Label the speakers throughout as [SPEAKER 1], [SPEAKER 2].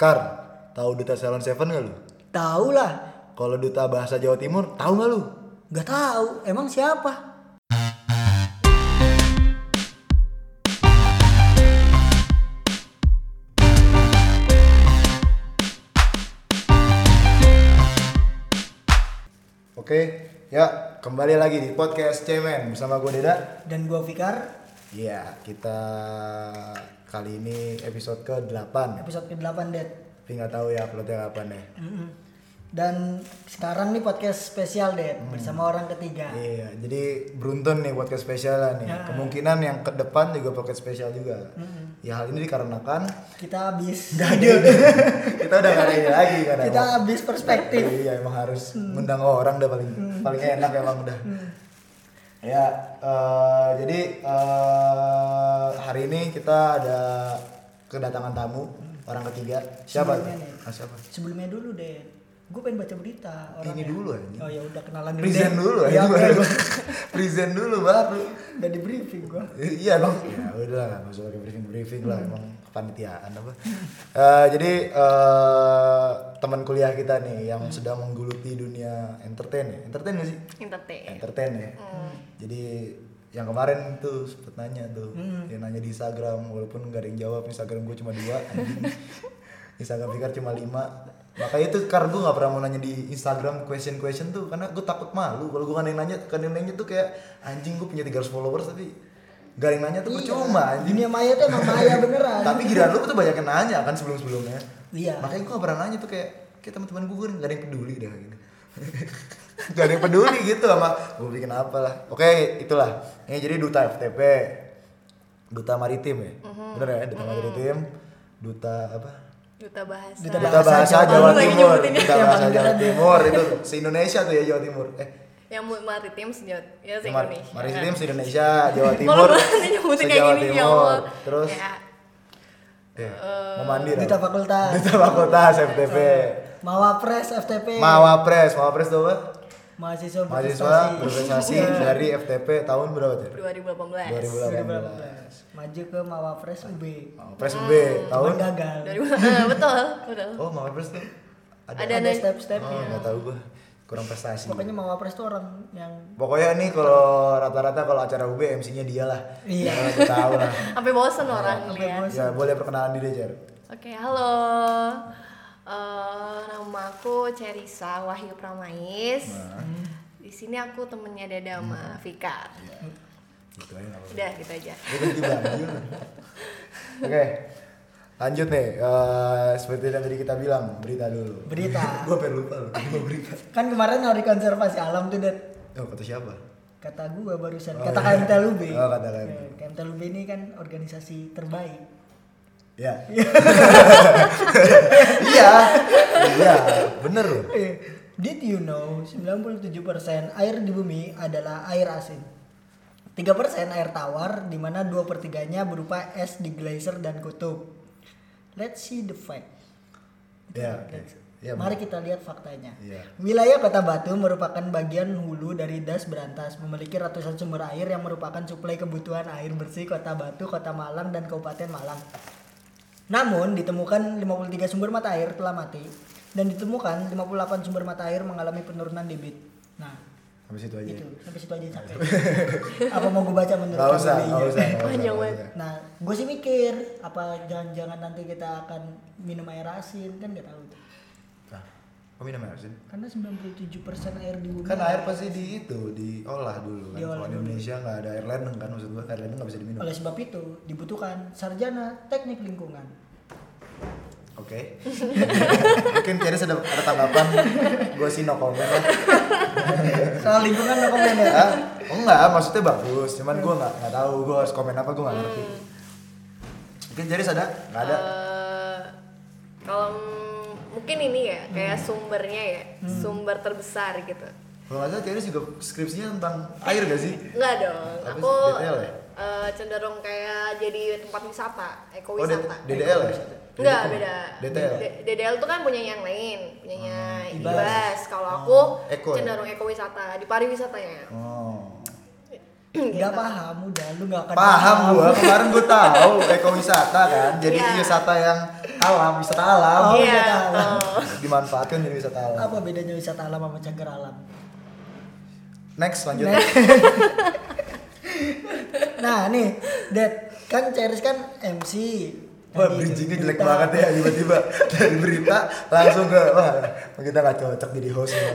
[SPEAKER 1] Kar, tahu duta Salon Seven gak lu?
[SPEAKER 2] Tahu lah,
[SPEAKER 1] Kalau duta bahasa Jawa Timur, tahu gak lu?
[SPEAKER 2] Gak tahu, emang siapa?
[SPEAKER 1] Oke, ya kembali lagi di podcast Cemen bersama gue Deda.
[SPEAKER 2] Dan gua Fikar,
[SPEAKER 1] Iya, kita kali ini episode ke-8.
[SPEAKER 2] episode ke-8 Ded.
[SPEAKER 1] Tapi nggak tahu ya uploadnya kapan ya.
[SPEAKER 2] Mm-mm. Dan sekarang nih podcast spesial Ded
[SPEAKER 1] Mm.
[SPEAKER 2] bersama orang ketiga.
[SPEAKER 1] Iya, jadi beruntun nih podcast spesial nih. Kemungkinan yang ke depan juga podcast spesial juga. Ya hal ini dikarenakan
[SPEAKER 2] Kita habis
[SPEAKER 1] Gak ada. kita udah gak ada ini lagi karena
[SPEAKER 2] kita
[SPEAKER 1] emang-
[SPEAKER 2] habis perspektif.
[SPEAKER 1] Iya emang harus ngundang orang dah paling paling enak emang udah. Ya eh, jadi eh, hari ini kita ada kedatangan tamu orang ketiga. Siapa?
[SPEAKER 2] Sebelumnya nih.
[SPEAKER 1] Ah, siapa?
[SPEAKER 2] Sebelumnya dulu Ded, gue pengen baca berita.
[SPEAKER 1] Ini
[SPEAKER 2] orangnya.
[SPEAKER 1] dulu ya.
[SPEAKER 2] Oh ya udah kenalan dulu.
[SPEAKER 1] Present
[SPEAKER 2] Ded.
[SPEAKER 1] dulu
[SPEAKER 2] Ya,
[SPEAKER 1] ya.
[SPEAKER 2] udah,
[SPEAKER 1] Present dulu baru.
[SPEAKER 2] udah di briefing gua.
[SPEAKER 1] iya bang ya udah nggak usah pakai briefing briefing lah emang kepanitiaan apa Eh, jadi eh, teman kuliah kita nih yang sedang menggeluti dunia entertain ya entertain gak sih
[SPEAKER 3] entertain
[SPEAKER 1] entertain ya jadi yang kemarin tuh sempet nanya tuh dia nanya di Instagram walaupun nggak ada yang jawab Instagram gue cuma dua anjing. Instagram Fikar cuma lima makanya itu karena gue nggak pernah mau nanya di Instagram question question tuh karena gue takut malu kalau gue nggak ada yang nanya kan yang nanya tuh kayak anjing gue punya 300 followers tapi nggak ada yang nanya tuh percuma anjing
[SPEAKER 2] Dunia Iya, maya tuh emang maya beneran.
[SPEAKER 1] tapi giliran lu tuh banyak yang nanya kan sebelum sebelumnya
[SPEAKER 2] Iya.
[SPEAKER 1] makanya gue gak pernah nanya tuh kayak kayak teman-teman gue nggak ada yang peduli dah gitu gak ada yang peduli gitu sama gue bikin apa lah oke itulah ini jadi duta FTP duta maritim ya
[SPEAKER 3] Mm-hmm.
[SPEAKER 1] bener ya duta maritim duta apa
[SPEAKER 3] duta bahasa
[SPEAKER 2] Duta
[SPEAKER 1] duta bahasa Jawa,
[SPEAKER 3] Jawa Timur.
[SPEAKER 1] Timur
[SPEAKER 3] Nyebutin ya.
[SPEAKER 1] duta bahasa Jawa Timur itu se Indonesia tuh ya Jawa Timur eh
[SPEAKER 3] yang mu- maritim sejauh ya se
[SPEAKER 1] mar-
[SPEAKER 3] Indonesia
[SPEAKER 1] maritim
[SPEAKER 3] kan.
[SPEAKER 1] se Indonesia Jawa
[SPEAKER 3] Malu
[SPEAKER 1] Timur
[SPEAKER 3] banget nyebutin kayak
[SPEAKER 1] se-Jawa
[SPEAKER 3] gini ya
[SPEAKER 1] Timur
[SPEAKER 3] Allah
[SPEAKER 1] terus
[SPEAKER 3] ya,
[SPEAKER 1] eh, mau mandi
[SPEAKER 2] Duta
[SPEAKER 1] Ram.
[SPEAKER 2] fakultas.
[SPEAKER 1] Duta Fakultas FTP.
[SPEAKER 2] Mawapres FTP.
[SPEAKER 1] Mawapres, Mawapres tuh apa?
[SPEAKER 2] mahasiswa
[SPEAKER 1] Mahasiswa
[SPEAKER 2] berprestasi.
[SPEAKER 1] berprestasi dari FTP tahun berapa tuh?
[SPEAKER 3] 2018
[SPEAKER 1] 2018.
[SPEAKER 2] Maju ke Mawapres UB.
[SPEAKER 1] Mawapres UB tahun
[SPEAKER 2] Tahun gagal.
[SPEAKER 3] 2018 betul betul
[SPEAKER 1] Oh, Mawapres tuh ada.
[SPEAKER 3] Ada.
[SPEAKER 2] Ada step-stepnya.
[SPEAKER 1] Oh, enggak tahu gua. Kurang prestasi.
[SPEAKER 2] ya. Pokoknya Mawapres tuh orang yang
[SPEAKER 1] Pokoknya nih kalau rata-rata kalau acara UB MC-nya dialah.
[SPEAKER 2] Iya.
[SPEAKER 1] Ya, Aku tahu lah.
[SPEAKER 3] sampai bosen orang lihat
[SPEAKER 1] Ya, boleh perkenalan diri, Jar.
[SPEAKER 3] Oke, halo. Eh, nama aku Cerisa Wahyu Pramais.
[SPEAKER 1] Nah.
[SPEAKER 3] Di sini aku temennya Dada
[SPEAKER 1] Hmm.
[SPEAKER 3] sama Fikar.
[SPEAKER 1] Iya, Gitu aja
[SPEAKER 2] Iya.
[SPEAKER 1] nggak apa-apa.
[SPEAKER 3] Udah, gitu aja.
[SPEAKER 1] Gua ganti baju. Oke. Lanjut nih, eh, seperti yang tadi kita bilang, berita dulu.
[SPEAKER 2] Berita.
[SPEAKER 1] Gue pengen lupa loh, gua berita.
[SPEAKER 2] kan kemarin hari konservasi alam tuh dat
[SPEAKER 1] Oh, kata siapa?
[SPEAKER 2] kata gua barusan
[SPEAKER 1] Oh,
[SPEAKER 2] kata
[SPEAKER 1] iya.
[SPEAKER 2] KMT Lube.
[SPEAKER 1] Oh, kata KMT.
[SPEAKER 2] Ya, KMT Lube ini kan organisasi terbaik.
[SPEAKER 1] Ya. Iya. Iya, bener loh.
[SPEAKER 2] Eh, Did you know 97% air di bumi adalah air asin. 3% air tawar di mana 2 per 3-nya berupa es di glacier dan kutub. Let's see the fact.
[SPEAKER 1] Ya, oke. Ya,
[SPEAKER 2] Mari kita lihat faktanya.
[SPEAKER 1] Iya.
[SPEAKER 2] Wilayah Kota Batu merupakan bagian hulu dari Das Berantas, memiliki ratusan sumber air yang merupakan suplai kebutuhan air bersih Kota Batu, Kota Malang, dan Kabupaten Malang. Namun, ditemukan 53 sumber mata air telah mati, dan ditemukan 58 sumber mata air mengalami penurunan debit. Nah,
[SPEAKER 1] habis itu aja.
[SPEAKER 2] itu. Sampai situ aja capek. Apa mau gue baca menurut
[SPEAKER 1] Gak
[SPEAKER 2] kamu
[SPEAKER 1] usah, gak usah.
[SPEAKER 2] dulu?
[SPEAKER 1] nggak usah,
[SPEAKER 3] Panjang
[SPEAKER 1] nggak
[SPEAKER 3] banget.
[SPEAKER 1] usah.
[SPEAKER 2] Nah, gue sih mikir, apa jangan-jangan nanti kita akan minum air asin, kan gak tahu.
[SPEAKER 1] Nah, kok minum air sih?
[SPEAKER 2] Karena 97% air di bumi.
[SPEAKER 1] Kan air pasti di itu, diolah dulu kan. Kalau
[SPEAKER 2] Diolah
[SPEAKER 1] di
[SPEAKER 2] dulu.
[SPEAKER 1] Indonesia nggak ada air ledeng kan, maksud gua air ledeng nggak bisa diminum.
[SPEAKER 2] Oleh sebab itu, dibutuhkan sarjana teknik lingkungan.
[SPEAKER 1] Oke. Mungkin Cherry ada, ada tanggapan. Gue sih no comment lah. Eh.
[SPEAKER 2] Soal lingkungan no komen ya.
[SPEAKER 1] Hah? Oh, enggak, maksudnya bagus. Cuman gue nggak nggak tahu gue harus komen apa gue nggak ngerti. Mungkin Cherry ada? Nggak ada.
[SPEAKER 3] Hmm. Eh, kalau m- mungkin ini ya, kayak
[SPEAKER 1] Hmm.
[SPEAKER 3] sumbernya ya, sumber terbesar gitu.
[SPEAKER 1] Kalau nggak salah Cherry juga skripsinya tentang air gak sih?
[SPEAKER 3] Enggak dong,
[SPEAKER 1] Apa
[SPEAKER 3] aku
[SPEAKER 1] sih, DTL ya?
[SPEAKER 3] eh, cenderung kayak jadi tempat wisata,
[SPEAKER 1] Oh, D-
[SPEAKER 3] ekowisata.
[SPEAKER 1] DDL ya?
[SPEAKER 3] Enggak,
[SPEAKER 1] DDL.
[SPEAKER 3] beda.
[SPEAKER 1] DTL.
[SPEAKER 3] D- DDL tuh kan punya yang lain,
[SPEAKER 1] Oh,
[SPEAKER 3] punyanya
[SPEAKER 2] Hmm,
[SPEAKER 3] Ibas.
[SPEAKER 2] Ibas.
[SPEAKER 3] Kalau aku
[SPEAKER 1] Eko ya?
[SPEAKER 3] cenderung ekowisata, di pariwisatanya.
[SPEAKER 1] Oh.
[SPEAKER 2] nggak paham udah lu nggak akan
[SPEAKER 1] Paham gua, kemarin gua tahu ekowisata kan. Jadi
[SPEAKER 3] Iya.
[SPEAKER 1] wisata yang alam, wisata alam.
[SPEAKER 2] Oh,
[SPEAKER 3] Iya,
[SPEAKER 2] udah tahu.
[SPEAKER 3] betul.
[SPEAKER 1] Dimanfaatkan jadi wisata alam.
[SPEAKER 2] apa bedanya wisata alam sama cagar alam
[SPEAKER 1] Next lanjut.
[SPEAKER 2] Nah. nah nih Dad kan Ceris kan MC
[SPEAKER 1] Wah,
[SPEAKER 2] Tadi Kan
[SPEAKER 1] bridgingnya jelek
[SPEAKER 2] cerita.
[SPEAKER 1] banget ya tiba-tiba dari berita langsung ke wah kita nggak cocok jadi host. ya.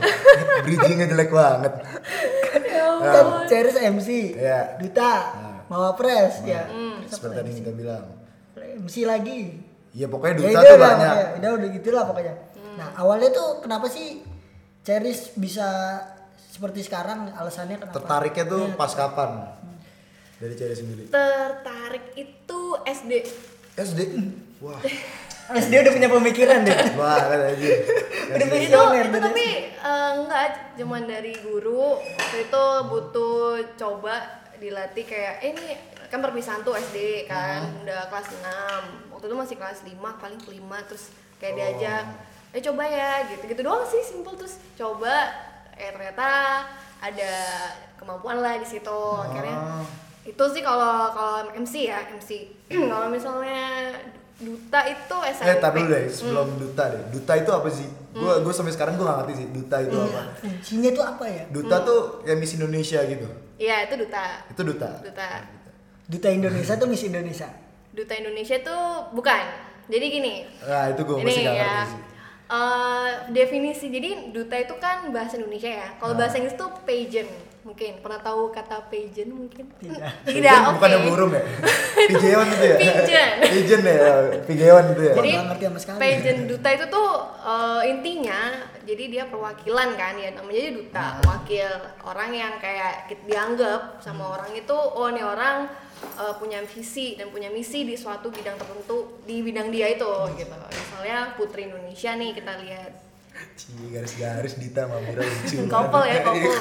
[SPEAKER 1] bridgingnya jelek banget.
[SPEAKER 2] kan Ceris
[SPEAKER 1] Nah.
[SPEAKER 2] MC
[SPEAKER 1] Iya. Nah.
[SPEAKER 2] Duta Mawapres ya
[SPEAKER 1] Seperti tadi yang kita bilang.
[SPEAKER 2] MC lagi
[SPEAKER 1] Iya pokoknya
[SPEAKER 2] ya
[SPEAKER 1] duta
[SPEAKER 2] itu
[SPEAKER 1] tuh
[SPEAKER 2] lah
[SPEAKER 1] banyak.
[SPEAKER 2] pokoknya udah udah gitulah pokoknya nah awalnya tuh kenapa sih Ceris bisa seperti sekarang alasannya kenapa
[SPEAKER 1] Tertariknya tuh pas kapan? Dari cari sendiri.
[SPEAKER 3] tertarik itu SD
[SPEAKER 1] SD. Wah,
[SPEAKER 2] Mas dia udah punya pemikiran deh
[SPEAKER 1] wah kan aja. Eh,
[SPEAKER 2] udah
[SPEAKER 3] itu
[SPEAKER 2] visioner
[SPEAKER 3] itu
[SPEAKER 2] tuh
[SPEAKER 3] tapi eh, enggak cuman dari guru waktu itu butuh coba dilatih kayak eh ini kan perpisahan tuh SD kan udah kelas 6 waktu itu masih kelas 5 paling kelima terus kayak diajak eh coba ya gitu gitu doang sih simple terus coba eh ternyata ada kemampuan lah di situ akhirnya itu sih kalau kalau MC ya MC kalau misalnya duta itu SMP
[SPEAKER 1] Eh, tapi dulu
[SPEAKER 3] Hmm.
[SPEAKER 1] deh, sebelum duta deh. Duta itu apa sih? Gue gue sampai sekarang gue gak ngerti sih duta itu apa.
[SPEAKER 2] kuncinya tuh apa ya
[SPEAKER 1] Duta tuh kayak Miss Indonesia gitu.
[SPEAKER 3] Iya itu duta
[SPEAKER 1] Itu duta.
[SPEAKER 3] duta
[SPEAKER 2] duta Indonesia tuh Miss Indonesia
[SPEAKER 3] duta Indonesia tuh bukan jadi gini
[SPEAKER 1] Nah, itu gue
[SPEAKER 3] ini
[SPEAKER 1] masih gak ngerti
[SPEAKER 3] ya
[SPEAKER 1] sih.
[SPEAKER 3] eh, definisi jadi duta itu kan bahasa Indonesia ya
[SPEAKER 1] Ah.
[SPEAKER 3] kalau bahasa Inggris tuh pageant mungkin pernah tahu kata pageant mungkin
[SPEAKER 2] Tidak.
[SPEAKER 3] tidak
[SPEAKER 1] Pigeon
[SPEAKER 3] oke
[SPEAKER 1] Bukan yang burung ya? Pigeon itu ya?
[SPEAKER 3] Pigeon.
[SPEAKER 1] Pigeon ya? Pigeon itu ya?
[SPEAKER 3] jadi
[SPEAKER 2] Gua nggak ngerti sama sekali.
[SPEAKER 3] pageant duta itu tuh eh, intinya jadi dia perwakilan kan ya namanya jadi duta wakil orang yang kayak ki- dianggap sama orang itu oh ini orang eh, punya visi dan punya misi di suatu bidang tertentu di bidang dia itu gitu misalnya putri Indonesia nih kita lihat
[SPEAKER 1] Cie, garis-garis Dita sama Mira lucu.
[SPEAKER 3] Kopel ya, kopel.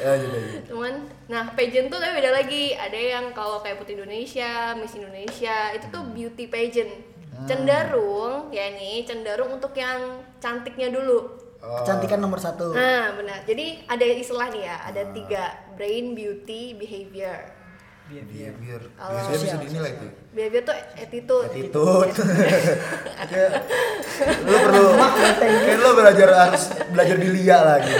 [SPEAKER 1] ya, gitu, gitu.
[SPEAKER 3] cuman nah pageant tuh tapi beda lagi ada yang kalau kayak putri Indonesia Miss Indonesia itu tuh beauty pageant cenderung ya nih cenderung untuk yang cantiknya dulu
[SPEAKER 1] Oh,
[SPEAKER 2] kecantikan nomor satu
[SPEAKER 3] Nah, benar. Jadi ada istilah nih ya, ada
[SPEAKER 1] Ah.
[SPEAKER 3] tiga brain, beauty, behavior.
[SPEAKER 1] behavior.
[SPEAKER 3] Kalau-
[SPEAKER 1] Oh, Biasanya bisa dinilai tuh.
[SPEAKER 3] Behavior tuh attitude.
[SPEAKER 1] Attitude. Ya, lu perlu kayak lu belajar harus belajar dilia lagi.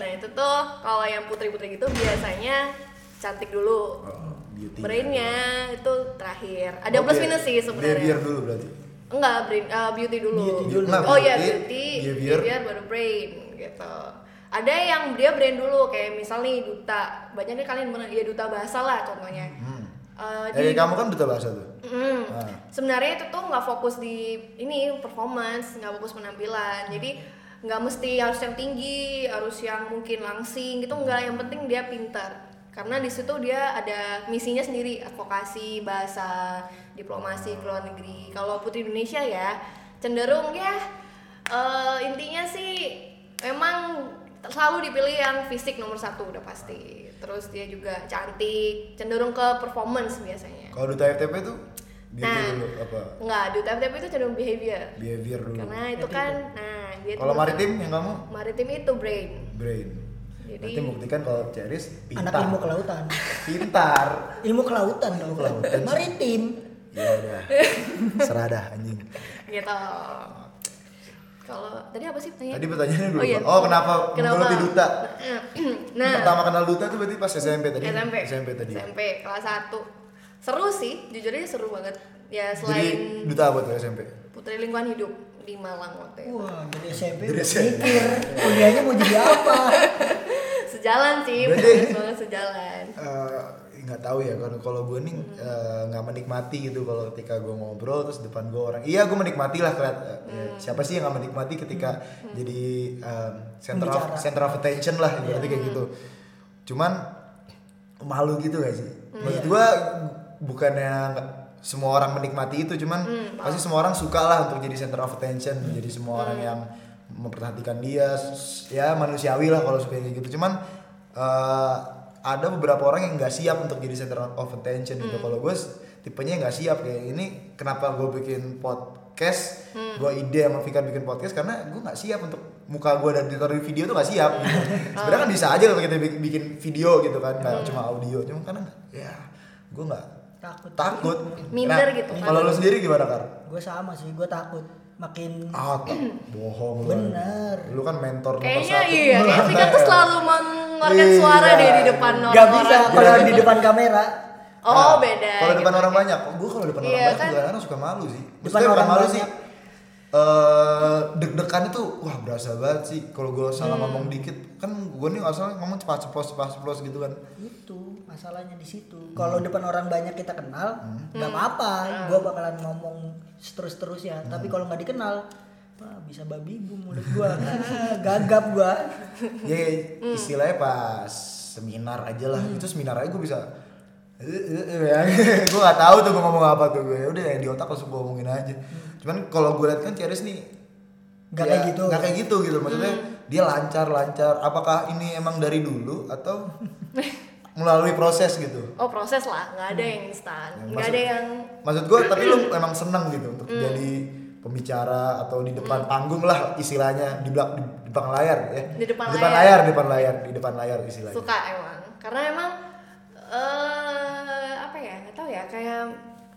[SPEAKER 3] Nah, itu tuh kalau yang putri-putri gitu biasanya cantik dulu.
[SPEAKER 1] Oh, beauty.
[SPEAKER 3] Brainnya itu terakhir.
[SPEAKER 1] Oh,
[SPEAKER 3] Ada plus
[SPEAKER 1] biar-
[SPEAKER 3] minus sih
[SPEAKER 1] Behavior
[SPEAKER 3] sebenarnya.
[SPEAKER 1] dulu berarti.
[SPEAKER 3] Enggak, brain eh, beauty dulu.
[SPEAKER 2] Beauty
[SPEAKER 1] dulu. Nah,
[SPEAKER 3] Oh iya,
[SPEAKER 1] beauty,
[SPEAKER 3] beauty,
[SPEAKER 1] behavior.
[SPEAKER 3] behavior. baru brain gitu. Ada yang dia brain dulu kayak misal nih duta. Banyak nih kalian bener- ya duta bahasa lah contohnya. Eh,
[SPEAKER 1] Eh,
[SPEAKER 3] di-
[SPEAKER 1] kamu kan duta bahasa tuh.
[SPEAKER 3] Mm.
[SPEAKER 1] Ah.
[SPEAKER 3] Sebenarnya itu tuh nggak fokus di ini performance, nggak fokus penampilan. Jadi nggak mesti harus yang tinggi, harus yang mungkin langsing gitu nggak. Yang penting dia pintar. Karena di situ dia ada misinya sendiri, advokasi, bahasa, diplomasi ke luar negeri. Kalau Putri Indonesia ya cenderung ya eh, intinya sih memang selalu dipilih yang fisik nomor satu udah pasti. Terus dia juga cantik, cenderung ke performance biasanya.
[SPEAKER 1] Kalau duta FTP tuh beauty
[SPEAKER 3] Nah.
[SPEAKER 1] dulu apa?
[SPEAKER 3] Enggak, duta FTP itu cenderung behavior.
[SPEAKER 1] Behavior dulu.
[SPEAKER 3] Karena itu kan nah, dia
[SPEAKER 1] Hmm. Kalau
[SPEAKER 3] tuh-
[SPEAKER 1] maritim yang kamu
[SPEAKER 3] maritim itu brain.
[SPEAKER 1] brain. Nanti
[SPEAKER 3] Jadi-
[SPEAKER 1] buktikan kalau Ceris pintar.
[SPEAKER 2] anak ilmu kelautan
[SPEAKER 1] Pintar.
[SPEAKER 2] ilmu kelautan dong
[SPEAKER 1] kelautan.
[SPEAKER 2] maritim
[SPEAKER 1] Ya udah. Seradah anjing.
[SPEAKER 3] Gitu. Kalau tadi apa sih pertanyaannya?
[SPEAKER 1] Tadi pertanyaannya dulu.
[SPEAKER 3] Oh, iya.
[SPEAKER 1] Oh, kenapa, menggeluti duta?
[SPEAKER 3] Nah,
[SPEAKER 1] Pertama kenal duta tuh berarti pas SMP tadi.
[SPEAKER 3] SMP.
[SPEAKER 1] tadi.
[SPEAKER 3] SMP kelas 1. Seru sih, jujur aja seru banget. Ya
[SPEAKER 1] Jadi
[SPEAKER 3] selain
[SPEAKER 1] duta apa tuh SMP?
[SPEAKER 3] Putri Lingkungan Hidup di Malang waktu itu.
[SPEAKER 2] wah dari SMP
[SPEAKER 1] Dari
[SPEAKER 2] udah
[SPEAKER 1] SMP.
[SPEAKER 2] mikir kuliahnya mau jadi apa
[SPEAKER 3] Sejalan sih,
[SPEAKER 1] Berarti-
[SPEAKER 3] bener banget sejalan.
[SPEAKER 1] Eh, nggak tahu ya kan kalau gue nih eh, nggak menikmati gitu kalau ketika gue ngobrol terus depan gue orang iya gue menikmati lah keliat- eh, ya, siapa sih yang nggak menikmati ketika jadi em, center of
[SPEAKER 2] Pembicara.
[SPEAKER 1] center of attention lah berarti kayak gitu cuman malu gitu gak sih maksud gue bukannya nggak- semua orang menikmati itu cuman pasti semua orang suka lah untuk jadi center of attention jadi semua orang yang memperhatikan dia s- ya manusiawi lah kalau suka kayak gitu cuman eh, ada beberapa orang yang nggak siap untuk jadi
[SPEAKER 3] Hmm.
[SPEAKER 1] center of attention gitu kalau gue s- tipenya nggak siap kayak ini kenapa gue bikin podcast podcast
[SPEAKER 3] Hmm.
[SPEAKER 1] gua ide sama Fikar bikin podcast karena gua nggak siap untuk muka gua dan ditaruh di video tuh nggak siap gitu.
[SPEAKER 3] Oh.
[SPEAKER 1] sebenarnya kan bisa aja kalau kita bikin, bikin video gitu kan nggak
[SPEAKER 3] Hmm.
[SPEAKER 1] cuma audio cuma karena nggak- ya gua nggak
[SPEAKER 2] takut
[SPEAKER 1] takut Nah,
[SPEAKER 3] Minder gitu kan.
[SPEAKER 1] kalau lu sendiri gimana kar
[SPEAKER 2] gue sama sih gue takut makin
[SPEAKER 1] ah tak, bohong lu
[SPEAKER 2] Bener.
[SPEAKER 1] lu kan mentor nomor
[SPEAKER 3] Kayaknya
[SPEAKER 1] satu.
[SPEAKER 3] iya, kayak Vika tuh selalu mengeluarkan
[SPEAKER 1] Iya.
[SPEAKER 3] suara deh di depan
[SPEAKER 1] Gak
[SPEAKER 2] nggak
[SPEAKER 3] orang.
[SPEAKER 2] bisa kalau di depan kamera
[SPEAKER 3] Oh,
[SPEAKER 1] Nah,
[SPEAKER 3] beda.
[SPEAKER 1] Kalau depan
[SPEAKER 3] gitu.
[SPEAKER 1] orang banyak, gue kalau depan orang
[SPEAKER 3] Iya,
[SPEAKER 1] banyak
[SPEAKER 3] kan?
[SPEAKER 1] juga kadang suka malu sih. Maksudnya
[SPEAKER 2] Depan
[SPEAKER 1] bukan
[SPEAKER 2] orang
[SPEAKER 1] malu
[SPEAKER 2] banyak.
[SPEAKER 1] sih. Eh deg-degan itu wah berasa banget sih kalau gue salah
[SPEAKER 3] Hmm.
[SPEAKER 1] ngomong dikit kan gue nih asal ngomong cepat ceplos cepat ceplos gitu kan
[SPEAKER 2] itu masalahnya di situ kalau
[SPEAKER 1] Hmm.
[SPEAKER 2] depan orang banyak kita kenal nggak apa-apa
[SPEAKER 3] Hmm.
[SPEAKER 2] gue bakalan ngomong terus terus ya
[SPEAKER 1] Hmm.
[SPEAKER 2] tapi kalau nggak dikenal wah bisa babi bu mulut gue gagap gue
[SPEAKER 1] ya
[SPEAKER 3] Hmm.
[SPEAKER 1] istilahnya pas seminar aja lah itu seminar aja gue bisa eh, gue gak ya. tahu tuh gue ngomong apa tuh gue udah yang di otak langsung gue ngomongin aja
[SPEAKER 3] Hmm.
[SPEAKER 1] cuman kalau gue lihat kan Ceres nih
[SPEAKER 2] nggak
[SPEAKER 1] Ya,
[SPEAKER 2] kayak gitu
[SPEAKER 1] nggak kayak gitu gitu maksudnya
[SPEAKER 3] Hmm.
[SPEAKER 1] dia lancar lancar apakah ini emang dari dulu atau melalui proses gitu
[SPEAKER 3] Oh, proses lah, nggak ada yang instan,
[SPEAKER 1] Ya,
[SPEAKER 3] nggak
[SPEAKER 1] maksud-
[SPEAKER 3] ada yang
[SPEAKER 1] maksud gue tapi lu emang seneng gitu
[SPEAKER 3] Hmm.
[SPEAKER 1] untuk jadi pembicara atau di depan panggung lah istilahnya di belak di depan layar ya
[SPEAKER 3] Di depan
[SPEAKER 1] layar.
[SPEAKER 3] layar.
[SPEAKER 1] di depan layar di depan layar istilahnya
[SPEAKER 3] suka emang karena emang eh apa ya nggak tahu ya kayak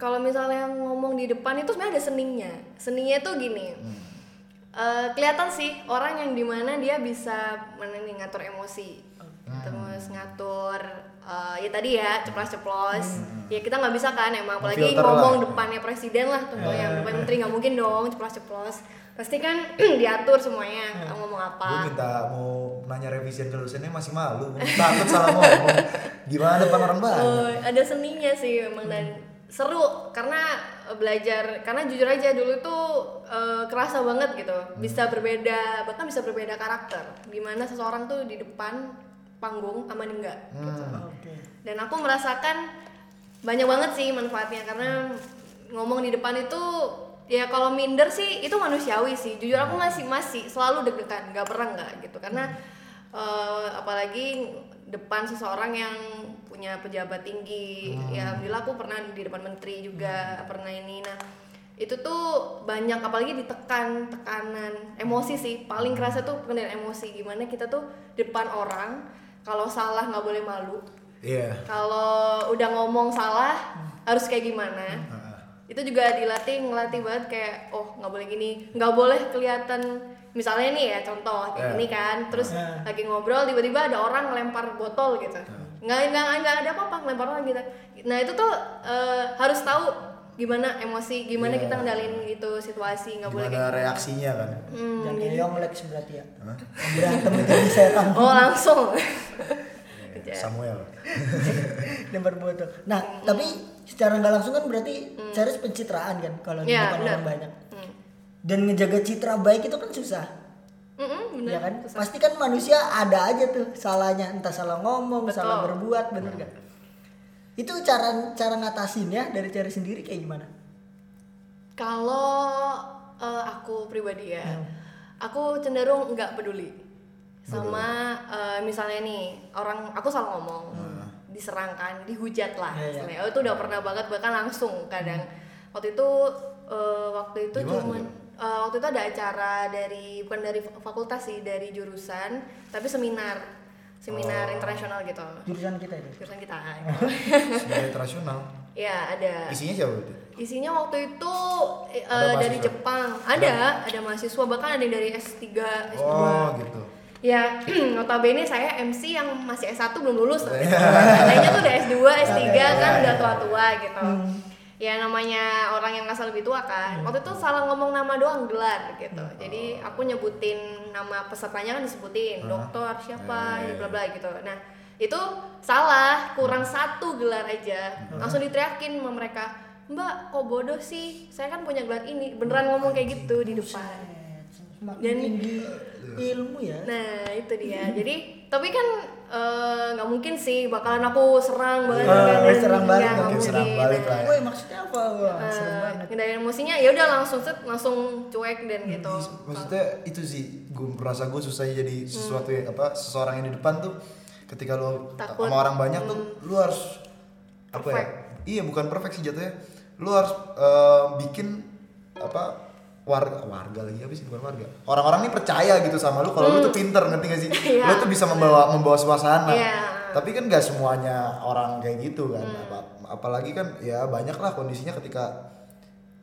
[SPEAKER 3] kalau misalnya ngomong di depan itu sebenarnya ada seninya seninya tuh gini
[SPEAKER 1] Hmm.
[SPEAKER 3] Eh, kelihatan sih orang yang dimana dia bisa mana nih, ngatur emosi
[SPEAKER 1] Hmm.
[SPEAKER 3] terus ngatur eh, ya tadi ya ceplos-ceplos ya kita nggak bisa kan emang apalagi
[SPEAKER 1] Filter Hmm. lah. Eh.
[SPEAKER 3] ngomong depannya presiden lah tuh yang depan menteri nggak mungkin dong ceplos-ceplos pasti kan diatur semuanya
[SPEAKER 1] Hmm.
[SPEAKER 3] ngomong apa
[SPEAKER 1] gue minta mau nanya revision ke dosennya masih malu gua takut salah ngomong gimana depan orang banyak
[SPEAKER 3] Eh, ada seninya sih memang dan seru karena eh, belajar karena jujur aja dulu tuh eh, kerasa banget gitu bisa berbeda bahkan bisa berbeda karakter dimana seseorang tuh di depan panggung aman enggak gitu.
[SPEAKER 1] Hmm,
[SPEAKER 2] oke
[SPEAKER 3] dan aku merasakan banyak banget sih manfaatnya karena ngomong di depan itu ya kalau minder sih itu manusiawi sih jujur aku masih masih selalu deg-degan nggak pernah nggak gitu karena eh, apalagi depan seseorang yang punya pejabat tinggi ya alhamdulillah aku pernah di depan menteri juga pernah ini nah itu tuh banyak apalagi ditekan tekanan emosi sih paling kerasa tuh pengendalian emosi gimana kita tuh depan orang kalau salah nggak boleh malu
[SPEAKER 1] iya
[SPEAKER 3] kalau udah ngomong salah harus kayak gimana
[SPEAKER 1] Heeh.
[SPEAKER 3] itu juga dilatih ngelatih banget kayak oh nggak boleh gini nggak boleh kelihatan misalnya nih ya contoh
[SPEAKER 1] Yeah.
[SPEAKER 3] kayak gini kan terus
[SPEAKER 2] Yeah.
[SPEAKER 3] lagi ngobrol tiba-tiba ada orang ngelempar botol gitu nggak nggak nggak ada apa-apa ngelempar orang gitu nah itu tuh eh, harus tahu gimana emosi gimana
[SPEAKER 1] Yeah.
[SPEAKER 3] kita ngendalin gitu situasi nggak boleh
[SPEAKER 1] gimana
[SPEAKER 3] kayak gitu.
[SPEAKER 1] reaksinya kan
[SPEAKER 3] Hmm,
[SPEAKER 2] jangan
[SPEAKER 3] jadi-
[SPEAKER 2] keong lex berarti ya berantem jadi serang
[SPEAKER 3] oh langsung
[SPEAKER 1] Iya, Samuel
[SPEAKER 2] lempar botol. Nah, tapi secara nggak langsung kan berarti Ceres pencitraan kan kalau di
[SPEAKER 3] Hmm. Iya,
[SPEAKER 2] depan
[SPEAKER 3] benar.
[SPEAKER 2] orang banyak.
[SPEAKER 3] Hmm.
[SPEAKER 2] Dan ngejaga citra baik itu kan susah.
[SPEAKER 3] Mm-mm, bener.
[SPEAKER 2] Ya kan? Pasti kan manusia ada aja tuh salahnya, entah salah ngomong,
[SPEAKER 3] Betul.
[SPEAKER 2] salah berbuat, bener nggak? Itu cara cara ngatasinnya dari Ceres sendiri kayak gimana?
[SPEAKER 3] Kalau eh, aku pribadi ya,
[SPEAKER 1] Hmm.
[SPEAKER 3] aku cenderung nggak peduli sama eh, misalnya nih orang aku salah ngomong,
[SPEAKER 1] Hmm.
[SPEAKER 3] diserangkan, dihujat lah.
[SPEAKER 1] Ya,
[SPEAKER 2] Iya, iya.
[SPEAKER 3] istilahnya. Oh, itu udah pernah banget bahkan langsung kadang. Waktu itu eh, waktu itu
[SPEAKER 1] Hmm. Gimana
[SPEAKER 3] cuman eh, waktu itu ada acara dari bukan dari fakultas sih dari jurusan tapi seminar seminar
[SPEAKER 1] Oh.
[SPEAKER 3] internasional gitu
[SPEAKER 2] Jurusan kita itu.
[SPEAKER 3] jurusan kita.
[SPEAKER 1] sebagai internasional
[SPEAKER 3] ya ada
[SPEAKER 1] Nah. isinya siapa itu
[SPEAKER 3] Isinya waktu itu eh,
[SPEAKER 1] Ada
[SPEAKER 3] dari
[SPEAKER 1] mahasiswa?
[SPEAKER 3] Jepang. Ada, ada mahasiswa bahkan ada yang dari S3, S2.
[SPEAKER 1] oh gitu
[SPEAKER 3] Ya, notabene saya MC yang masih S1 belum lulus. tapi Lainnya tuh udah S2, S3 kan udah tua-tua gitu. Ya namanya orang yang asal lebih tua kan. Waktu itu salah ngomong nama doang gelar gitu. Jadi aku nyebutin nama pesertanya kan disebutin, dokter siapa,
[SPEAKER 1] Eh.
[SPEAKER 3] bla bla gitu. Nah, itu salah, kurang satu gelar aja. Langsung diteriakin sama mereka. Mbak, kok bodoh sih? Saya kan punya gelar ini. Beneran ngomong kayak gitu di depan.
[SPEAKER 2] Semakin
[SPEAKER 3] Dan-
[SPEAKER 2] tinggi ilmu ya.
[SPEAKER 3] Nah itu dia. Jadi tapi kan eh, nggak mungkin sih bakalan aku serang banget.
[SPEAKER 2] Iya,
[SPEAKER 3] kan.
[SPEAKER 2] eh, serang
[SPEAKER 3] Iya,
[SPEAKER 2] balik
[SPEAKER 3] nggak
[SPEAKER 1] mungkin serang
[SPEAKER 3] mungkin. gitu.
[SPEAKER 1] balik lah. ya.
[SPEAKER 2] Woi, maksudnya apa? Wah,
[SPEAKER 3] Eh,
[SPEAKER 2] serem banget.
[SPEAKER 3] ngendaliin emosinya ya udah langsung set langsung cuek dan
[SPEAKER 1] Iya,
[SPEAKER 3] gitu.
[SPEAKER 1] maksudnya itu sih gue merasa gue susahnya
[SPEAKER 3] Hmm.
[SPEAKER 1] jadi sesuatu yang apa seseorang yang di depan tuh ketika lo
[SPEAKER 3] Takut. Hmm.
[SPEAKER 1] sama orang banyak tuh lo harus apa ya
[SPEAKER 3] Perfect.
[SPEAKER 1] iya bukan perfect sih jatuhnya lo harus eh, bikin apa warga warga lagi habis bukan warga orang-orang ini percaya gitu sama lu kalau lu tuh pinter ngerti gak sih
[SPEAKER 3] Hmm. Iya.
[SPEAKER 1] lu tuh bisa membawa membawa suasana
[SPEAKER 3] Iya.
[SPEAKER 1] tapi kan gak semuanya orang kayak gitu kan
[SPEAKER 3] Hmm.
[SPEAKER 1] Apa- apalagi kan ya banyak lah kondisinya ketika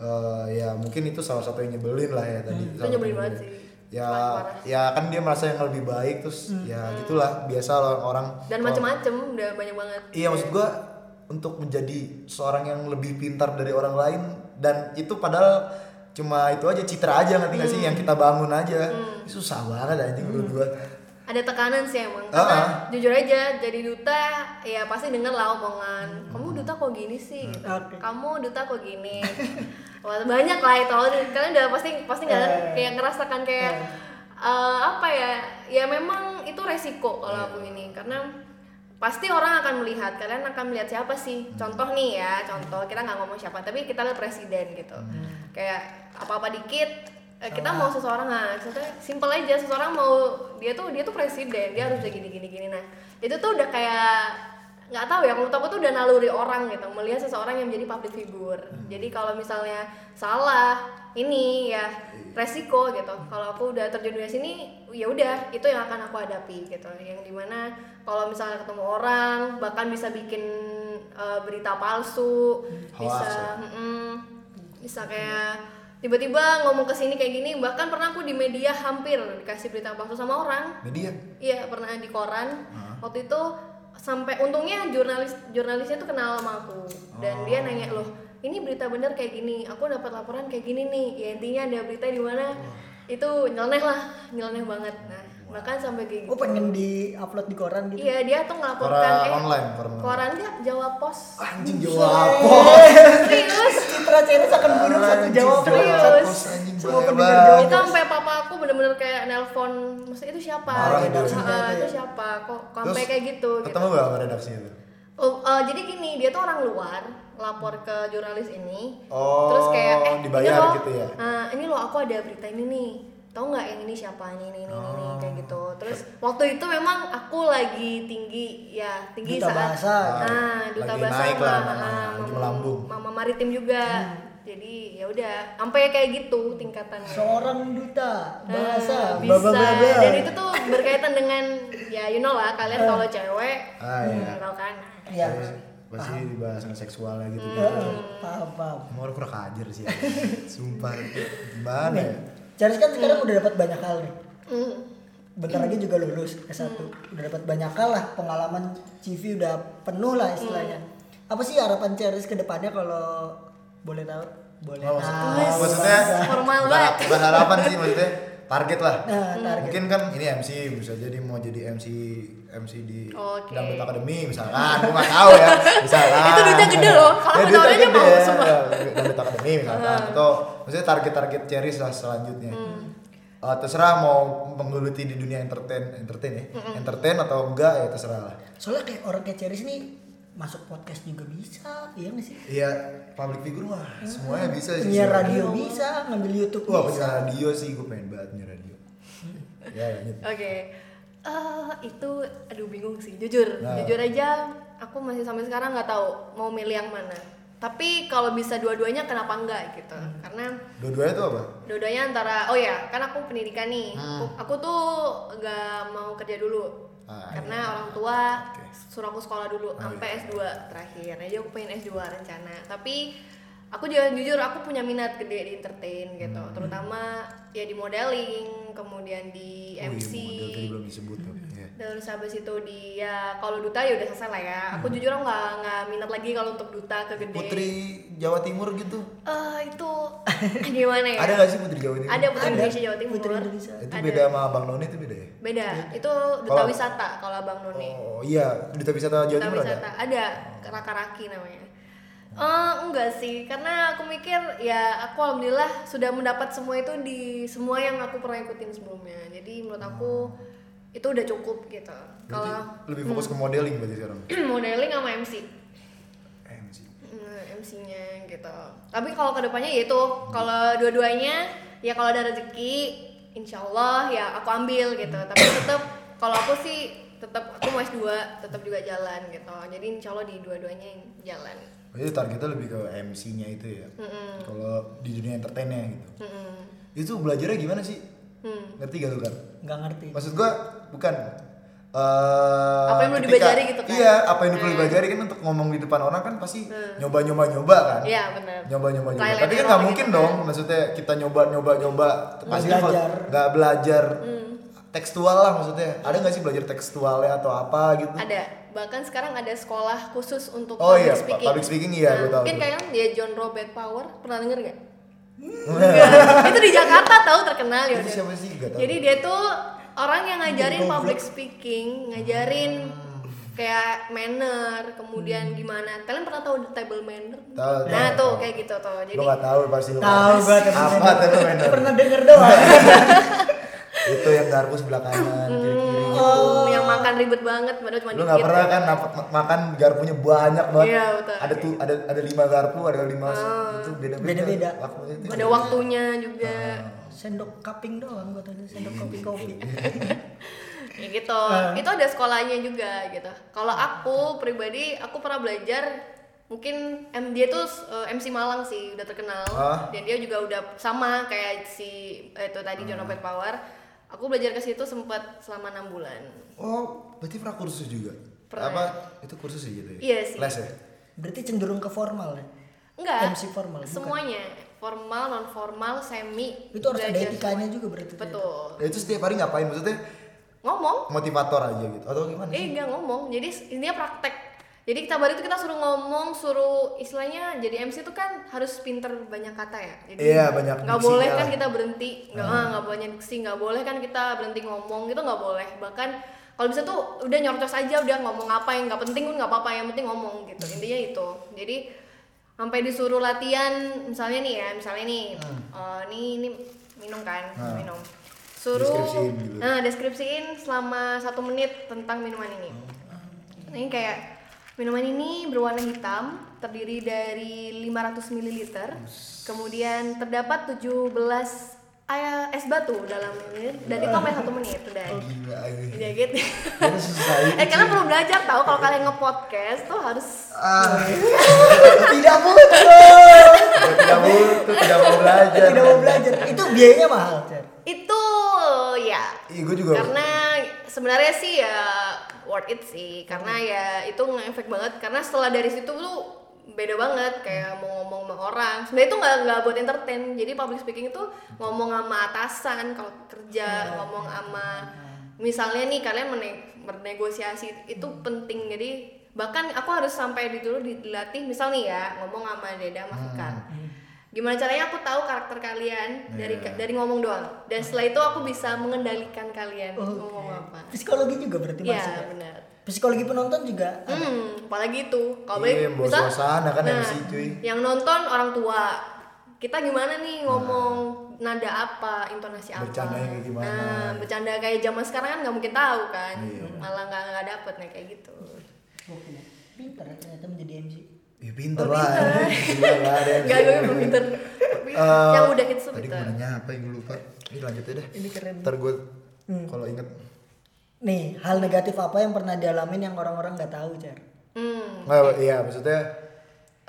[SPEAKER 1] eh, ya mungkin itu salah satu yang nyebelin lah ya tadi Salah satu
[SPEAKER 3] Hmm. nyebelin
[SPEAKER 1] yang
[SPEAKER 3] banget
[SPEAKER 1] nyebelin.
[SPEAKER 3] sih.
[SPEAKER 1] ya
[SPEAKER 3] Paling parah. Hmm.
[SPEAKER 1] ya kan dia merasa yang lebih baik terus ya gitulah biasa lah orang
[SPEAKER 3] dan
[SPEAKER 1] kalau-
[SPEAKER 3] macem-macem udah banyak banget
[SPEAKER 1] Iya maksud gua untuk menjadi seorang yang lebih pintar dari orang lain dan itu padahal cuma itu aja citra aja ngerti nggak sih
[SPEAKER 3] Hmm.
[SPEAKER 1] yang kita bangun aja susah banget anjing menurut gua
[SPEAKER 3] ada tekanan sih emang karena
[SPEAKER 1] Ah, ah.
[SPEAKER 3] jujur aja jadi duta ya pasti denger lah omongan kamu duta kok gini sih gitu.
[SPEAKER 1] Hmm.
[SPEAKER 2] Oke.
[SPEAKER 3] kamu duta kok gini Wah, banyak lah itu kalian udah pasti pasti
[SPEAKER 2] Eh.
[SPEAKER 3] nggak kayak ngerasakan kayak eh, apa ya ya memang itu resiko kalau aku ini karena pasti orang akan melihat kalian akan melihat siapa sih contoh nih ya contoh kita nggak ngomong siapa tapi kita lihat presiden gitu kayak apa apa dikit eh, kita mau seseorang nah contohnya simple aja seseorang mau dia tuh dia tuh presiden dia harus kayak gini gini gini nah itu tuh udah kayak nggak tahu ya menurut aku tuh udah naluri orang gitu melihat seseorang yang menjadi public figure
[SPEAKER 1] Hmm.
[SPEAKER 3] jadi kalau misalnya salah ini
[SPEAKER 1] Iya.
[SPEAKER 3] ya resiko gitu kalau aku udah terjun di sini ya udah itu yang akan aku hadapi gitu yang dimana kalau misalnya ketemu orang bahkan bisa bikin eh, berita palsu
[SPEAKER 1] Hoax
[SPEAKER 3] bisa
[SPEAKER 1] ya.
[SPEAKER 3] mm, bisa kayak tiba-tiba ngomong ke sini kayak gini bahkan pernah aku di media hampir dikasih berita palsu sama orang
[SPEAKER 1] media
[SPEAKER 3] Iya pernah di koran. Waktu itu sampai untungnya jurnalis jurnalisnya tuh kenal sama aku dan dia nanya loh ini berita bener kayak gini aku dapat laporan kayak gini nih ya intinya ada berita di mana itu nyeleneh lah nyeleneh banget nah bahkan sampai kayak gitu
[SPEAKER 2] Oh pengen di upload di koran gitu.
[SPEAKER 3] iya dia tuh ngelaporkan
[SPEAKER 1] koran
[SPEAKER 3] eh,
[SPEAKER 1] online koran online.
[SPEAKER 3] koran dia Jawa Pos
[SPEAKER 1] anjing
[SPEAKER 2] Buset.
[SPEAKER 1] jawab
[SPEAKER 3] serius
[SPEAKER 2] Citra Ceres akan buruk satu jawaban.
[SPEAKER 3] Serius.
[SPEAKER 1] anjing
[SPEAKER 2] Semua
[SPEAKER 1] boleh
[SPEAKER 2] pendengar
[SPEAKER 1] banget.
[SPEAKER 2] Jawa
[SPEAKER 3] itu sampai papa aku bener-bener kayak nelpon maksudnya itu siapa
[SPEAKER 1] Marah
[SPEAKER 3] gitu.
[SPEAKER 1] itu.
[SPEAKER 3] "Ah, itu siapa kok kok sampai
[SPEAKER 1] Terus,
[SPEAKER 3] kayak gitu gitu.
[SPEAKER 1] ketemu gak sama redaksinya tuh
[SPEAKER 3] Oh, eh, jadi gini, dia tuh orang luar, lapor ke jurnalis ini.
[SPEAKER 1] Oh,
[SPEAKER 3] terus kayak eh
[SPEAKER 1] dibayar
[SPEAKER 3] ini loh,
[SPEAKER 1] gitu ya?
[SPEAKER 3] eh, ini loh aku ada berita ini nih. Tahu nggak yang ini siapa ini ini ini, ini
[SPEAKER 1] Oh.
[SPEAKER 3] kayak gitu. Terus waktu itu memang aku lagi tinggi ya, tinggi
[SPEAKER 2] Duta
[SPEAKER 3] saat
[SPEAKER 2] bahasa.
[SPEAKER 3] Nah, duta
[SPEAKER 1] Lagi
[SPEAKER 3] bahasa
[SPEAKER 1] naik
[SPEAKER 3] sama,
[SPEAKER 1] lah,
[SPEAKER 3] ah,
[SPEAKER 1] ah, lagi melambung. Hmm.
[SPEAKER 3] Mama maritim juga. Jadi ya udah, sampai kayak gitu tingkatannya.
[SPEAKER 2] Seorang duta
[SPEAKER 3] Nah,
[SPEAKER 2] bahasa.
[SPEAKER 1] bi-
[SPEAKER 3] bisa
[SPEAKER 1] Blablabla.
[SPEAKER 3] dan itu tuh berkaitan dengan ya you know lah kalian kalau cewek
[SPEAKER 1] Ah, iya.
[SPEAKER 3] hmm, tahu kan
[SPEAKER 2] Iya.
[SPEAKER 1] pasti dibahas yang seksualnya gitu
[SPEAKER 2] Heeh, Paham paham.
[SPEAKER 1] mau orang kurang ajar sih ya. sumpah gimana ya
[SPEAKER 2] Ceres kan sekarang udah dapat banyak hal nih.
[SPEAKER 3] Hmm.
[SPEAKER 2] Bentar lagi juga lulus S1. Udah dapat banyak hal lah pengalaman CV udah penuh lah istilahnya. Apa sih harapan Ceres ke depannya kalau boleh tahu? Boleh
[SPEAKER 1] Oh, maksud-
[SPEAKER 2] tahu.
[SPEAKER 1] oh, maksudnya
[SPEAKER 3] Formal
[SPEAKER 1] bukan-
[SPEAKER 3] banget.
[SPEAKER 1] bukan harapan sih maksudnya target lah
[SPEAKER 2] Nah,
[SPEAKER 3] Gitu.
[SPEAKER 2] target.
[SPEAKER 1] mungkin kan ini MC bisa jadi mau jadi MC MC di
[SPEAKER 3] Oke.
[SPEAKER 1] Dangdut Academy misalkan gue nggak tahu ya misalkan
[SPEAKER 3] Itu duitnya gede loh. Kalau
[SPEAKER 1] Ya, duitnya
[SPEAKER 3] pegawainya
[SPEAKER 1] gede. Ya,
[SPEAKER 3] mau semua. Hmm.
[SPEAKER 1] Dangdut Academy misalkan atau maksudnya target-target series lah selanjutnya Eh, terserah mau menggeluti di dunia entertain entertain ya
[SPEAKER 3] Hmm.
[SPEAKER 1] entertain atau enggak ya terserah lah
[SPEAKER 2] Soalnya kayak orang kayak Ceres nih masuk podcast juga bisa, iya nggak sih?
[SPEAKER 1] iya public figure mah
[SPEAKER 3] Hmm.
[SPEAKER 1] semuanya bisa sih
[SPEAKER 2] Penyiar
[SPEAKER 1] sebenarnya.
[SPEAKER 2] radio bisa, ngambil YouTube
[SPEAKER 1] Wah
[SPEAKER 2] bisa.
[SPEAKER 1] punya radio sih, gue pengen banget punya radio. ya lanjut.
[SPEAKER 3] Oke. Eh, itu aduh bingung sih jujur.
[SPEAKER 1] Nah.
[SPEAKER 3] Jujur aja aku masih sampai sekarang nggak tahu mau milih yang mana. Tapi kalau bisa dua-duanya kenapa enggak gitu.
[SPEAKER 1] Hmm.
[SPEAKER 3] Karena
[SPEAKER 1] Dua-duanya tuh apa?
[SPEAKER 3] dua-duanya antara oh ya, kan aku pendidikan nih.
[SPEAKER 1] Hmm.
[SPEAKER 3] Aku, aku tuh nggak mau kerja dulu.
[SPEAKER 1] Ah,
[SPEAKER 3] Karena orang tua
[SPEAKER 1] Oke. Oh, iya.
[SPEAKER 3] suruh aku sekolah dulu sampai S2 terakhir. Nah, Jadi aku pengen S2 rencana. Tapi aku juga jujur aku punya minat gede di entertain gitu.
[SPEAKER 1] Hmm.
[SPEAKER 3] Terutama ya di modeling, kemudian di
[SPEAKER 1] Oh, iya,
[SPEAKER 3] MC.
[SPEAKER 1] model tadi belum disebut tuh. Iya.
[SPEAKER 3] Terus habis itu dia kalau duta ya udah selesai lah ya. Aku jujur aku nggak nggak minat lagi kalau untuk duta ke gede.
[SPEAKER 1] Hmm. Putri Jawa Timur gitu.
[SPEAKER 3] Eh, itu gimana ya?
[SPEAKER 1] Ada gak sih Putri Jawa Timur?
[SPEAKER 3] Ada Putri
[SPEAKER 2] Ada.
[SPEAKER 3] Indonesia Jawa Timur.
[SPEAKER 2] Putri Indonesia.
[SPEAKER 1] Itu
[SPEAKER 3] Ada.
[SPEAKER 1] beda sama Bang Noni itu beda ya?
[SPEAKER 3] Beda. Itu duta
[SPEAKER 1] Kalau-
[SPEAKER 3] wisata kalau Abang Noni.
[SPEAKER 1] Oh iya, Duta Wisata Jawa
[SPEAKER 3] Duta
[SPEAKER 1] Timur
[SPEAKER 3] wisata
[SPEAKER 1] ada?
[SPEAKER 3] ada raka-raki namanya Eh, enggak sih karena aku mikir ya aku alhamdulillah sudah mendapat semua itu di semua yang aku pernah ikutin sebelumnya jadi menurut aku
[SPEAKER 1] Hmm.
[SPEAKER 3] itu udah cukup gitu
[SPEAKER 1] Berarti
[SPEAKER 3] kalau Hmm.
[SPEAKER 1] lebih fokus ke modeling berarti sekarang?
[SPEAKER 3] modeling sama MC
[SPEAKER 1] MC.
[SPEAKER 3] MC-nya Mm, gitu tapi kalau kedepannya ya itu kalau dua-duanya ya kalau ada rezeki insya Allah ya aku ambil gitu tapi tetap kalau aku sih tetap aku mau S2 tetap juga jalan gitu jadi insya Allah di dua-duanya jalan
[SPEAKER 1] Jadi targetnya lebih ke MC-nya itu ya.
[SPEAKER 3] Hmm.
[SPEAKER 1] Kalau di dunia entertainnya gitu.
[SPEAKER 3] Mm-mm.
[SPEAKER 1] Itu belajarnya gimana sih?
[SPEAKER 3] Hmm.
[SPEAKER 1] Ngerti gak lu kan?
[SPEAKER 2] nggak ngerti
[SPEAKER 1] Maksud gua bukan eh,
[SPEAKER 3] Apa yang perlu
[SPEAKER 1] ketika-
[SPEAKER 3] dipelajari gitu kan?
[SPEAKER 1] Iya, apa yang perlu
[SPEAKER 3] Hmm.
[SPEAKER 1] dipelajari kan untuk ngomong di depan orang kan pasti nyoba-nyoba-nyoba kan?
[SPEAKER 3] Iya benar.
[SPEAKER 1] nyoba-nyoba
[SPEAKER 3] Trial
[SPEAKER 1] nyoba.
[SPEAKER 3] and
[SPEAKER 1] Tapi kan
[SPEAKER 3] error
[SPEAKER 1] nggak
[SPEAKER 3] gitu
[SPEAKER 1] mungkin
[SPEAKER 3] kan.
[SPEAKER 1] dong, maksudnya kita nyoba-nyoba-nyoba pasti kan
[SPEAKER 2] belajar.
[SPEAKER 1] nggak belajar
[SPEAKER 3] Hmm.
[SPEAKER 1] tekstual lah maksudnya. Ada nggak sih belajar tekstualnya atau apa gitu?
[SPEAKER 3] Ada. Bahkan sekarang ada sekolah khusus untuk
[SPEAKER 1] Oh
[SPEAKER 3] public
[SPEAKER 1] iya, pu-
[SPEAKER 3] speaking. Nah,
[SPEAKER 1] public speaking iya, gua tahu
[SPEAKER 3] Mungkin
[SPEAKER 1] tuh.
[SPEAKER 3] kalian dia John Robert Power pernah denger nggak? itu di Jakarta tahu terkenal ya.
[SPEAKER 1] Hmm. Itu
[SPEAKER 3] udah.
[SPEAKER 1] siapa sih? Gak tahu.
[SPEAKER 3] Jadi dia tuh orang yang ngajarin public speaking, ngajarin
[SPEAKER 1] Hmm.
[SPEAKER 3] kayak manner, kemudian gimana. Kalian pernah tahu the table manner?
[SPEAKER 1] Tahu,
[SPEAKER 3] nah,
[SPEAKER 1] tahu, tahu.
[SPEAKER 3] tuh kayak gitu tuh. Jadi
[SPEAKER 1] Lo gak tahu pasti lo.
[SPEAKER 2] tahu gua tapi
[SPEAKER 1] Apa
[SPEAKER 2] nggak
[SPEAKER 1] tuh
[SPEAKER 2] tahu.
[SPEAKER 1] mainan?
[SPEAKER 2] pernah denger doang
[SPEAKER 1] Itu yang garpu sebelah kanan, kiri-kiri.
[SPEAKER 3] oh, yang makan ribet banget padahal cuma
[SPEAKER 1] Lu nggak
[SPEAKER 3] Hmm. dikit.
[SPEAKER 1] pernah kan nap- ma- makan garpunya banyak banget.
[SPEAKER 3] Iya, betul. Oh.
[SPEAKER 1] Ada tuh ada ada lima garpu, ada lima itu beda-beda.
[SPEAKER 2] Beda-beda.
[SPEAKER 1] Waktu itu.
[SPEAKER 3] Ada waktunya juga.
[SPEAKER 1] Ah.
[SPEAKER 2] sendok kaping doang gua tadi sendok kopi kopi
[SPEAKER 3] ya gitu itu ada sekolahnya juga gitu kalau aku pribadi aku pernah belajar mungkin M dia tuh eh, MC Malang sih udah terkenal
[SPEAKER 1] Ah.
[SPEAKER 3] dan dia juga udah sama kayak si eh, itu tadi John Robert Power aku belajar ke situ sempat selama enam bulan
[SPEAKER 1] Oh, berarti pernah kursus juga.
[SPEAKER 3] Pernah.
[SPEAKER 1] Apa itu kursus sih gitu ya?
[SPEAKER 3] Iya sih.
[SPEAKER 1] Les ya?
[SPEAKER 2] berarti cenderung ke formal ya
[SPEAKER 3] enggak
[SPEAKER 2] MC formal, ya? bukan? Iya.
[SPEAKER 3] semuanya formal non formal semi
[SPEAKER 2] itu harus ada
[SPEAKER 3] belajar
[SPEAKER 2] etikanya
[SPEAKER 3] semuanya.
[SPEAKER 2] juga berarti
[SPEAKER 3] betul
[SPEAKER 1] Ya, itu setiap hari ngapain maksudnya?
[SPEAKER 3] ngomong
[SPEAKER 1] Motivator aja gitu atau gimana?
[SPEAKER 3] Eh nggak ngomong, jadi intinya praktek. Jadi kita balik itu kita suruh ngomong, suruh istilahnya jadi MC itu kan harus pinter banyak kata ya. Jadi
[SPEAKER 1] Iya, banyak
[SPEAKER 3] Nggak
[SPEAKER 1] diksinya
[SPEAKER 3] boleh kan
[SPEAKER 1] lah.
[SPEAKER 3] kita berhenti, nggak ah, nggak banyak diksi, nggak boleh kan kita berhenti ngomong gitu nggak boleh. Bahkan kalau bisa tuh udah nyorcos aja udah ngomong apa yang nggak penting pun nggak apa-apa yang penting ngomong gitu intinya itu. Jadi sampai disuruh latihan misalnya nih ya misalnya nih eh, nih ini minum kan
[SPEAKER 1] Hmm.
[SPEAKER 3] minum suruh
[SPEAKER 1] Deskripsiin gitu.
[SPEAKER 3] nah deskripsiin selama satu menit tentang minuman ini
[SPEAKER 1] Hmm.
[SPEAKER 3] ini kayak minuman ini berwarna hitam terdiri dari 500 ml kemudian terdapat 17 air es batu dalam ini dan itu sampai satu menit udah
[SPEAKER 1] Gila ini.
[SPEAKER 3] ya gitu
[SPEAKER 1] Itu susah.
[SPEAKER 3] eh kalian perlu belajar tau kalau kalian nge-podcast tuh harus
[SPEAKER 1] Ah,
[SPEAKER 2] tidak butuh
[SPEAKER 1] gua tidak mau, gua tidak mau belajar.
[SPEAKER 2] tidak mau belajar itu biayanya mahal Cer.
[SPEAKER 3] itu ya
[SPEAKER 1] Iya, gue juga.
[SPEAKER 3] karena sebenarnya sih ya worth it sih karena ya itu ngefek banget karena setelah dari situ tuh beda banget kayak mau ngomong sama orang sebenarnya itu nggak nggak buat entertain jadi public speaking itu ngomong sama atasan kalau kerja ngomong sama misalnya nih kalian mene- bernegosiasi itu penting jadi bahkan aku harus sampai di dulu dilatih misal nih ya ngomong sama Deda sama Fikar. gimana caranya aku tahu karakter kalian dari
[SPEAKER 1] Iya.
[SPEAKER 3] dari ngomong doang dan setelah itu aku bisa mengendalikan kalian
[SPEAKER 2] Oke.
[SPEAKER 3] ngomong apa
[SPEAKER 2] psikologi juga berarti
[SPEAKER 3] Iya
[SPEAKER 2] masuk ya?
[SPEAKER 3] benar
[SPEAKER 2] psikologi penonton juga
[SPEAKER 3] hmm apalagi itu
[SPEAKER 1] Iya,
[SPEAKER 3] kalau balik
[SPEAKER 1] bawa
[SPEAKER 3] misal- Nah.
[SPEAKER 1] suasana kan MC, cuy.
[SPEAKER 3] yang nonton orang tua kita gimana nih ngomong nada apa intonasi apa
[SPEAKER 1] Bercandanya kayak gimana.
[SPEAKER 3] nah bercanda kayak zaman sekarang kan nggak mungkin tahu kan
[SPEAKER 1] Iya.
[SPEAKER 3] malah nggak nggak dapet nih kayak gitu
[SPEAKER 2] Oke. pinter ya ternyata menjadi MC
[SPEAKER 1] Ya pinter
[SPEAKER 3] Oh,
[SPEAKER 1] lah. Gila lah ada yang
[SPEAKER 3] nggak gue belum pinter
[SPEAKER 1] Iya. Eh,
[SPEAKER 3] yang udah itu
[SPEAKER 1] Tadi
[SPEAKER 3] pinter
[SPEAKER 1] gua nanya apa yang gue lupa. Ini lanjut aja deh.
[SPEAKER 2] ini keren
[SPEAKER 1] Ntar gue
[SPEAKER 3] Hmm.
[SPEAKER 1] kalau inget.
[SPEAKER 2] nih hal negatif apa yang pernah dialamin yang orang-orang nggak tahu Cer
[SPEAKER 3] hmm.
[SPEAKER 1] Nggak, iya maksudnya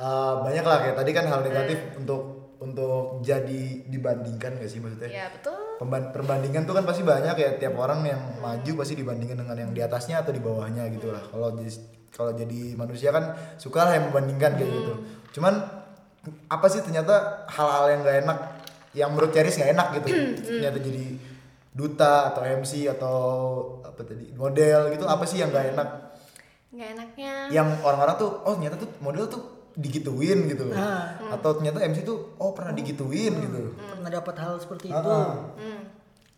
[SPEAKER 1] eh, banyak lah kayak tadi kan hal negatif
[SPEAKER 3] Hmm.
[SPEAKER 1] untuk untuk jadi dibandingkan gak sih maksudnya?
[SPEAKER 3] ya betul
[SPEAKER 1] Pemban- perbandingan tuh kan pasti banyak ya tiap orang yang maju pasti dibandingkan dengan yang di atasnya atau di bawahnya gitu lah kalau jadi kalau jadi manusia kan suka lah yang membandingkan kayak gitu
[SPEAKER 2] Hmm.
[SPEAKER 1] cuman apa sih ternyata hal-hal yang gak enak yang menurut Ceris gak enak
[SPEAKER 2] Hmm,
[SPEAKER 1] gitu ternyata jadi duta atau MC atau apa tadi model gitu apa sih yang gak enak
[SPEAKER 3] nggak enaknya
[SPEAKER 2] Hmm.
[SPEAKER 1] yang orang-orang tuh oh ternyata tuh model tuh digituin gitu loh
[SPEAKER 2] Ah.
[SPEAKER 1] atau ternyata MC tuh oh pernah digituin gitu loh
[SPEAKER 2] pernah dapat hal seperti
[SPEAKER 1] Ah,
[SPEAKER 2] itu
[SPEAKER 1] ah.
[SPEAKER 3] Hmm,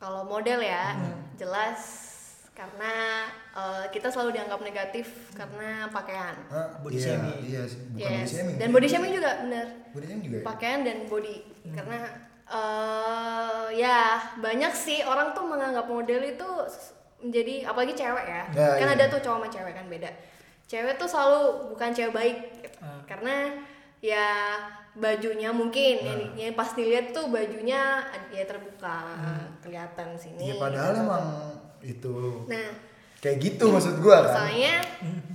[SPEAKER 3] kalau model ya
[SPEAKER 1] Hmm.
[SPEAKER 3] jelas karena eh, kita selalu dianggap negatif karena pakaian.
[SPEAKER 1] Hah?
[SPEAKER 2] Body
[SPEAKER 1] Iya,
[SPEAKER 2] shaming.
[SPEAKER 1] Iya, sih. bukan body
[SPEAKER 3] Yes.
[SPEAKER 1] shaming.
[SPEAKER 3] Dan body shaming juga benar.
[SPEAKER 1] Body shaming juga. ya?
[SPEAKER 3] Pakaian dan body karena eh ya banyak sih orang tuh menganggap model itu s- menjadi apalagi cewek ya.
[SPEAKER 1] Ya,
[SPEAKER 3] kan
[SPEAKER 1] iya.
[SPEAKER 3] ada tuh cowok sama cewek kan beda. Cewek tuh selalu bukan cewek baik gitu.
[SPEAKER 1] Ah.
[SPEAKER 3] karena ya bajunya
[SPEAKER 1] Ah.
[SPEAKER 3] mungkin yang, yang pas dilihat tuh bajunya ya terbuka kelihatan sini.
[SPEAKER 1] Iya, Hmm. padahal
[SPEAKER 3] gitu.
[SPEAKER 1] emang itu
[SPEAKER 3] Nah,
[SPEAKER 1] kayak gitu maksud gua kan
[SPEAKER 3] Soalnya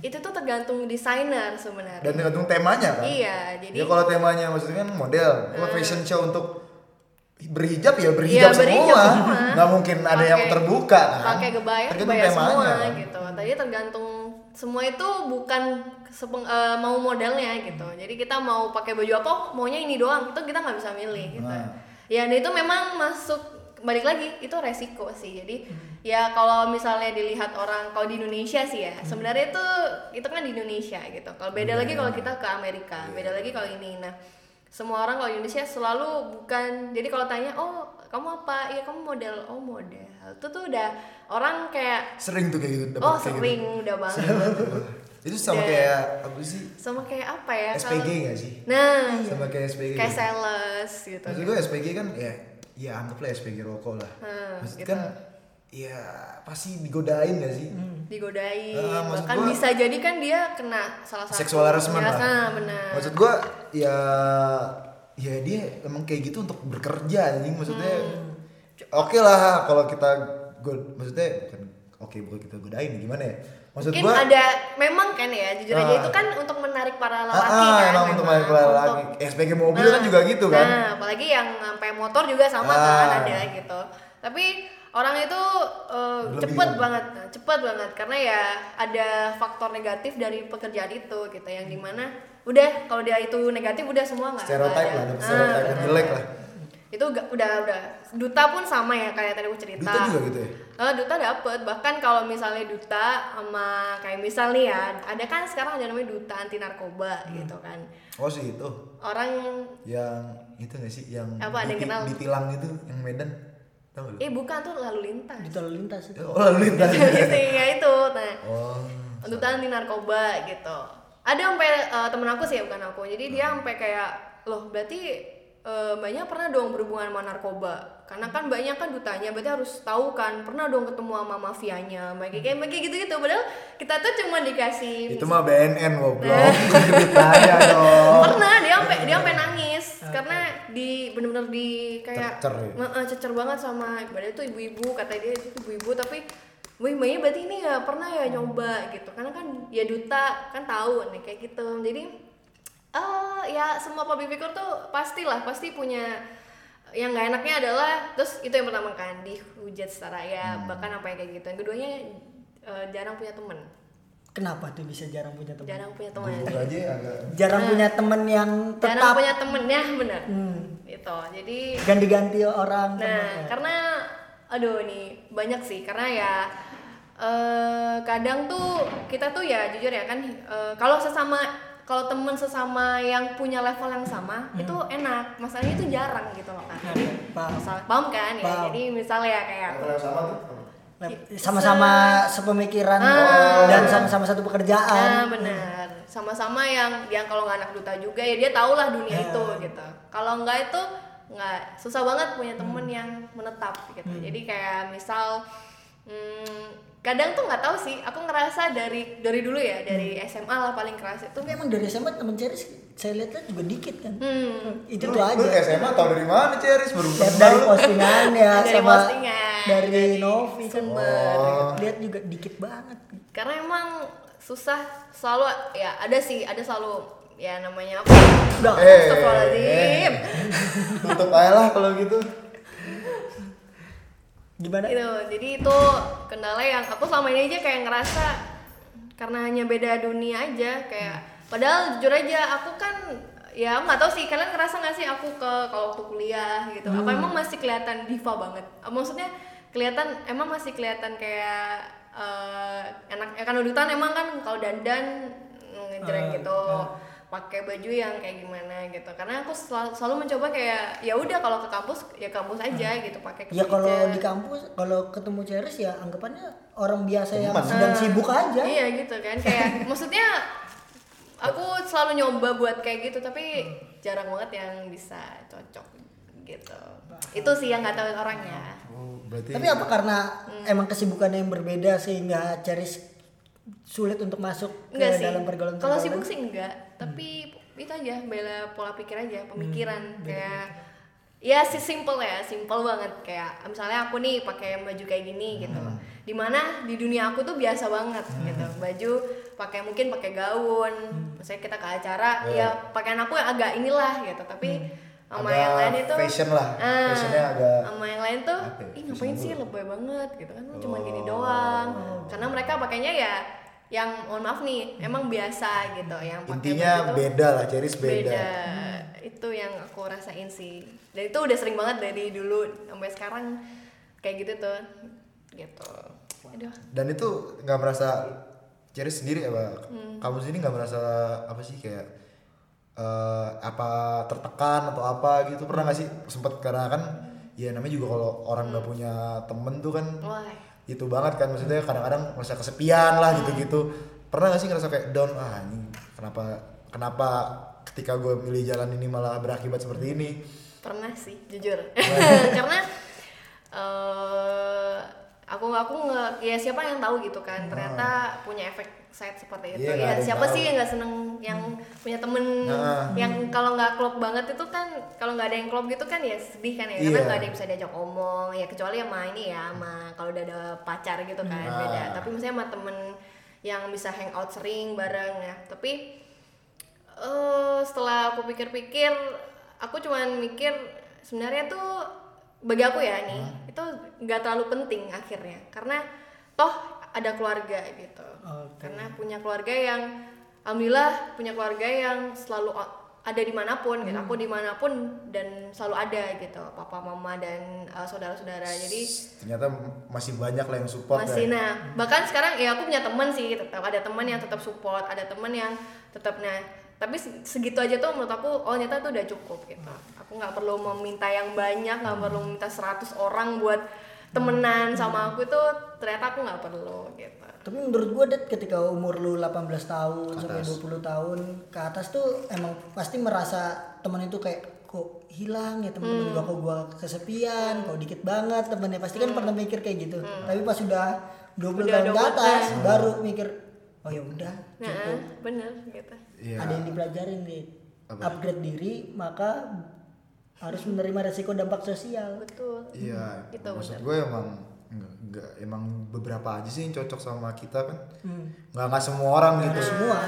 [SPEAKER 3] itu tuh tergantung desainer sebenarnya.
[SPEAKER 1] dan tergantung temanya kan
[SPEAKER 3] Iya, jadi Hmm.
[SPEAKER 1] ya kalau temanya maksudnya kan model kalau fashion show untuk berhijab ya
[SPEAKER 3] Iya,
[SPEAKER 1] berhijab,
[SPEAKER 3] berhijab
[SPEAKER 1] semua
[SPEAKER 3] semua.
[SPEAKER 1] nggak mungkin ada yang
[SPEAKER 3] Pakai-
[SPEAKER 1] terbuka kan
[SPEAKER 3] pakai kebaya
[SPEAKER 1] Tergantung
[SPEAKER 3] kebaya
[SPEAKER 1] temanya,
[SPEAKER 3] semua
[SPEAKER 1] kan.
[SPEAKER 3] gitu tadi tergantung semua itu bukan sepeng- eh, mau modalnya gitu jadi kita mau pakai baju apa oh, maunya ini doang itu kita nggak bisa milih gitu
[SPEAKER 1] Nah.
[SPEAKER 3] ya dan itu memang masuk balik lagi itu resiko sih jadi ya kalau misalnya dilihat orang kalau di Indonesia sih ya sebenarnya itu itu kan di Indonesia gitu kalau beda lagi kalau kita ke Amerika beda lagi kalau ini nah semua orang kalau di Indonesia selalu bukan jadi kalau tanya oh kamu apa iya kamu model oh model itu tuh udah orang kayak
[SPEAKER 1] sering tuh kayak gitu dapat kayak
[SPEAKER 3] oh
[SPEAKER 1] gitu.
[SPEAKER 3] sering udah banget
[SPEAKER 1] itu sama
[SPEAKER 3] Dan-
[SPEAKER 1] kayak apa sih
[SPEAKER 3] sama kayak apa ya
[SPEAKER 1] SPG
[SPEAKER 3] kalau-
[SPEAKER 1] nggak sih
[SPEAKER 3] nah
[SPEAKER 1] sama kayak SPG
[SPEAKER 3] kayak
[SPEAKER 1] gitu.
[SPEAKER 3] sales gitu
[SPEAKER 1] maksud gue SPG kan ya ya anggaplah SPG rokok lah
[SPEAKER 3] Hmm,
[SPEAKER 1] maksud
[SPEAKER 3] gitu.
[SPEAKER 1] kan ya pasti digodain gak sih
[SPEAKER 3] Hmm. digodain
[SPEAKER 1] Ah, maksud
[SPEAKER 3] bahkan
[SPEAKER 1] gua-
[SPEAKER 3] bisa jadi kan dia kena salah satu
[SPEAKER 1] seksual harassment
[SPEAKER 3] Ya,
[SPEAKER 1] lah.
[SPEAKER 3] nah, benar
[SPEAKER 1] Maksud gua ya ya dia emang kayak gitu untuk bekerja anjing maksudnya.
[SPEAKER 3] Hmm.
[SPEAKER 1] Oke lah kalau kita go- maksudnya bukan oke bukan kita godain gimana ya? Maksud
[SPEAKER 3] mungkin
[SPEAKER 1] gua
[SPEAKER 3] ada memang kan ya jujur aja
[SPEAKER 1] Ah.
[SPEAKER 3] itu kan untuk menarik para
[SPEAKER 1] ah, ah,
[SPEAKER 3] lelaki kan
[SPEAKER 1] emang untuk main
[SPEAKER 3] memang,
[SPEAKER 1] lelaki.
[SPEAKER 3] untuk-
[SPEAKER 1] SPG mobil kan juga gitu kan.
[SPEAKER 3] Nah, apalagi yang sampai motor juga sama
[SPEAKER 1] Ah.
[SPEAKER 3] kan ada gitu. Tapi orang itu eh,
[SPEAKER 1] Berlebihan.
[SPEAKER 3] cepet banget, cepet banget karena ya ada faktor negatif dari pekerjaan itu gitu yang dimana udah kalau dia itu negatif udah semua nggak
[SPEAKER 1] Stereotype
[SPEAKER 3] nggak
[SPEAKER 1] lah,
[SPEAKER 3] ada.
[SPEAKER 1] ada stereotype yang
[SPEAKER 3] benar.
[SPEAKER 1] jelek lah.
[SPEAKER 3] itu ga- udah udah duta pun sama ya kayak tadi aku cerita
[SPEAKER 1] Duta juga gitu ya?
[SPEAKER 3] Eh, duta dapet bahkan kalau misalnya duta sama kayak misal nih ya ada kan sekarang ada namanya duta anti narkoba gitu kan
[SPEAKER 1] Oh sih itu
[SPEAKER 3] orang
[SPEAKER 1] yang itu gak sih yang
[SPEAKER 3] Apa, ada yang
[SPEAKER 1] di-
[SPEAKER 3] kenal?
[SPEAKER 1] ditilang itu yang Medan tau gak lu?
[SPEAKER 3] Eh bukan tuh lalu lintas.
[SPEAKER 2] Di lalu lintas itu.
[SPEAKER 1] Oh lalu lintas.
[SPEAKER 3] ya itu. Nah,
[SPEAKER 1] oh.
[SPEAKER 3] untuk anti narkoba gitu. Ada sampai eh, temen aku sih ya, bukan aku. Jadi dia sampai kayak loh berarti eh, banyak pernah dong berhubungan sama narkoba. Karena kan banyak kan dutanya, berarti harus tahu kan pernah dong ketemu sama mafianya, kayak kayak kayak gitu-gitu. Padahal kita tuh cuma dikasih
[SPEAKER 1] Itu mah BNN goblok. Ditanya dong.
[SPEAKER 3] pernah dia sampai dia sampai nangis karena di bener-bener di kayak
[SPEAKER 1] Cecer ya?
[SPEAKER 3] Nge- eh, cecer banget sama padahal itu ibu-ibu kata dia itu ibu-ibu tapi Wih, Maya berarti ini ya pernah ya nyoba gitu karena kan ya duta kan tahu nih kayak gitu jadi eh ya semua public figure tuh pastilah pasti punya yang nggak enaknya adalah terus itu yang pertama kan dihujat secara ya
[SPEAKER 1] Hmm.
[SPEAKER 3] bahkan apa yang kayak gitu yang keduanya eh, jarang punya temen
[SPEAKER 2] Kenapa tuh bisa jarang punya teman?
[SPEAKER 3] jarang Nah. punya teman
[SPEAKER 1] Gua aja ya, agak
[SPEAKER 2] Jarang punya teman yang
[SPEAKER 3] jarang
[SPEAKER 2] tetap
[SPEAKER 3] punya temen ya benar
[SPEAKER 2] Hmm,
[SPEAKER 3] gitu jadi
[SPEAKER 2] ganti-ganti orang
[SPEAKER 3] nah
[SPEAKER 2] temannya.
[SPEAKER 3] karena aduh nih banyak sih karena ya eh, kadang tuh kita tuh ya jujur ya kan eh, kalau sesama kalau temen sesama yang punya level yang sama
[SPEAKER 2] Hmm.
[SPEAKER 3] itu enak masalahnya itu jarang gitu loh
[SPEAKER 2] Nah,
[SPEAKER 3] kan jadi
[SPEAKER 2] Paham.
[SPEAKER 3] masalah paham kan ya
[SPEAKER 2] Paham.
[SPEAKER 3] jadi misalnya kayak
[SPEAKER 1] Kalau yang sama tuh
[SPEAKER 2] Nah, Sama-sama sepemikiran
[SPEAKER 3] Ah.
[SPEAKER 2] dan sama-sama satu
[SPEAKER 3] Nah,
[SPEAKER 2] pekerjaan.
[SPEAKER 3] benar. Sama-sama yang yang kalau nggak anak duta juga ya dia tau lah dunia itu gitu. Kalau nggak itu nggak susah banget punya temen yang menetap gitu. Jadi kayak misal hmm, kadang tuh nggak tahu sih. Aku ngerasa dari dari dulu ya dari SMA lah paling keras itu.
[SPEAKER 2] Tapi emang dari SMA teman cari saya lihat juga dikit kan.
[SPEAKER 3] Hmm,
[SPEAKER 2] Itu
[SPEAKER 1] Lu-
[SPEAKER 2] tuh
[SPEAKER 1] Lu
[SPEAKER 2] aja.
[SPEAKER 1] SMA tau dari mana Ceris? Baru
[SPEAKER 2] Lihat
[SPEAKER 1] kenal
[SPEAKER 2] dari
[SPEAKER 1] lu.
[SPEAKER 2] postingan ya
[SPEAKER 3] Dari
[SPEAKER 2] sama
[SPEAKER 3] postingan,
[SPEAKER 2] dari,
[SPEAKER 3] dari
[SPEAKER 2] Novi kan.
[SPEAKER 1] sumber. Oh.
[SPEAKER 2] Lihat juga dikit banget.
[SPEAKER 3] karena emang susah selalu ya ada sih ada selalu ya namanya apa? ya?
[SPEAKER 2] Udah.
[SPEAKER 1] Eh,
[SPEAKER 3] Astagfirullahaladzim.
[SPEAKER 1] Tutup aja lah kalau gitu.
[SPEAKER 2] Gimana? Ya
[SPEAKER 3] gitu jadi itu kendala yang aku selama ini aja kayak ngerasa karena hanya beda dunia aja kayak padahal jujur aja aku kan ya aku nggak tahu sih kalian ngerasa nggak sih aku ke kalau waktu kuliah gitu apa
[SPEAKER 2] Hmm.
[SPEAKER 3] emang masih kelihatan diva banget maksudnya kelihatan emang masih kelihatan kayak eh, enak ya kan udutan emang kan kalau dandan
[SPEAKER 2] Ah,
[SPEAKER 3] ngejreng gitu pakai baju yang kayak gimana gitu karena aku selalu, selalu mencoba kayak ya udah kalau ke kampus ya kampus aja gitu pakai
[SPEAKER 2] Ya kalau
[SPEAKER 3] kemeja.
[SPEAKER 2] di kampus kalau ketemu Ceres ya anggapannya orang biasa yang
[SPEAKER 1] Teman.
[SPEAKER 2] sedang sibuk aja.
[SPEAKER 3] Iya gitu kan kayak maksudnya aku selalu nyoba buat kayak gitu tapi jarang banget yang bisa cocok gitu. Itu sih yang nggak tahu orangnya.
[SPEAKER 1] Oh, berarti
[SPEAKER 2] Tapi apa karena
[SPEAKER 3] Hmm.
[SPEAKER 2] emang kesibukannya yang berbeda sehingga Ceres sulit untuk masuk ke
[SPEAKER 3] Enggak sih.
[SPEAKER 2] dalam pergaulan
[SPEAKER 3] Kalau sibuk sih enggak, tapi itu aja bela pola pikir aja, pemikiran kayak ya sih simple ya simple banget kayak misalnya aku nih pakai baju kayak gini gitu dimana di dunia aku tuh biasa banget gitu baju pakai mungkin pakai gaun misalnya kita ke acara
[SPEAKER 1] Iya.
[SPEAKER 3] ya pakaian aku agak inilah gitu tapi sama
[SPEAKER 1] Agak
[SPEAKER 3] yang lain itu
[SPEAKER 1] fashion lah.
[SPEAKER 3] Ah,
[SPEAKER 1] Fashionnya agak-
[SPEAKER 3] sama yang lain tuh
[SPEAKER 1] Apa ya,
[SPEAKER 3] ih ngapain sih
[SPEAKER 1] fashionable."
[SPEAKER 3] lebay banget gitu kan lu cuma gini
[SPEAKER 1] Oh.
[SPEAKER 3] doang karena mereka pakainya ya yang mohon maaf nih emang biasa gitu yang pakai
[SPEAKER 1] Intinya
[SPEAKER 3] baju tuh-
[SPEAKER 1] beda lah, Ceris beda.
[SPEAKER 3] beda itu yang aku rasain sih dan itu udah sering banget dari dulu sampai sekarang kayak gitu tuh gitu aduh
[SPEAKER 1] Dan itu nggak merasa Ceris sendiri apa kamu sendiri nggak merasa apa sih kayak eh, apa tertekan atau apa gitu pernah nggak sih sempet karena kan ya namanya juga kalau orang nggak punya temen tuh kan
[SPEAKER 3] wah
[SPEAKER 1] itu banget kan maksudnya kadang-kadang merasa kesepian lah gitu-gitu pernah gak sih ngerasa kayak down ah ini kenapa kenapa ketika gue milih jalan ini malah berakibat seperti ini
[SPEAKER 3] pernah sih jujur karena eh aku aku nge ya siapa yang tahu gitu kan ternyata punya efek side seperti
[SPEAKER 1] Nah.
[SPEAKER 3] itu
[SPEAKER 1] Iya, nggak
[SPEAKER 3] ya
[SPEAKER 1] ada yang
[SPEAKER 3] siapa
[SPEAKER 1] tahu. Hmm.
[SPEAKER 3] sih yang nggak seneng yang punya temen
[SPEAKER 1] Nah.
[SPEAKER 3] yang kalau nggak klop banget itu kan kalau nggak ada yang klop gitu kan ya sedih kan ya
[SPEAKER 1] Iya.
[SPEAKER 3] karena nggak ada yang bisa diajak omong ya kecuali sama ini ya sama kalau udah ada pacar gitu kan
[SPEAKER 1] Nah.
[SPEAKER 3] beda tapi misalnya sama temen yang bisa hangout sering bareng ya tapi eh setelah aku pikir-pikir aku cuman mikir sebenarnya tuh bagi aku ya nih itu nggak terlalu penting akhirnya karena toh ada keluarga gitu
[SPEAKER 2] Oh, Oke.
[SPEAKER 3] karena punya keluarga yang alhamdulillah punya keluarga yang selalu o- ada dimanapun gitu aku dimanapun dan selalu ada gitu papa mama dan eh, saudara-saudara jadi
[SPEAKER 1] ternyata masih banyak lah yang support
[SPEAKER 3] masih
[SPEAKER 1] ya.
[SPEAKER 3] nah bahkan sekarang ya aku punya teman sih tetap ada teman yang tetap support ada teman yang tetap nah tapi se- segitu aja tuh menurut aku oh ternyata tuh udah cukup gitu aku nggak perlu meminta yang banyak nggak perlu
[SPEAKER 1] Hmm.
[SPEAKER 3] minta 100 orang buat temenan sama aku itu ternyata aku nggak perlu gitu
[SPEAKER 2] Tapi menurut gue Det, ketika umur lu 18 tahun sampai 20 tahun ke atas tuh emang pasti merasa teman itu kayak kok hilang ya teman-teman gua, kok gua kesepian, kok dikit banget temennya pasti kan pernah mikir kayak gitu. Tapi pas sudah 20
[SPEAKER 3] Udah
[SPEAKER 2] tahun ke
[SPEAKER 3] 20
[SPEAKER 2] atas baru mikir oh ya udah
[SPEAKER 3] nah bener gitu
[SPEAKER 1] Iya.
[SPEAKER 2] ada yang dipelajarin nih upgrade diri maka harus menerima resiko dampak sosial.
[SPEAKER 3] betul
[SPEAKER 1] Iya,
[SPEAKER 3] Gitu,
[SPEAKER 1] maksud gue emang enggak, enggak- emang beberapa aja sih yang cocok sama kita kan.
[SPEAKER 3] Hmm.
[SPEAKER 1] Enggak enggak semua orang gitu.
[SPEAKER 2] Semua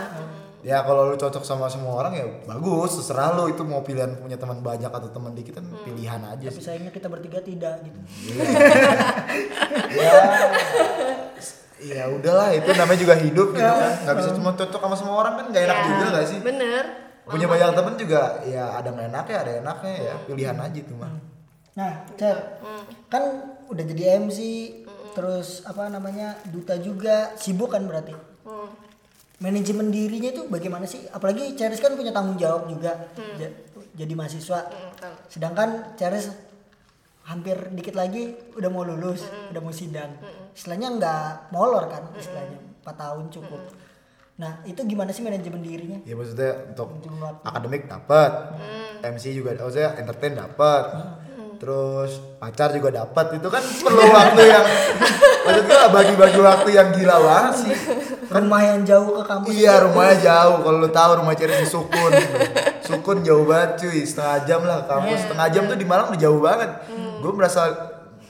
[SPEAKER 1] Ya kalau lu cocok sama semua orang ya bagus, terserah lu itu mau pilihan punya teman banyak atau teman dikit kan
[SPEAKER 3] Hmm.
[SPEAKER 1] pilihan aja
[SPEAKER 2] tapi
[SPEAKER 1] sih.
[SPEAKER 2] sayangnya kita bertiga tidak gitu.
[SPEAKER 1] ya ya udahlah itu namanya juga hidup gitu kan. Enggak bisa cuma cocok sama semua orang kan enggak enak
[SPEAKER 3] Hmm. Ya,
[SPEAKER 1] juga gak sih?
[SPEAKER 3] bener
[SPEAKER 1] Punya banyak teman juga ya ada yang enaknya, ada enaknya ya,
[SPEAKER 3] Hmm.
[SPEAKER 1] pilihan aja itu mah.
[SPEAKER 2] Nah, Cer, kan udah jadi MC, terus apa namanya duta juga, sibuk kan berarti.
[SPEAKER 3] Hmm.
[SPEAKER 2] Manajemen dirinya itu bagaimana sih? Apalagi Ceres kan punya tanggung jawab juga ja- jadi mahasiswa.
[SPEAKER 3] Hmm, betul.
[SPEAKER 2] Sedangkan Ceres hampir dikit lagi udah mau lulus, udah mau sidang. Istilahnya nggak molor kan istilahnya, 4 tahun cukup. Nah, itu gimana sih manajemen dirinya?
[SPEAKER 1] Ya maksudnya untuk
[SPEAKER 2] Manajemen waktu.
[SPEAKER 1] akademik dapat, MC juga, maksudnya entertain dapat, terus pacar juga dapat. Itu kan perlu waktu yang maksud gua bagi-bagi waktu yang gila banget sih.
[SPEAKER 2] Rumah yang jauh ke kampus.
[SPEAKER 1] Iya rumahnya jauh, kalau lu tahu rumah Ceres di Sukun, Sukun jauh banget cuy, setengah jam lah ke kampus, setengah jam tuh di Malang udah jauh banget. Gue merasa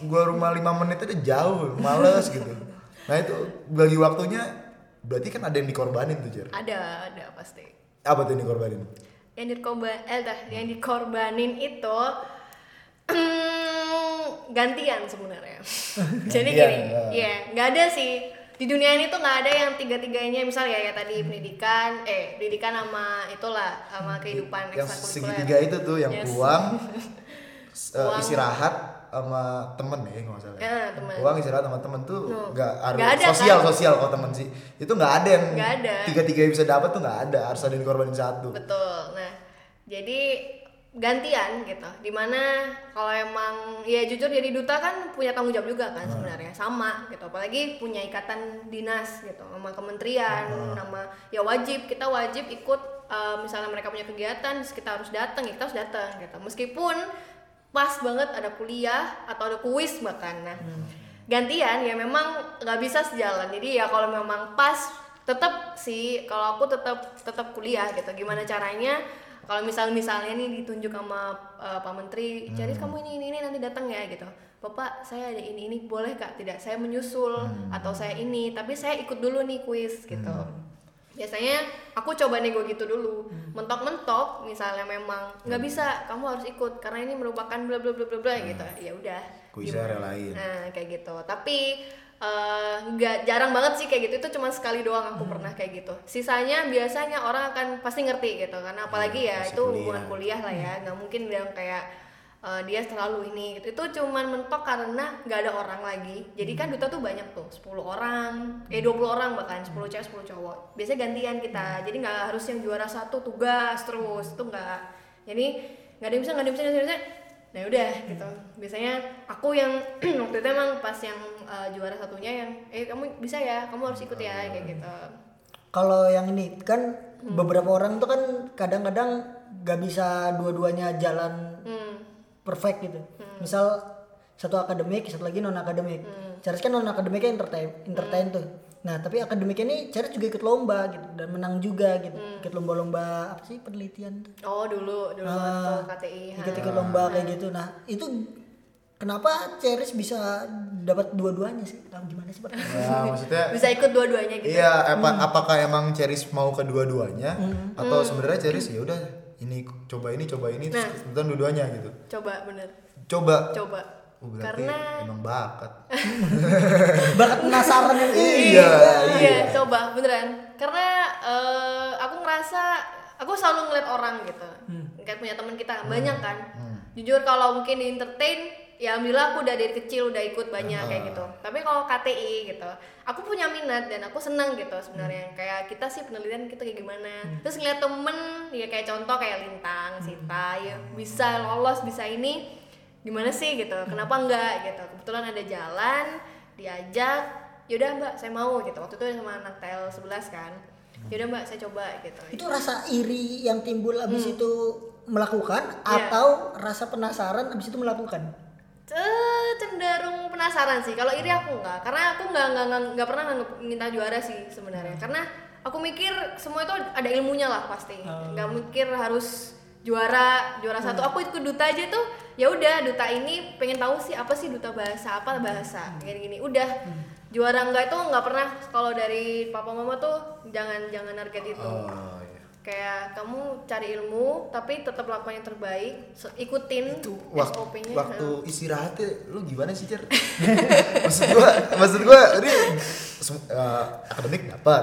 [SPEAKER 1] gue rumah lima menit aja jauh, males gitu. Nah itu bagi waktunya berarti kan ada yang dikorbanin tuh Cer.
[SPEAKER 3] ada ada pasti
[SPEAKER 1] Apa tuh yang dikorbanin?
[SPEAKER 3] yang dikorban eh dah, yang dikorbanin itu gantian sebenarnya
[SPEAKER 1] Gantian,
[SPEAKER 3] jadi gini
[SPEAKER 1] ya.
[SPEAKER 3] ya nggak ada sih di dunia ini tuh nggak ada yang tiga tiganya misalnya ya tadi pendidikan eh pendidikan sama itulah sama kehidupan
[SPEAKER 1] Hmm. yang
[SPEAKER 3] ekstrakurikuler.
[SPEAKER 1] segitiga itu tuh yang
[SPEAKER 3] Yes.
[SPEAKER 1] uang, s- eh,
[SPEAKER 3] Uang.
[SPEAKER 1] istirahat sama temen ya kalau nggak salah
[SPEAKER 3] Ya, temen.
[SPEAKER 1] uang istirahat sama temen tuh
[SPEAKER 3] No.
[SPEAKER 1] nggak harus
[SPEAKER 3] Nggak ada,
[SPEAKER 1] sosial
[SPEAKER 3] kan?
[SPEAKER 1] sosial kalau temen sih itu nggak ada yang
[SPEAKER 3] Nggak ada.
[SPEAKER 1] tiga tiga bisa dapat tuh nggak ada harus ada yang korbanin satu
[SPEAKER 3] Betul. Nah, jadi gantian gitu. Dimana kalau emang ya jujur jadi duta kan punya tanggung jawab juga kan sebenarnya sama gitu. Apalagi punya ikatan dinas gitu sama kementerian, nama ya wajib kita wajib ikut eh, misalnya mereka punya kegiatan, terus kita harus datang, ya kita harus datang gitu. Meskipun pas banget ada kuliah atau ada kuis bahkan. Nah, gantian ya memang nggak bisa sejalan. Jadi ya kalau memang pas tetap sih kalau aku tetap tetap kuliah gitu gimana caranya kalau misal misalnya nih ditunjuk sama eh, Pak Menteri, jadi kamu ini ini ini nanti datang ya gitu. Bapak saya ada ini ini boleh kak? Tidak, saya menyusul atau saya ini, tapi saya ikut dulu nih kuis gitu. Biasanya aku coba nego gitu dulu. Mentok-mentok misalnya memang nggak bisa, kamu harus ikut karena ini merupakan bla bla bla bla bla gitu. Ya udah.
[SPEAKER 1] kuisnya relain
[SPEAKER 3] Nah, kayak gitu. Tapi eh, nggak jarang banget sih kayak gitu. Itu cuma sekali doang aku pernah kayak gitu. Sisanya biasanya orang akan pasti ngerti gitu. Karena apalagi ya
[SPEAKER 1] masih
[SPEAKER 3] itu
[SPEAKER 1] kuliah.
[SPEAKER 3] hubungan kuliah lah ya. nggak mungkin yang kayak eh, dia terlalu ini gitu. Itu cuman mentok karena nggak ada orang lagi. Jadi kan duta tuh banyak tuh, 10 orang, eh 20 orang bahkan, 10 cewek, 10 cowok. Biasanya gantian kita. Jadi nggak harus yang juara satu tugas terus. Itu nggak. Jadi nggak ada yang bisa, nggak ada yang bisa, nggak ada yang bisa nah udah gitu biasanya aku yang waktu itu emang pas yang uh, juara satunya yang eh kamu bisa ya kamu harus ikut ya kayak gitu
[SPEAKER 2] Kalau yang ini kan beberapa orang tuh kan kadang-kadang gak bisa dua-duanya jalan
[SPEAKER 3] hmm.
[SPEAKER 2] perfect gitu. Misal satu akademik, satu lagi non akademik. Charles kan non akademiknya entertain, entertain tuh. Nah tapi akademiknya ini Charles juga ikut lomba gitu dan menang juga gitu. Ikut lomba-lomba apa sih penelitian tuh?
[SPEAKER 3] oh dulu dulu waktu KTI ha.
[SPEAKER 2] Ikut-ikut lomba kayak gitu. Nah itu kenapa Charles bisa dapat dua-duanya sih? Tahu gimana sih Pak?
[SPEAKER 1] ya maksudnya
[SPEAKER 3] bisa ikut dua-duanya gitu
[SPEAKER 1] Iya, apa, apakah emang Ceris mau kedua-duanya
[SPEAKER 3] Mm-hmm.
[SPEAKER 1] atau sebenarnya Ceris ya udah ini coba ini coba ini terus
[SPEAKER 3] Mm. Nah.
[SPEAKER 1] kebetulan dua-duanya gitu.
[SPEAKER 3] coba bener
[SPEAKER 1] Coba.
[SPEAKER 3] coba
[SPEAKER 1] Oh, berarti
[SPEAKER 3] karena Eh.
[SPEAKER 1] emang bakat.
[SPEAKER 2] Bakat penasaran yang ini.
[SPEAKER 1] iya, iya.
[SPEAKER 3] Iya, coba beneran. Karena eh, aku ngerasa aku selalu ngeliat orang gitu.
[SPEAKER 1] Hmm.
[SPEAKER 3] Kayak punya teman kita banyak kan. Jujur kalau mungkin di entertain ya alhamdulillah aku udah dari kecil udah ikut
[SPEAKER 1] Ah.
[SPEAKER 3] banyak kayak gitu. Tapi kalau KTI gitu, aku punya minat dan aku senang gitu sebenarnya. Kayak kita sih penelitian kita kayak gimana. Terus ngeliat temen ya kayak contoh kayak Lintang, Sita ya bisa lolos, bisa ini gimana sih gitu kenapa enggak gitu kebetulan ada jalan diajak yaudah mbak saya mau gitu waktu itu sama anak tel 11 kan yaudah mbak saya coba gitu
[SPEAKER 2] itu rasa iri yang timbul abis itu melakukan
[SPEAKER 3] Hmm. Iya.
[SPEAKER 2] atau rasa penasaran abis itu melakukan
[SPEAKER 3] Ce- cenderung penasaran sih kalau iri aku enggak karena aku enggak enggak enggak, enggak pernah nganggep minta juara sih sebenarnya
[SPEAKER 1] Hmm.
[SPEAKER 3] karena aku mikir semua itu ada ilmunya lah pasti
[SPEAKER 1] Hmm.
[SPEAKER 3] enggak mikir harus juara juara satu aku ikut duta aja tuh ya udah duta ini pengen tahu sih apa sih duta bahasa
[SPEAKER 1] Hmm.
[SPEAKER 3] apa bahasa kayak gini udah juara enggak itu enggak pernah kalau dari papa mama tuh jangan jangan target itu
[SPEAKER 1] Oh, iya.
[SPEAKER 3] kayak kamu cari ilmu tapi tetap lakukan yang terbaik se- ikutin
[SPEAKER 1] Itu waktu,
[SPEAKER 3] SOP-nya
[SPEAKER 1] waktu istirahatnya lu gimana sih, Cer? maksud gua, maksud gua ini sem- eh, akademik dapat,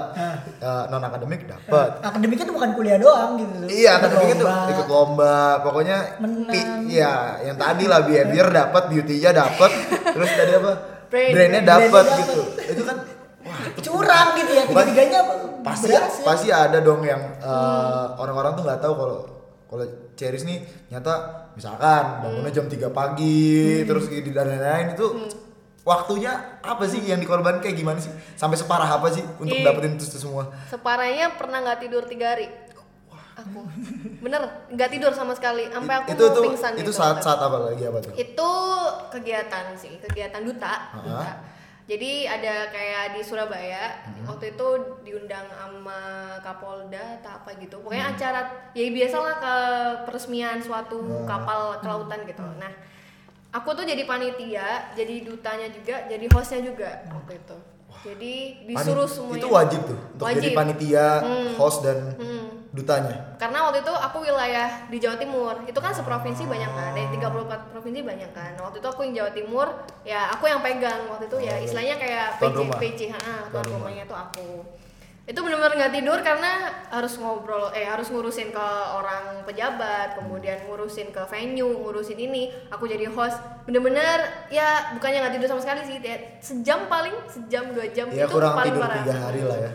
[SPEAKER 1] non akademik dapat.
[SPEAKER 2] akademiknya itu bukan kuliah doang gitu
[SPEAKER 1] Iya,
[SPEAKER 2] Ikut
[SPEAKER 1] akademik itu
[SPEAKER 2] lomba.
[SPEAKER 1] ikut lomba, pokoknya
[SPEAKER 2] Menang.
[SPEAKER 1] ti- Iya, yang tadi lah behavior dapat, beauty-nya dapat, terus tadi apa?
[SPEAKER 3] Brain.
[SPEAKER 1] Brainnya dapat gitu. Itu kan wah, itu
[SPEAKER 2] curang gitu ya
[SPEAKER 1] Bukan.
[SPEAKER 2] tiga-tiganya
[SPEAKER 1] pasti
[SPEAKER 2] berhasil.
[SPEAKER 1] pasti ada dong yang eh, orang-orang tuh nggak tahu kalau kalau Ceris nih nyata misalkan bangunnya
[SPEAKER 3] Hmm.
[SPEAKER 1] jam 3 pagi terus gitu dan lain-lain itu waktunya apa sih yang dikorbankan kayak gimana sih sampai separah apa sih untuk
[SPEAKER 3] Ih.
[SPEAKER 1] dapetin itu semua
[SPEAKER 3] separahnya pernah nggak tidur tiga hari aku bener nggak tidur sama sekali sampai aku
[SPEAKER 1] itu
[SPEAKER 3] mau
[SPEAKER 1] itu
[SPEAKER 3] pingsan
[SPEAKER 1] itu
[SPEAKER 3] gitu. Iya,
[SPEAKER 1] saat saat apa lagi apa tuh
[SPEAKER 3] itu kegiatan sih kegiatan duta,
[SPEAKER 1] Aha.
[SPEAKER 3] duta. jadi ada kayak di Surabaya waktu itu diundang sama Kapolda atau apa gitu
[SPEAKER 1] Hmm.
[SPEAKER 3] pokoknya acara ya biasalah ke peresmian suatu
[SPEAKER 1] Hmm.
[SPEAKER 3] kapal kelautan gitu nah aku tuh jadi panitia jadi dutanya juga jadi hostnya juga waktu itu jadi disuruh
[SPEAKER 1] Panit-
[SPEAKER 3] semuanya
[SPEAKER 1] Hmm. Itu wajib tuh untuk jadi
[SPEAKER 3] Wajib.
[SPEAKER 1] panitia, host dan
[SPEAKER 3] Hmm.
[SPEAKER 1] dutanya.
[SPEAKER 3] karena waktu itu aku wilayah di Jawa Timur itu kan seprovinsi banyak kan dari 34 provinsi banyak kan waktu itu aku yang Jawa Timur ya aku yang pegang waktu itu ya istilahnya kayak
[SPEAKER 1] Tuan
[SPEAKER 3] PC
[SPEAKER 1] rumah.
[SPEAKER 3] PC ha,
[SPEAKER 1] Tuan
[SPEAKER 3] tuan
[SPEAKER 1] rumah.
[SPEAKER 3] rumahnya tuh aku itu benar-benar nggak tidur karena harus ngobrol eh harus ngurusin ke orang pejabat kemudian ngurusin ke venue ngurusin ini aku jadi host bener-bener ya bukannya nggak tidur sama sekali sih ya, sejam paling sejam dua jam
[SPEAKER 1] Ya
[SPEAKER 3] itu
[SPEAKER 1] kurang
[SPEAKER 3] paling
[SPEAKER 1] tidur
[SPEAKER 3] parah
[SPEAKER 1] tiga hari lah ya.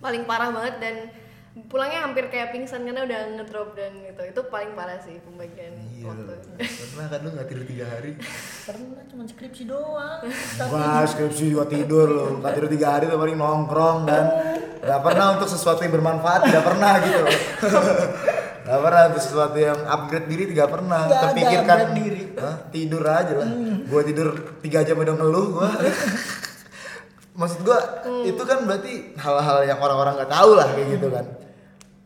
[SPEAKER 3] paling parah banget dan pulangnya hampir kayak pingsan karena udah ngedrop dan gitu itu paling parah sih pembagian
[SPEAKER 1] Iya.
[SPEAKER 3] waktu
[SPEAKER 1] Pernah kan lu nggak tidur tiga hari?
[SPEAKER 2] pernah cuma skripsi doang tapi
[SPEAKER 1] Wah skripsi juga tidur lu nggak tidur tiga hari tuh paling nongkrong kan. Gak pernah untuk sesuatu yang bermanfaat, gak pernah gitu. loh. Gak pernah untuk sesuatu yang upgrade diri tidak pernah
[SPEAKER 2] Nggak ada
[SPEAKER 1] terpikirkan
[SPEAKER 2] upgrade diri. Hmm.
[SPEAKER 1] Hah? tidur aja lah gua tidur tiga jam udah ngeluh gua maksud gua
[SPEAKER 2] Hmm.
[SPEAKER 1] itu kan berarti hal-hal yang orang-orang nggak tahu lah kayak gitu kan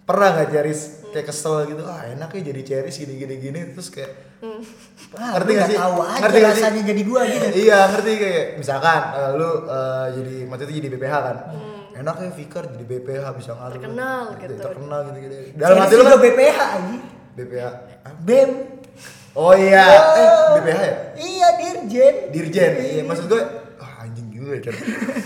[SPEAKER 1] pernah nggak Jaris kayak kesel gitu ah enak ya jadi Ceris gini gini gini terus kayak
[SPEAKER 2] Ah,
[SPEAKER 1] ngerti
[SPEAKER 2] lu
[SPEAKER 1] gak
[SPEAKER 2] nggak
[SPEAKER 1] sih
[SPEAKER 2] tahu aja
[SPEAKER 1] ngerti gak sih?
[SPEAKER 2] rasanya jadi gua gitu
[SPEAKER 1] iya ngerti kayak misalkan eh, lu eh, jadi waktu itu jadi BPH kan enak ya Fikar jadi BPH bisa ngalir
[SPEAKER 3] Hmm. Terkenal gitu.
[SPEAKER 1] terkenal gitu gitu dalam hati lu
[SPEAKER 2] Ceris juga
[SPEAKER 1] kan
[SPEAKER 2] BPH aja
[SPEAKER 1] BPH
[SPEAKER 2] BEM
[SPEAKER 1] oh iya eh, BPH ya
[SPEAKER 2] iya dirjen
[SPEAKER 1] dirjen iya maksud gue ah, anjing juga ya Cer.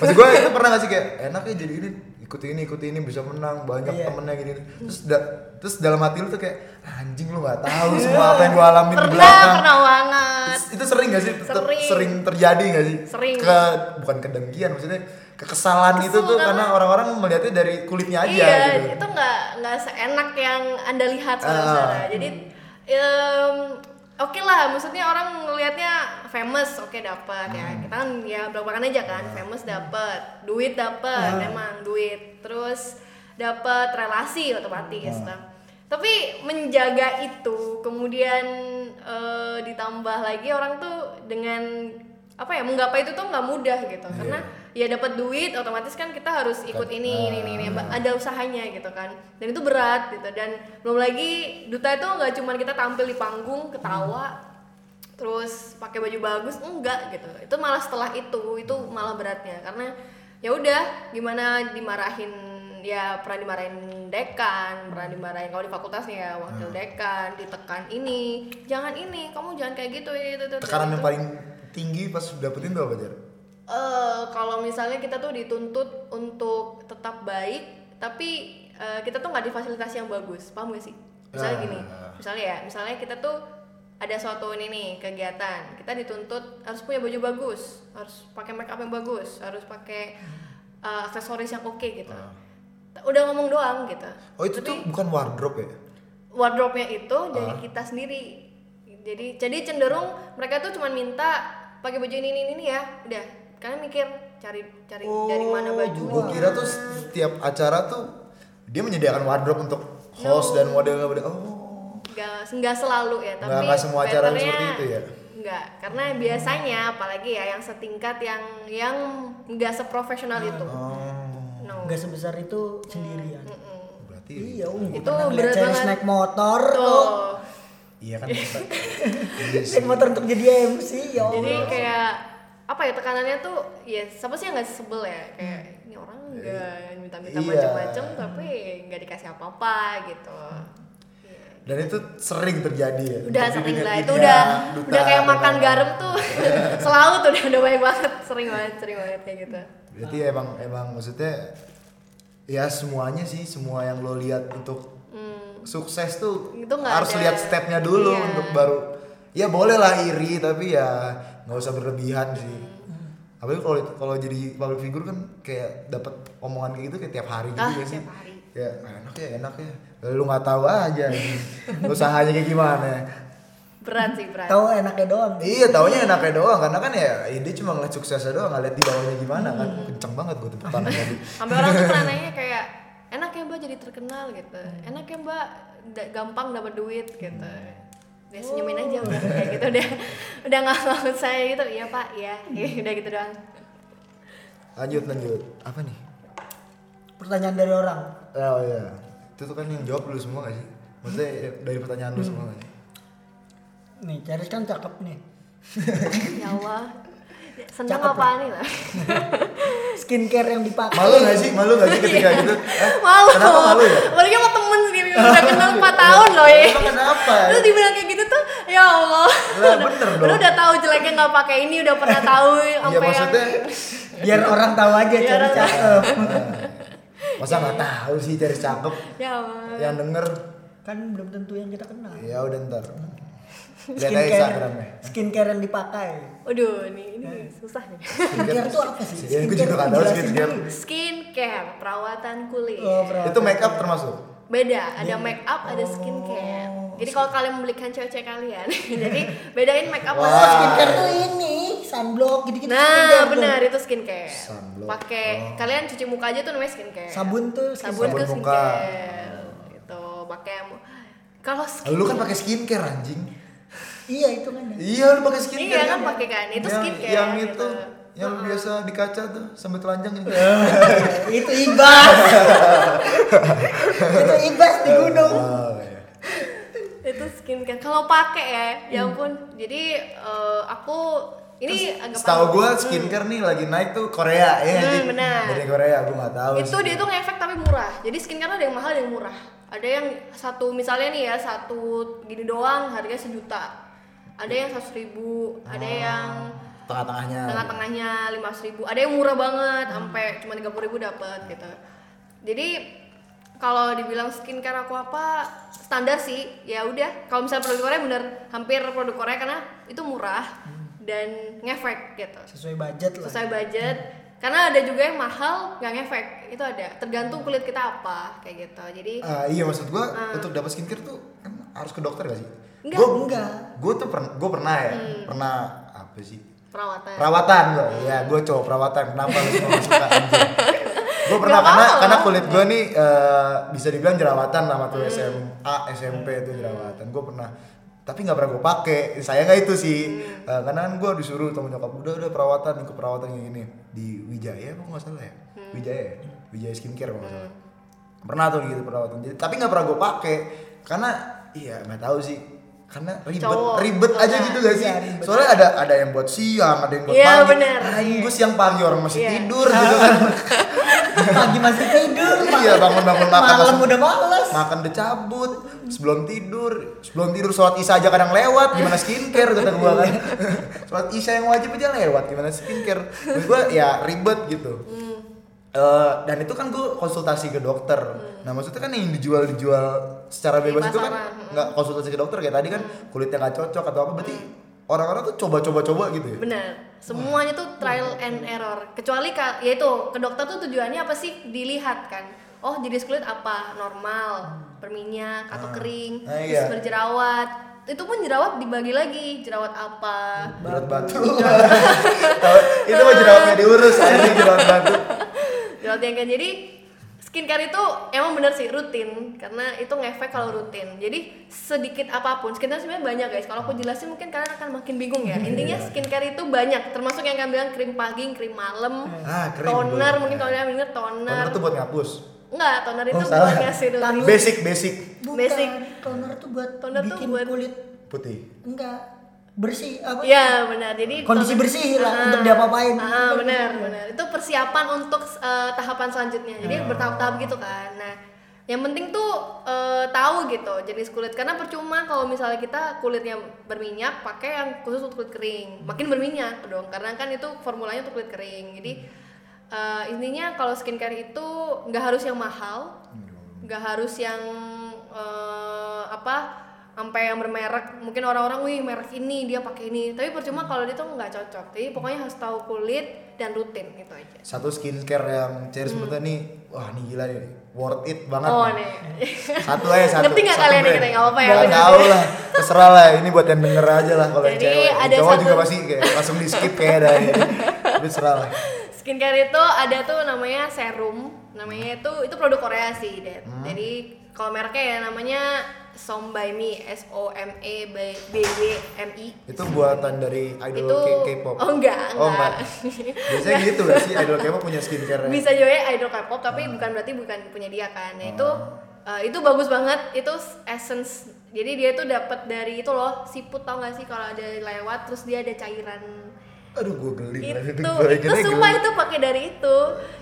[SPEAKER 1] maksud gue itu pernah gak sih kayak enak ya jadi ini ikut ini ikut ini bisa menang banyak
[SPEAKER 2] Iya.
[SPEAKER 1] temennya gini terus da- terus dalam hati lu tuh kayak "Ah, anjing lu nggak tahu semua apa yang gue alamin di
[SPEAKER 3] pernah
[SPEAKER 1] belakang
[SPEAKER 3] pernah banget
[SPEAKER 1] Terus itu sering gak sih Tetep
[SPEAKER 3] Sering.
[SPEAKER 1] sering terjadi gak sih
[SPEAKER 3] Sering.
[SPEAKER 1] ke bukan kedengkian maksudnya kekesalan itu
[SPEAKER 3] Kesel
[SPEAKER 1] tuh
[SPEAKER 3] karena-
[SPEAKER 1] karena orang-orang melihatnya dari kulitnya aja
[SPEAKER 3] iya
[SPEAKER 1] gitu
[SPEAKER 3] itu nggak nggak seenak yang anda lihat saudara-saudara
[SPEAKER 1] Ah.
[SPEAKER 3] jadi em, oke lah maksudnya orang ngelihatnya famous oke dapat ya
[SPEAKER 1] Hmm.
[SPEAKER 3] kita kan ya belakang aja kan famous dapat duit dapat
[SPEAKER 1] Hmm.
[SPEAKER 3] emang duit terus dapat relasi otomatis
[SPEAKER 1] Hmm.
[SPEAKER 3] Nah, tapi menjaga itu kemudian eh, ditambah lagi orang tuh dengan apa ya menggapai itu tuh nggak mudah gitu
[SPEAKER 1] Iya.
[SPEAKER 3] karena ya dapat duit otomatis kan kita harus ikut ini ini ini, ini. Ba- ada usahanya gitu kan dan itu berat gitu dan belum lagi duta itu nggak cuman kita tampil di panggung ketawa terus pakai baju bagus enggak gitu itu malah setelah itu itu malah beratnya karena ya udah gimana dimarahin ya pernah dimarahin dekan pernah dimarahin kalau di fakultas nih ya wakil
[SPEAKER 1] Hmm.
[SPEAKER 3] dekan ditekan ini jangan ini kamu jangan kayak gitu itu, itu, itu,
[SPEAKER 1] tekanan yang
[SPEAKER 3] itu."
[SPEAKER 1] paling tinggi pas dapetin tuh apa Jar?
[SPEAKER 3] eh kalau misalnya kita tuh dituntut untuk tetap baik, tapi eh, kita tuh nggak difasilitasi yang bagus, paham gak sih? Misalnya
[SPEAKER 1] Ah.
[SPEAKER 3] gini, misalnya ya, misalnya kita tuh ada suatu ini nih kegiatan, kita dituntut harus punya baju bagus, harus pakai make up yang bagus, harus pakai eh, aksesoris yang oke gitu. Udah ngomong doang gitu.
[SPEAKER 1] Ah. oh itu tuh bukan wardrobe ya
[SPEAKER 3] Wardrobe-nya itu
[SPEAKER 1] Ah.
[SPEAKER 3] dari kita sendiri. Jadi jadi cenderung mereka tuh cuman minta pakai baju ini ini ini, ini ya. Udah, kalian mikir cari cari dari mana baju.
[SPEAKER 1] Gue Oh, kira tuh setiap acara tuh dia menyediakan wardrobe untuk host dan model model. Oh,
[SPEAKER 3] nggak nggak selalu ya tapi
[SPEAKER 1] Nggak- nggak semua acara
[SPEAKER 3] patternnya
[SPEAKER 1] seperti itu ya?
[SPEAKER 3] nggak karena biasanya apalagi ya yang setingkat yang yang nggak seprofesional itu
[SPEAKER 1] Ah.
[SPEAKER 3] no
[SPEAKER 2] nggak sebesar itu sendirian
[SPEAKER 3] Mm-mm.
[SPEAKER 1] berarti
[SPEAKER 2] iya um
[SPEAKER 3] Itu
[SPEAKER 2] itu ngeliat
[SPEAKER 3] berat
[SPEAKER 2] Ceris
[SPEAKER 3] banget.
[SPEAKER 2] naik motor kok
[SPEAKER 3] tuh
[SPEAKER 1] iya kan. Ustaz? Iya sih.
[SPEAKER 2] naik motor untuk jadi MC ya
[SPEAKER 1] Iya.
[SPEAKER 3] jadi
[SPEAKER 2] Allah
[SPEAKER 3] kayak apa ya tekanannya tuh ya siapa sih yang nggak sebel ya kayak ini orang nggak minta-minta
[SPEAKER 1] Hmm. Iya.
[SPEAKER 3] macem-macem tapi nggak dikasih apa-apa gitu Iya.
[SPEAKER 1] Dan itu sering terjadi ya.
[SPEAKER 3] udah
[SPEAKER 1] Tapi
[SPEAKER 3] sering
[SPEAKER 1] dengan
[SPEAKER 3] lah itu
[SPEAKER 1] Ida,
[SPEAKER 3] udah
[SPEAKER 1] Duta,
[SPEAKER 3] udah kayak makan
[SPEAKER 1] dan-
[SPEAKER 3] garam tuh selalu tuh udah udah banyak banget sering banget sering banget kayak gitu
[SPEAKER 1] Berarti emang emang maksudnya ya semuanya sih semua yang lo lihat untuk
[SPEAKER 3] Hmm.
[SPEAKER 1] sukses tuh
[SPEAKER 3] Itu nggak
[SPEAKER 1] harus
[SPEAKER 3] ada.
[SPEAKER 1] lihat stepnya dulu
[SPEAKER 3] Iya.
[SPEAKER 1] untuk baru ya boleh lah iri tapi ya nggak usah berlebihan sih
[SPEAKER 3] Hmm.
[SPEAKER 1] apalagi kalau kalau jadi public figure kan kayak dapat omongan kayak gitu kayak tiap hari gitu
[SPEAKER 3] Ah,
[SPEAKER 1] ya sih
[SPEAKER 3] tiap hari.
[SPEAKER 1] kayak "Ah, enak ya enak ya lu nggak tahu aja usahanya kayak gimana
[SPEAKER 3] berat sih berat
[SPEAKER 2] tahu enaknya doang
[SPEAKER 1] iya taunya enaknya doang karena kan ya dia cuma ngeliat suksesnya doang nggak liat di bawahnya gimana kan
[SPEAKER 3] Hmm.
[SPEAKER 1] kenceng banget gue tepuk tangan tadi
[SPEAKER 3] sampai orang tuh pernah nanya kayak enak ya mbak jadi terkenal gitu enak ya mbak da- gampang dapat duit gitu dia senyumin aja udah kayak gitu udah udah nggak mau saya gitu iya pak ya udah gitu doang
[SPEAKER 1] lanjut lanjut apa nih
[SPEAKER 2] pertanyaan dari orang
[SPEAKER 1] oh iya itu tuh kan yang jawab lu semua gak sih maksudnya ya, dari pertanyaan lu semua gak sih
[SPEAKER 2] nih Ceris kan cakep nih
[SPEAKER 3] ya Allah seneng
[SPEAKER 2] Cakep,
[SPEAKER 3] apaan nih lah
[SPEAKER 2] skincare yang dipakai
[SPEAKER 1] malu gak sih malu gak sih ketika gitu Hah?
[SPEAKER 3] malu
[SPEAKER 1] kenapa malu ya
[SPEAKER 3] apalagi sama temen sendiri udah kenal 4 tahun loh ya
[SPEAKER 1] Emang kenapa
[SPEAKER 3] Terus dibilang kayak gitu tuh, ya Allah.
[SPEAKER 1] Lah, bener dong.
[SPEAKER 3] Lu udah tahu jeleknya nggak pakai ini, udah pernah tahu
[SPEAKER 1] iya
[SPEAKER 3] sampai yang
[SPEAKER 1] maksudnya
[SPEAKER 2] biar orang tahu aja
[SPEAKER 3] Biar
[SPEAKER 2] Ceris
[SPEAKER 3] orang-
[SPEAKER 2] cakep
[SPEAKER 1] eh. masa nggak tahu sih cari cakep
[SPEAKER 3] ya Allah.
[SPEAKER 1] yang denger
[SPEAKER 2] kan belum tentu yang kita kenal
[SPEAKER 1] ya udah ntar lihat aja Instagramnya
[SPEAKER 2] skincare skincare yang dipakai
[SPEAKER 3] Waduh, ini ini susah nih.
[SPEAKER 2] skincare tuh apa sih
[SPEAKER 1] ya gue juga
[SPEAKER 2] tuh
[SPEAKER 1] nggak tahu
[SPEAKER 2] jelasin
[SPEAKER 1] skincare
[SPEAKER 2] dulu.
[SPEAKER 3] Skincare, perawatan kulit.
[SPEAKER 2] oh, bro.
[SPEAKER 1] itu make up termasuk
[SPEAKER 3] Beda, ada make up, ada skincare. Jadi kalau kalian membelikan cewek-cewek kalian, jadi bedain make up
[SPEAKER 2] Oh,
[SPEAKER 3] sama
[SPEAKER 1] Wah.
[SPEAKER 2] skincare tuh ini sunblock gitu-gitu skincare
[SPEAKER 3] Nah,
[SPEAKER 2] tuh.
[SPEAKER 3] benar itu skincare.
[SPEAKER 1] Sunblock.
[SPEAKER 3] Pakai kalian cuci muka aja tuh namanya skincare.
[SPEAKER 2] sabun tuh
[SPEAKER 3] sabun,
[SPEAKER 1] Sabun
[SPEAKER 3] tuh
[SPEAKER 1] muka.
[SPEAKER 3] skincare. Gitu, pakai kalau skin
[SPEAKER 1] lu kan pakai skincare anjing
[SPEAKER 2] iya itu kan ya.
[SPEAKER 1] iya lu pakai skincare
[SPEAKER 3] Iya kan pakai kan, itu
[SPEAKER 1] Yang-
[SPEAKER 3] skincare
[SPEAKER 1] yang
[SPEAKER 3] gitu.
[SPEAKER 1] itu yang biasa di kaca tuh sambil telanjang gitu.
[SPEAKER 2] Iya. itu ibas itu ibas di gunung
[SPEAKER 1] Oh, iya.
[SPEAKER 3] itu skincare kalau pakai ya ya ampun jadi eh, aku ini agak
[SPEAKER 1] Setahu gue skincare nih lagi naik tuh Korea ya
[SPEAKER 3] Hmm,
[SPEAKER 1] jadi
[SPEAKER 3] benar.
[SPEAKER 1] dari Korea gue nggak tahu.
[SPEAKER 3] itu
[SPEAKER 1] sih.
[SPEAKER 3] dia tuh ngefek tapi murah jadi skincare ada yang mahal ada yang murah ada yang satu misalnya nih ya satu gini doang harganya sejuta ada yang seratus ribu ada yang
[SPEAKER 1] tengah-tengahnya.
[SPEAKER 3] tengah-tengahnya lima ribu ada yang murah banget sampai cuma tiga ribu dapat gitu jadi kalau dibilang skincare aku apa standar sih ya udah kalau misalnya produk Korea bener hampir produk Korea karena itu murah dan ngefek gitu
[SPEAKER 2] sesuai budget lah
[SPEAKER 3] sesuai budget karena ada juga yang mahal nggak ngefek itu ada tergantung kulit kita apa kayak gitu jadi
[SPEAKER 1] Ah, iya maksud gue
[SPEAKER 3] Hmm.
[SPEAKER 1] untuk dapat skincare tuh kan harus ke dokter gak sih?
[SPEAKER 3] Enggak.
[SPEAKER 2] Enggak.
[SPEAKER 1] Gue tuh pernah gue pernah ya
[SPEAKER 3] Hmm.
[SPEAKER 1] pernah apa sih?
[SPEAKER 3] perawatan
[SPEAKER 1] Perawatan gue. Iya gue cowok perawatan. Kenapa lu semua nggak suka? Gue pernah karena
[SPEAKER 3] Nggak apa-apa.
[SPEAKER 1] karena kulit gue nih eh, bisa dibilang jerawatan lah waktu SMA SMP itu jerawatan. Gue pernah tapi nggak pernah gue pakai saya nggak itu sih
[SPEAKER 3] Hmm.
[SPEAKER 1] Eh, karena kan gue disuruh sama nyokap udah udah perawatan ikut perawatan yang ini di Wijaya apa nggak salah ya
[SPEAKER 3] Hmm.
[SPEAKER 1] Wijaya ya? Wijaya skincare kalau nggak salah pernah tuh gitu perawatan jadi tapi nggak pernah gue pakai karena iya nggak tahu sih karena ribet
[SPEAKER 3] Cowok.
[SPEAKER 1] ribet aja
[SPEAKER 3] Iya.
[SPEAKER 1] gitu gak sih
[SPEAKER 2] Iya, ribet.
[SPEAKER 1] soalnya ada ada yang buat siang ada yang buat
[SPEAKER 3] Iya,
[SPEAKER 1] pagi
[SPEAKER 3] bener.
[SPEAKER 1] Anjing, gue siang pagi orang masih
[SPEAKER 3] Iya.
[SPEAKER 1] tidur gitu kan
[SPEAKER 2] pagi masih tidur
[SPEAKER 1] iya bangun bangun makan
[SPEAKER 2] malam
[SPEAKER 1] langsung-
[SPEAKER 2] udah males
[SPEAKER 1] makan udah cabut sebelum tidur sebelum tidur sholat isya aja kadang lewat gimana skincare kata gue kan sholat isya yang wajib aja lewat gimana skincare Menurut gue ya ribet gitu
[SPEAKER 3] Hmm.
[SPEAKER 1] Eh, dan itu kan gue konsultasi ke dokter nah maksudnya kan yang dijual dijual secara
[SPEAKER 3] Hmm. Di
[SPEAKER 1] bebas itu kan
[SPEAKER 3] pasaran, Hmm. mm.
[SPEAKER 1] nggak konsultasi ke dokter kayak tadi kan kulitnya nggak cocok atau apa berarti orang-orang tuh coba-coba-coba gitu ya
[SPEAKER 3] benar semuanya tuh trial and error kecuali ka- ya itu ke dokter tuh tujuannya apa sih dilihat kan oh jenis kulit apa normal berminyak atau
[SPEAKER 1] Ah.
[SPEAKER 3] kering
[SPEAKER 1] Ah, iya.
[SPEAKER 3] terus berjerawat itu pun jerawat dibagi lagi jerawat apa
[SPEAKER 1] jerawat batu Tahu- itu mah jerawatnya diurus aja jerawat batu
[SPEAKER 3] jerawat yang kayak- jadi skincare itu emang bener sih rutin karena itu ngefek kalau rutin jadi sedikit apapun skincare sebenarnya banyak guys kalau aku jelasin mungkin kalian akan makin bingung
[SPEAKER 1] Iya.
[SPEAKER 3] ya intinya skincare itu banyak termasuk yang kalian bilang krim pagi krim malam
[SPEAKER 1] Ah, krim,
[SPEAKER 3] toner
[SPEAKER 1] boleh.
[SPEAKER 3] mungkin kalau kalian denger toner
[SPEAKER 1] toner tuh buat ngapus
[SPEAKER 3] enggak toner itu
[SPEAKER 1] Oh, salah.
[SPEAKER 3] buat ngasih dulu
[SPEAKER 2] Tangan.
[SPEAKER 1] basic basic
[SPEAKER 2] bukan
[SPEAKER 3] Basic.
[SPEAKER 2] toner tuh buat
[SPEAKER 3] Toner tuh
[SPEAKER 2] bikin
[SPEAKER 3] buat-
[SPEAKER 2] kulit
[SPEAKER 1] putih
[SPEAKER 2] enggak bersih apa
[SPEAKER 3] ya benar jadi
[SPEAKER 2] kondisi
[SPEAKER 3] toner-
[SPEAKER 2] bersih lah
[SPEAKER 3] Ah.
[SPEAKER 2] untuk diapa-apain
[SPEAKER 3] Ah, benar, benar. Itu persiapan untuk eh, tahapan selanjutnya. Jadi bertahap-tahap gitu kan. Nah, yang penting tuh eh, tahu gitu jenis kulit karena percuma kalau misalnya kita kulitnya berminyak pakai yang khusus untuk kulit kering. Makin berminyak dong karena kan itu formulanya untuk kulit kering. Jadi eh, intinya kalau skincare itu nggak harus yang mahal, nggak harus yang eh, apa sampai yang bermerek mungkin orang-orang wih merek ini dia pakai ini tapi percuma kalau dia tuh nggak cocok jadi pokoknya harus tahu kulit dan rutin itu aja
[SPEAKER 1] satu skincare yang cherry sebetulnya nih wah ini gila nih worth it banget
[SPEAKER 3] Hmm. oh
[SPEAKER 1] nih.
[SPEAKER 3] nih
[SPEAKER 1] satu aja satu
[SPEAKER 3] Ngerti nggak
[SPEAKER 1] satu
[SPEAKER 3] kalian nih
[SPEAKER 1] brand.
[SPEAKER 3] kita? Nggak apa-apa ya,
[SPEAKER 1] Nggak
[SPEAKER 3] udah.
[SPEAKER 1] tahu lah terserah lah ini buat yang denger aja lah kalau yang
[SPEAKER 3] Jadi
[SPEAKER 1] cewek Yang
[SPEAKER 3] ada
[SPEAKER 1] cowok
[SPEAKER 3] satu-
[SPEAKER 1] juga pasti kayak langsung di skip kayak dari tapi terserah lah
[SPEAKER 3] skincare itu ada tuh namanya serum namanya itu itu produk Korea sih Dad.
[SPEAKER 1] Hmm.
[SPEAKER 3] jadi kalau mereknya ya namanya Som by Me S O M E B B Y M I
[SPEAKER 1] itu buatan dari idol
[SPEAKER 3] Itu-
[SPEAKER 1] K- K-pop
[SPEAKER 3] oh, nggak,
[SPEAKER 1] oh enggak
[SPEAKER 3] nggak.
[SPEAKER 1] biasanya gitu gak sih idol K-pop punya skincare
[SPEAKER 3] bisa juga ya, idol K-pop tapi bukan berarti bukan punya dia kan Nah, itu eh, itu bagus banget itu essence jadi dia tuh dapat dari itu loh siput tau gak sih kalau ada lewat terus dia ada cairan
[SPEAKER 1] aduh gue geli
[SPEAKER 3] itu
[SPEAKER 1] Gua
[SPEAKER 3] itu
[SPEAKER 1] kira
[SPEAKER 3] sumpah
[SPEAKER 1] geli.
[SPEAKER 3] itu pakai dari itu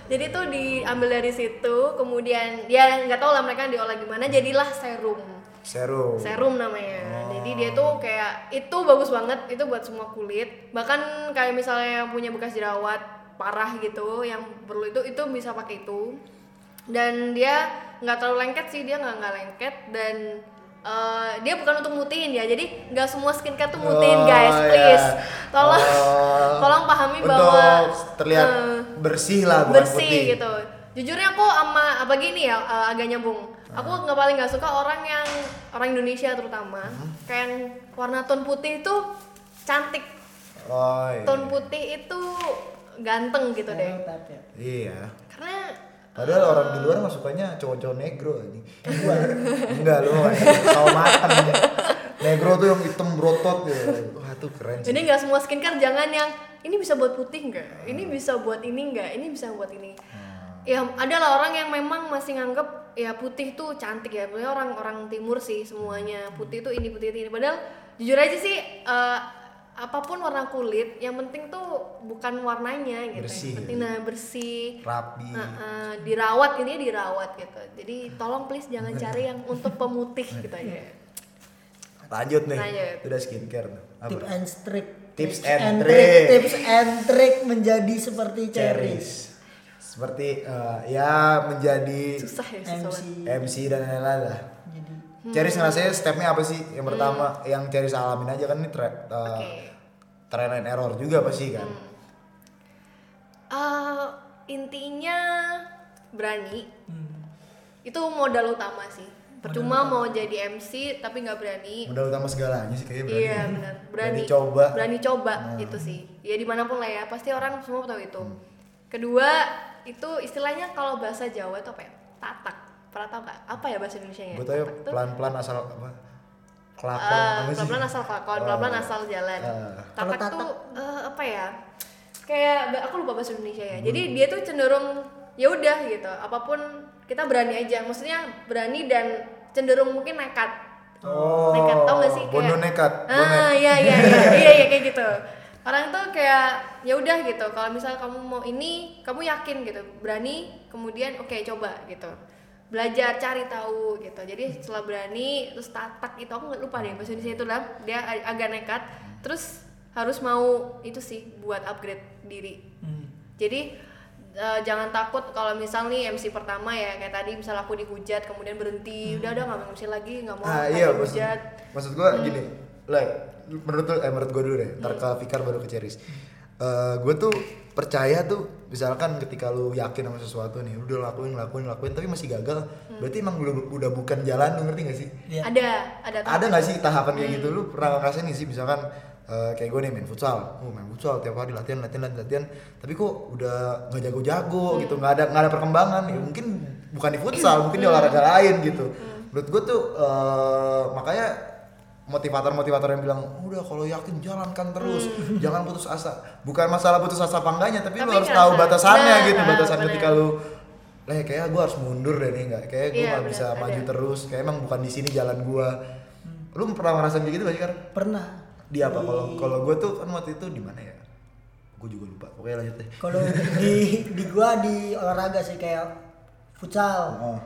[SPEAKER 3] jadi tuh diambil dari situ kemudian ya nggak tahu lah mereka diolah gimana jadilah serum
[SPEAKER 1] serum
[SPEAKER 3] serum namanya jadi dia tuh kayak itu bagus banget itu buat semua kulit bahkan kayak misalnya yang punya bekas jerawat parah gitu yang perlu itu itu bisa pakai itu dan dia nggak terlalu lengket sih dia nggak nggak lengket dan eh, dia bukan untuk mutihin ya jadi nggak semua skincare tuh
[SPEAKER 1] Oh,
[SPEAKER 3] mutihin guys
[SPEAKER 1] iya.
[SPEAKER 3] please tolong
[SPEAKER 1] Oh.
[SPEAKER 3] tolong pahami
[SPEAKER 1] Untuk
[SPEAKER 3] bahwa
[SPEAKER 1] terlihat
[SPEAKER 3] eh,
[SPEAKER 1] bersih lah bukan
[SPEAKER 3] bersih
[SPEAKER 1] putih.
[SPEAKER 3] gitu jujurnya aku sama apa gini ya eh, agak nyambung aku
[SPEAKER 1] Ah.
[SPEAKER 3] nggak paling nggak suka orang yang orang Indonesia terutama
[SPEAKER 1] Hmm.
[SPEAKER 3] kayak yang warna tone putih itu cantik
[SPEAKER 1] Oh, iya.
[SPEAKER 3] tone putih itu ganteng gitu deh
[SPEAKER 1] Hmm.
[SPEAKER 2] Tapi-
[SPEAKER 1] Iya.
[SPEAKER 3] karena
[SPEAKER 1] Padahal orang di luar mah sukanya cowok-cowok negro ini. Gua enggak lu mah tahu makan. Negro tuh yang hitam berotot gitu. Wah, tuh keren sih.
[SPEAKER 3] jadi nggak semua skincare jangan yang ini bisa buat putih nggak ini
[SPEAKER 1] Hmm.
[SPEAKER 3] bisa buat ini nggak ini bisa buat ini ya ada lah orang yang memang masih nganggep ya putih tuh cantik ya Pokoknya orang orang timur sih
[SPEAKER 1] Hmm.
[SPEAKER 3] semuanya putih tuh ini putih itu ini padahal jujur aja sih eh, apapun warna kulit yang penting tuh bukan warnanya gitu
[SPEAKER 1] Bersih. Hmm.
[SPEAKER 3] yang penting nah bersih
[SPEAKER 1] rapi
[SPEAKER 3] Heeh, dirawat ini dirawat gitu jadi tolong please jangan cari yang untuk pemutih gitu ya
[SPEAKER 1] lanjut nih
[SPEAKER 3] Lanjut.
[SPEAKER 1] itu udah skincare apa
[SPEAKER 2] Tip and trick.
[SPEAKER 1] Tips and
[SPEAKER 2] trick.
[SPEAKER 1] trick.
[SPEAKER 2] Tips and trick menjadi seperti Cherries.
[SPEAKER 1] cherries seperti eh, ya menjadi
[SPEAKER 3] susah ya
[SPEAKER 2] MC.
[SPEAKER 3] susah
[SPEAKER 1] MC dan lain-lain lah
[SPEAKER 2] Jadi
[SPEAKER 3] Hmm.
[SPEAKER 1] Cherries ngerasanya stepnya apa sih yang pertama yang Cherries alamin aja kan ini tra- eh,
[SPEAKER 3] Oke. Hmm.
[SPEAKER 1] trial and error juga pasti kan
[SPEAKER 3] Eh, intinya berani
[SPEAKER 2] hmm,
[SPEAKER 3] itu modal utama sih percuma mau jadi MC tapi nggak berani
[SPEAKER 1] modal utama segalanya sih kayaknya berani.
[SPEAKER 3] iya benar berani
[SPEAKER 1] Berani coba.
[SPEAKER 3] berani coba itu sih ya dimanapun lah ya pasti orang semua tahu itu kedua itu istilahnya kalau bahasa Jawa itu apa ya tatak pernah tau nggak apa ya bahasa Indonesia nya
[SPEAKER 1] gue tau ya pelan-pelan asal apa kelakon apa sih
[SPEAKER 3] Eh, pelan-pelan asal kelakon,
[SPEAKER 1] Ah.
[SPEAKER 3] pelan-pelan asal jalan.
[SPEAKER 1] Ah.
[SPEAKER 2] Kalau
[SPEAKER 3] Tatak
[SPEAKER 2] tatak-
[SPEAKER 3] tuh eh, apa ya? Kayak ba- aku lupa bahasa Indonesia ya. Jadi
[SPEAKER 1] Hmm.
[SPEAKER 3] dia tuh cenderung ya udah gitu. Apapun kita berani aja. Maksudnya berani dan cenderung mungkin nekat.
[SPEAKER 1] Oh,
[SPEAKER 3] nekat tau gak sih
[SPEAKER 1] bondo nekat,
[SPEAKER 3] Ah,
[SPEAKER 1] bonet.
[SPEAKER 3] iya iya iya iya iya kayak gitu. Orang tuh kayak ya udah gitu. Kalau misal kamu mau ini, kamu yakin gitu, berani, kemudian oke coba gitu. Belajar cari tahu gitu. Jadi setelah berani terus tatak itu aku nggak lupa deh bahasa Indonesia itu lah. Dia ag- agak nekat terus harus mau itu sih buat upgrade diri.
[SPEAKER 2] hmm.
[SPEAKER 3] Jadi eh, jangan takut kalau misal nih MC pertama ya kayak tadi misal aku dihujat kemudian berhenti udah udah nggak mau MC lagi nggak mau
[SPEAKER 1] ah
[SPEAKER 3] lagi
[SPEAKER 1] iya maksud,
[SPEAKER 3] dihujat Hmm.
[SPEAKER 1] maksud gue gini like menurut lu- eh menurut gue dulu deh ntar ke Fikar baru ke Ceris gue tuh percaya tuh misalkan ketika lu yakin sama sesuatu nih lu udah lakuin lakuin lakuin tapi masih gagal
[SPEAKER 3] Hmm.
[SPEAKER 1] berarti emang lu udah bukan jalan lu ngerti gak sih
[SPEAKER 2] Iya.
[SPEAKER 3] ada ada
[SPEAKER 1] ada nggak sih tahapan kayak gitu lu pernah ngerasain nggak sih misalkan eh, kayak gue nih main futsal, oh main futsal tiap hari latihan latihan latihan, latihan. tapi kok udah nggak jago-jago gitu nggak ada nggak ada perkembangan ya mungkin bukan di futsal mungkin di olahraga lain gitu menurut gue tuh eh, makanya motivator-motivator yang bilang udah kalau yakin jalankan terus jangan putus asa bukan masalah putus asa apa enggaknya Hmm. tapi, lu
[SPEAKER 3] Tapi
[SPEAKER 1] harus tahu
[SPEAKER 3] ngerasa.
[SPEAKER 1] batasannya
[SPEAKER 3] Nah,
[SPEAKER 1] gitu
[SPEAKER 3] nah,
[SPEAKER 1] batasan
[SPEAKER 3] bener.
[SPEAKER 1] ketika lu lah kayak gue harus mundur deh nih nggak kayak gue
[SPEAKER 3] Iya,
[SPEAKER 1] nggak bisa
[SPEAKER 3] bener,
[SPEAKER 1] maju
[SPEAKER 3] ada. Hmm.
[SPEAKER 1] terus kayak emang bukan di sini jalan gua lu pernah ngerasain kayak gitu gak sih Kar?
[SPEAKER 2] pernah.
[SPEAKER 1] di apa kalau kalau gua tuh kan waktu itu di mana ya gua juga lupa pokoknya lanjut deh
[SPEAKER 2] Kalau di di gua di olahraga sih kayak futsal.
[SPEAKER 1] oh.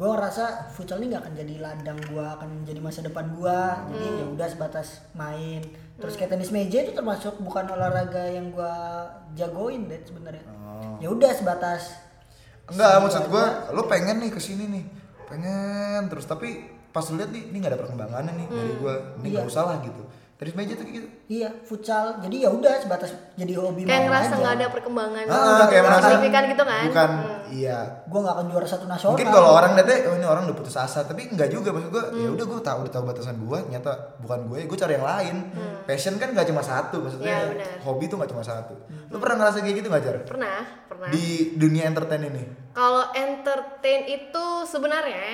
[SPEAKER 2] Gua ngerasa futsal ini nggak akan jadi ladang gua, akan jadi masa depan gua. Jadi
[SPEAKER 3] Hmm.
[SPEAKER 2] ya udah sebatas main. Terus kayak tenis meja itu termasuk bukan olahraga yang gua jagoin deh sebenarnya. Ya udah sebatas
[SPEAKER 1] Oh. enggak maksud gua lu pengen nih kesini nih pengen terus tapi pas lu lihat nih ini nggak ada perkembangannya nih
[SPEAKER 3] Hmm.
[SPEAKER 1] dari gua ini nggak
[SPEAKER 3] Iya.
[SPEAKER 1] usah lah gitu terus meja tuh kayak gitu
[SPEAKER 2] Iya, futsal. Jadi ya udah sebatas jadi hobi
[SPEAKER 3] kayak
[SPEAKER 2] main
[SPEAKER 3] ngerasa
[SPEAKER 2] aja.
[SPEAKER 3] nggak ada perkembangan
[SPEAKER 1] ah kayak merasa
[SPEAKER 3] signifikan gitu kan
[SPEAKER 1] bukan iya
[SPEAKER 2] Gua nggak akan juara satu nasional.
[SPEAKER 1] mungkin kalau orang lihatnya oh, ini orang udah putus asa tapi enggak juga maksud gua
[SPEAKER 3] Hmm.
[SPEAKER 1] ya udah gua tahu udah tahu batasan gua nyata bukan gue gue cari yang lain passion kan gak cuma satu
[SPEAKER 3] Hmm. Ya,
[SPEAKER 1] maksudnya
[SPEAKER 3] benar.
[SPEAKER 1] hobi tuh gak cuma satu lu pernah ngerasa kayak gitu gak Jar?
[SPEAKER 3] pernah pernah Nah,
[SPEAKER 1] di dunia entertain ini
[SPEAKER 3] kalau entertain itu sebenarnya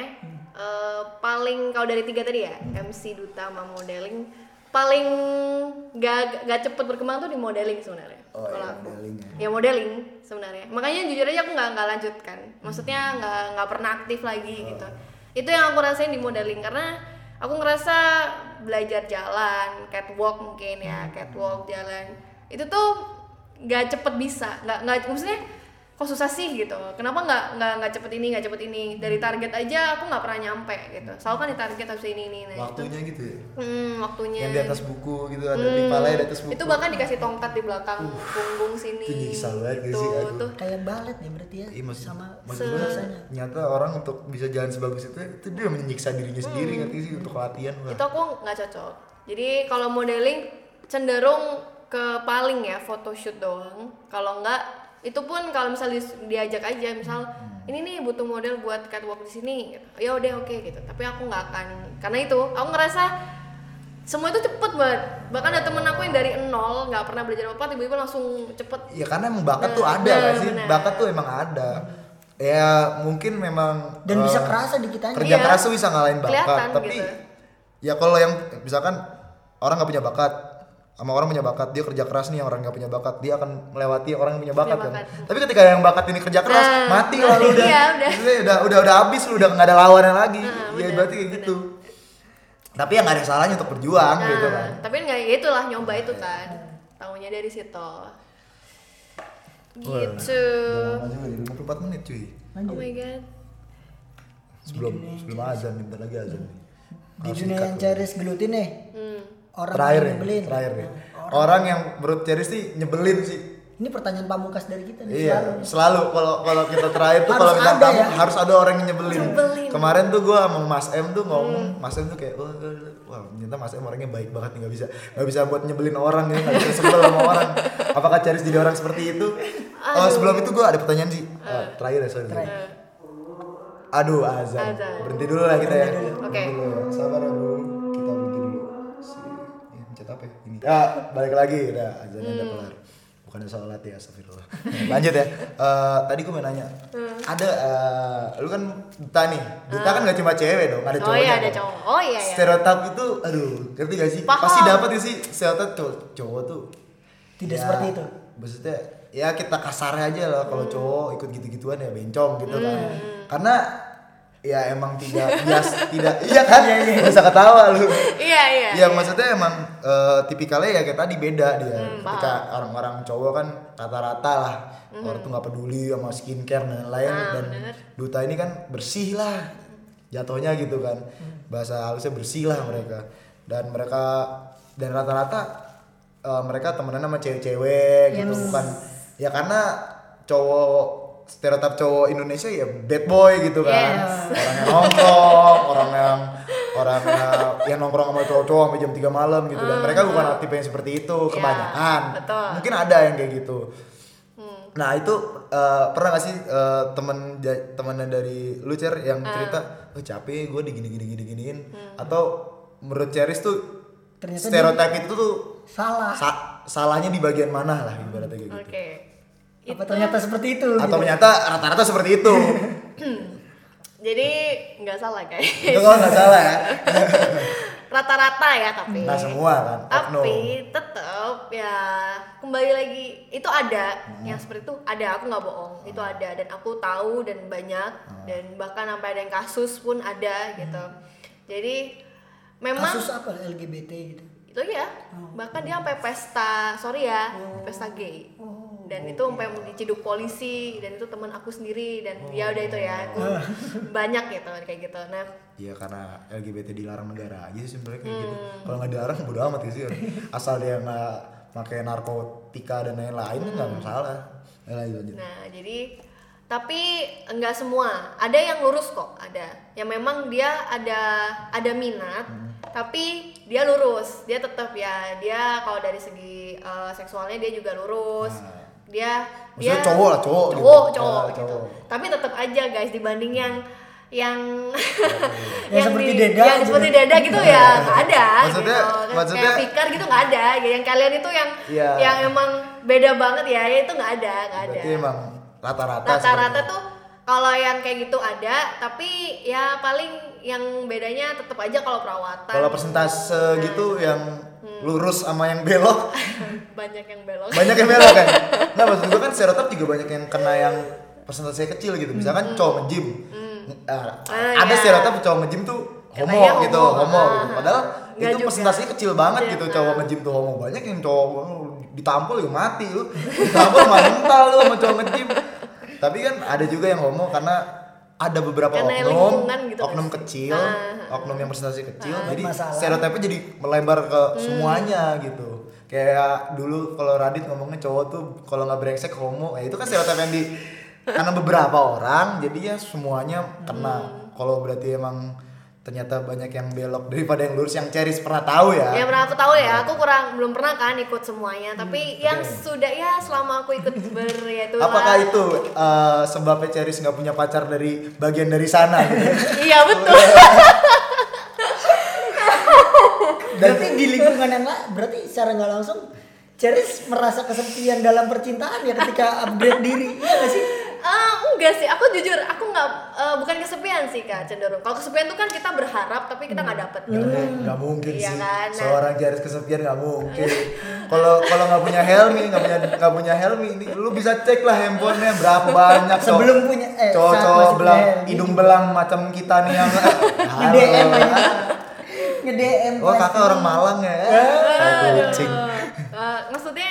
[SPEAKER 3] eh, paling kalau dari tiga tadi ya MC duta sama modeling paling gak gak cepet berkembang tuh di modeling sebenarnya
[SPEAKER 1] Oh, iya,
[SPEAKER 3] kalau aku.
[SPEAKER 1] modeling ya.
[SPEAKER 3] ya modeling sebenarnya makanya jujur aja aku nggak nggak lanjutkan maksudnya nggak nggak pernah aktif lagi gitu itu yang aku rasain di modeling karena aku ngerasa belajar jalan catwalk mungkin ya catwalk jalan itu tuh nggak cepet bisa nggak nggak maksudnya kok susah sih gitu kenapa nggak nggak nggak cepet ini nggak cepet ini dari target aja aku nggak pernah nyampe gitu selalu kan di target harus ini ini nah itu
[SPEAKER 1] waktunya gitu ya
[SPEAKER 3] hmm, waktunya
[SPEAKER 1] yang di atas buku gitu ada di palanya di atas buku
[SPEAKER 3] Hmm. itu bahkan dikasih tongkat di belakang punggung sini
[SPEAKER 1] itu nyiksa banget gak
[SPEAKER 3] gitu,
[SPEAKER 1] sih, aduh.
[SPEAKER 3] tuh
[SPEAKER 2] kayak balet ya berarti ya
[SPEAKER 1] Iya, maksud,
[SPEAKER 2] sama
[SPEAKER 1] maksud gua, nyata orang untuk bisa jalan sebagus itu itu dia menyiksa dirinya sendiri ngerti sih untuk latihan wah.
[SPEAKER 3] Hmm. itu aku nggak cocok jadi kalau modeling cenderung ke paling ya photoshoot doang kalau nggak itu pun kalau misal dis- diajak aja misal
[SPEAKER 1] Hmm.
[SPEAKER 3] ini nih butuh model buat catwalk di sini gitu. ya udah oke gitu tapi aku nggak akan karena itu aku ngerasa semua itu cepet banget bahkan ada temen aku yang dari nol nggak pernah belajar apa tiba-tiba langsung cepet
[SPEAKER 1] ya karena emang bakat tuh ada
[SPEAKER 3] Bener,
[SPEAKER 1] gak sih
[SPEAKER 3] bener.
[SPEAKER 1] bakat tuh emang ada ya mungkin memang
[SPEAKER 2] dan
[SPEAKER 1] eh,
[SPEAKER 2] bisa kerasa di kitanya
[SPEAKER 1] kerja
[SPEAKER 3] Iya.
[SPEAKER 1] keras tuh bisa ngalahin bakat
[SPEAKER 3] Kelihatan
[SPEAKER 1] tapi
[SPEAKER 3] gitu.
[SPEAKER 1] ya kalau yang misalkan orang nggak punya bakat sama orang punya bakat dia kerja keras nih yang orang nggak punya bakat dia akan melewati orang yang punya bakat,
[SPEAKER 3] Punya
[SPEAKER 1] kan
[SPEAKER 3] bakat.
[SPEAKER 1] tapi ketika yang bakat ini kerja keras
[SPEAKER 3] Nah,
[SPEAKER 1] mati lah lu
[SPEAKER 3] iya,
[SPEAKER 1] udah,
[SPEAKER 3] udah.
[SPEAKER 1] Maksudnya udah udah udah habis lu udah nggak ada lawannya lagi
[SPEAKER 3] Nah,
[SPEAKER 1] ya
[SPEAKER 3] udah,
[SPEAKER 1] berarti kayak gitu tapi ya nggak ada salahnya untuk berjuang
[SPEAKER 3] Nah,
[SPEAKER 1] gitu kan Iya.
[SPEAKER 3] tapi nggak ya itulah nyoba itu kan. Taunya dari situ.
[SPEAKER 1] Wah,
[SPEAKER 3] Gitu.
[SPEAKER 1] udah lama juga, jadi 24 menit cuy
[SPEAKER 3] Oh my god.
[SPEAKER 1] sebelum sebelum azan nih, bentar lagi azan nih
[SPEAKER 2] di dunia yang ceris gelutin nih
[SPEAKER 3] Hmm.
[SPEAKER 2] orang
[SPEAKER 1] terakhir
[SPEAKER 2] yang
[SPEAKER 1] nih
[SPEAKER 2] nyebelin
[SPEAKER 1] terakhir nih orang yang menurut Ceris sih nyebelin sih
[SPEAKER 2] ini pertanyaan pamungkas dari kita nih selalu
[SPEAKER 1] Iya, selalu kalau kalau kita terakhir tuh
[SPEAKER 2] Harus
[SPEAKER 1] kalau bintang
[SPEAKER 2] ada
[SPEAKER 1] tamu
[SPEAKER 2] ya?
[SPEAKER 1] harus ada orang yang nyebelin.
[SPEAKER 3] Nyebelin.
[SPEAKER 1] Kemarin tuh gua sama Mas M tuh
[SPEAKER 2] Hmm.
[SPEAKER 1] ngomong, Mas M tuh kayak wah, wah, wah, ternyata Mas M orangnya baik banget nih nggak bisa nggak bisa buat nyebelin orang gitu, nggak bisa sebel sama orang. Apakah Ceris jadi orang seperti itu? Oh, sebelum itu gua ada pertanyaan sih.
[SPEAKER 2] Eh,
[SPEAKER 1] Oh, terakhir ya sorry. Aduh, azan.
[SPEAKER 3] Azan.
[SPEAKER 1] Berhenti dulu lah kita ya.
[SPEAKER 3] Oke.
[SPEAKER 1] Berhenti dulu ya. Sabar ya, Bro. Kita berhenti dulu. Si ya, mencet apa ya? Ini. Ya, balik lagi. Udah, azannya
[SPEAKER 3] Hmm.
[SPEAKER 1] udah kelar. Bukan sholat ya, astagfirullah. Nah, Lanjut ya. Eh, tadi gue mau nanya.
[SPEAKER 3] Hmm.
[SPEAKER 1] Ada eh, lu kan duta nih. Duta kan gak cuma cewek dong, ada
[SPEAKER 3] Oh
[SPEAKER 1] cowoknya. kan
[SPEAKER 3] iya ada
[SPEAKER 1] dong.
[SPEAKER 3] cowok. Oh iya ya.
[SPEAKER 1] Stereotip itu aduh, ngerti gak sih?
[SPEAKER 3] Paham.
[SPEAKER 1] Pasti dapat gak sih stereotip cowok, cowok tuh
[SPEAKER 2] Tidak seperti itu.
[SPEAKER 1] Maksudnya ya kita kasar aja lah kalau
[SPEAKER 3] Hmm.
[SPEAKER 1] cowok ikut gitu-gituan ya bencong gitu kan. Karena ya emang tidak bias tidak iya kan Gak usah ketawa lu
[SPEAKER 3] Iya iya.
[SPEAKER 1] ya maksudnya emang eh, tipikalnya ya kayak tadi beda dia
[SPEAKER 3] Hmm,
[SPEAKER 1] ketika orang-orang cowok kan rata-rata lah orang tuh nggak peduli sama skincare dan lain-lain
[SPEAKER 3] Hmm. Ah,
[SPEAKER 1] dan
[SPEAKER 3] bener.
[SPEAKER 1] duta ini kan bersih lah jatuhnya gitu kan
[SPEAKER 3] Hmm.
[SPEAKER 1] bahasa halusnya bersih lah mereka dan mereka dan rata-rata eh, mereka temenan sama cewek-cewek
[SPEAKER 3] Iya,
[SPEAKER 1] gitu bukan ya karena cowok stereotip cowok Indonesia ya bad boy gitu
[SPEAKER 3] Iya,
[SPEAKER 1] kan
[SPEAKER 3] Yes.
[SPEAKER 1] orang yang nongkrong, orang yang orang yang, yang nongkrong sama cowok-cowok sampai jam 3 malam gitu dan mereka bukan aktif yang seperti itu
[SPEAKER 3] Eh. Iya,
[SPEAKER 1] kebanyakan.
[SPEAKER 3] betul. Hmm.
[SPEAKER 1] Mungkin ada yang kayak gitu. Nah, itu eh, pernah gak sih eh, temen ja- temennya dari lu Cer yang
[SPEAKER 3] Eh.
[SPEAKER 1] cerita, "Oh, capek gue digini gini gini giniin."
[SPEAKER 3] Hmm.
[SPEAKER 1] Atau menurut Ceris tuh
[SPEAKER 2] Ternyata
[SPEAKER 1] stereotip itu tuh
[SPEAKER 2] salah
[SPEAKER 1] sa- salahnya di bagian mana lah ibaratnya kayak gitu.
[SPEAKER 3] Oke.
[SPEAKER 2] apa ternyata seperti itu gitu.
[SPEAKER 1] Atau ternyata rata-rata seperti itu.
[SPEAKER 3] Jadi nggak salah guys.
[SPEAKER 1] itu kalau nggak salah ya.
[SPEAKER 3] Rata-rata ya tapi.
[SPEAKER 1] Nah, semua kan. oknum.
[SPEAKER 3] tapi tetap ya kembali lagi itu ada
[SPEAKER 1] Hmm.
[SPEAKER 3] yang seperti itu ada aku nggak bohong itu ada dan aku tahu dan banyak
[SPEAKER 1] Hmm.
[SPEAKER 3] dan bahkan sampai ada yang kasus pun ada gitu jadi memang
[SPEAKER 2] kasus apa LGBT gitu
[SPEAKER 3] itu ya bahkan dia sampai pesta sorry ya pesta gay dan itu sampai diciduk polisi dan itu teman aku sendiri dan ya udah itu ya aku banyak gitu kayak gitu nah
[SPEAKER 1] Iya karena LGBT dilarang negara aja sih sebenarnya kayak gitu.
[SPEAKER 3] Hmm.
[SPEAKER 1] Kalau nggak dilarang bodo amat sih. Asal dia nggak pakai narkotika dan lain-lain nggak
[SPEAKER 3] Hmm.
[SPEAKER 1] masalah. Ya, lanjut lanjut.
[SPEAKER 3] Nah, jadi tapi enggak semua. Ada yang lurus kok, ada. Yang memang dia ada ada minat,
[SPEAKER 1] Hmm.
[SPEAKER 3] tapi dia lurus. Dia tetap ya, dia kalau dari segi eh, seksualnya dia juga lurus.
[SPEAKER 1] Nah.
[SPEAKER 3] Dia
[SPEAKER 1] Maksudnya
[SPEAKER 3] dia
[SPEAKER 1] cowok lah, cowok gitu.
[SPEAKER 3] Cowok, cowok
[SPEAKER 1] Ya,
[SPEAKER 3] gitu.
[SPEAKER 1] cowok.
[SPEAKER 3] Tapi tetap aja guys dibanding yang yang
[SPEAKER 2] Yang seperti Deda
[SPEAKER 3] yang
[SPEAKER 2] aja.
[SPEAKER 3] seperti deda gitu
[SPEAKER 1] Nah.
[SPEAKER 3] ya nggak ada
[SPEAKER 1] Maksudnya-
[SPEAKER 3] gitu. Kayak-
[SPEAKER 1] maksudnya-
[SPEAKER 3] kayak Fikar gitu nggak ada Ya, yang kalian itu yang
[SPEAKER 1] Iya.
[SPEAKER 3] yang emang beda banget ya ya itu nggak ada nggak ada
[SPEAKER 1] Berarti emang rata-rata.
[SPEAKER 3] rata-rata
[SPEAKER 1] seperti itu.
[SPEAKER 3] tuh kalau yang kayak gitu ada tapi ya paling yang bedanya tetap aja kalau perawatan
[SPEAKER 1] Kalau persentase gitu yang
[SPEAKER 3] Hmm.
[SPEAKER 1] lurus sama yang belok
[SPEAKER 3] banyak yang belok
[SPEAKER 1] banyak yang belok kan. Nah maksud gue kan stereotip juga banyak yang kena yang persentase kecil gitu. Misalkan cowok nge-gym. Eh, ada
[SPEAKER 3] Hmm. iya.
[SPEAKER 1] stereotip cowok nge-gym tuh homo
[SPEAKER 3] Katanya homo.
[SPEAKER 1] gitu, homo
[SPEAKER 3] Ah,
[SPEAKER 1] gitu. Padahal
[SPEAKER 3] nggak
[SPEAKER 1] itu
[SPEAKER 3] juga.
[SPEAKER 1] persentasenya kecil banget
[SPEAKER 3] Iya,
[SPEAKER 1] gitu
[SPEAKER 3] ah.
[SPEAKER 1] cowok nge-gym tuh homo. Banyak yang cowok homo ditampol ya mati lu. Ditampol mah mental lu sama cowok nge-gym. Tapi kan ada juga yang homo karena ada beberapa
[SPEAKER 3] Karena
[SPEAKER 1] oknum,
[SPEAKER 3] lingkungan gitu,
[SPEAKER 1] oknum
[SPEAKER 3] guys.
[SPEAKER 1] kecil,
[SPEAKER 3] Ah,
[SPEAKER 1] oknum yang persentase kecil, jadi
[SPEAKER 2] Masalah.
[SPEAKER 1] stereotipnya jadi melebar ke semuanya gitu kayak dulu kalau Radit ngomongnya cowok tuh kalau nggak brengsek homo ya itu kan stereotip yang di karena beberapa orang jadinya semuanya kena kalau berarti emang ternyata banyak yang belok daripada yang lurus yang Ceris pernah tahu ya
[SPEAKER 3] ya pernah aku tahu ya aku kurang belum pernah kan ikut semuanya
[SPEAKER 1] Hmm,
[SPEAKER 3] tapi yang sudah ya selama aku ikut ber ya itu
[SPEAKER 1] apakah itu eh, sebabnya Ceris nggak punya pacar dari bagian dari sana gitu
[SPEAKER 3] iya betul
[SPEAKER 2] berarti di lingkungan yang nggak berarti secara nggak langsung Ceris merasa kesepian dalam percintaan ya ketika upgrade diri iya nggak sih
[SPEAKER 3] eh, enggak sih, aku jujur, aku nggak eh, bukan kesepian sih kak cenderung. Kalau kesepian tuh kan kita berharap tapi kita nggak dapet.
[SPEAKER 1] Nggak mu- nggak mungkin
[SPEAKER 3] Iya
[SPEAKER 1] sih.
[SPEAKER 3] kan, nah.
[SPEAKER 1] Seorang Jaris kesepian nggak mungkin. Kalau kalau nggak punya Helmi, nggak punya nggak punya Helmi ini, lu bisa cek lah handphonenya berapa banyak. cowok-
[SPEAKER 2] Sebelum punya- eh,
[SPEAKER 1] cowok-
[SPEAKER 2] saat
[SPEAKER 1] cowok
[SPEAKER 2] masih
[SPEAKER 1] belang,
[SPEAKER 2] punya Helmi.
[SPEAKER 1] hidung belang macam kita nih yang Halo.
[SPEAKER 2] Nge-DM aja. Nge-DM.
[SPEAKER 1] Oh kakak orang Malang ya? Kayak kucing.
[SPEAKER 3] Eh, maksudnya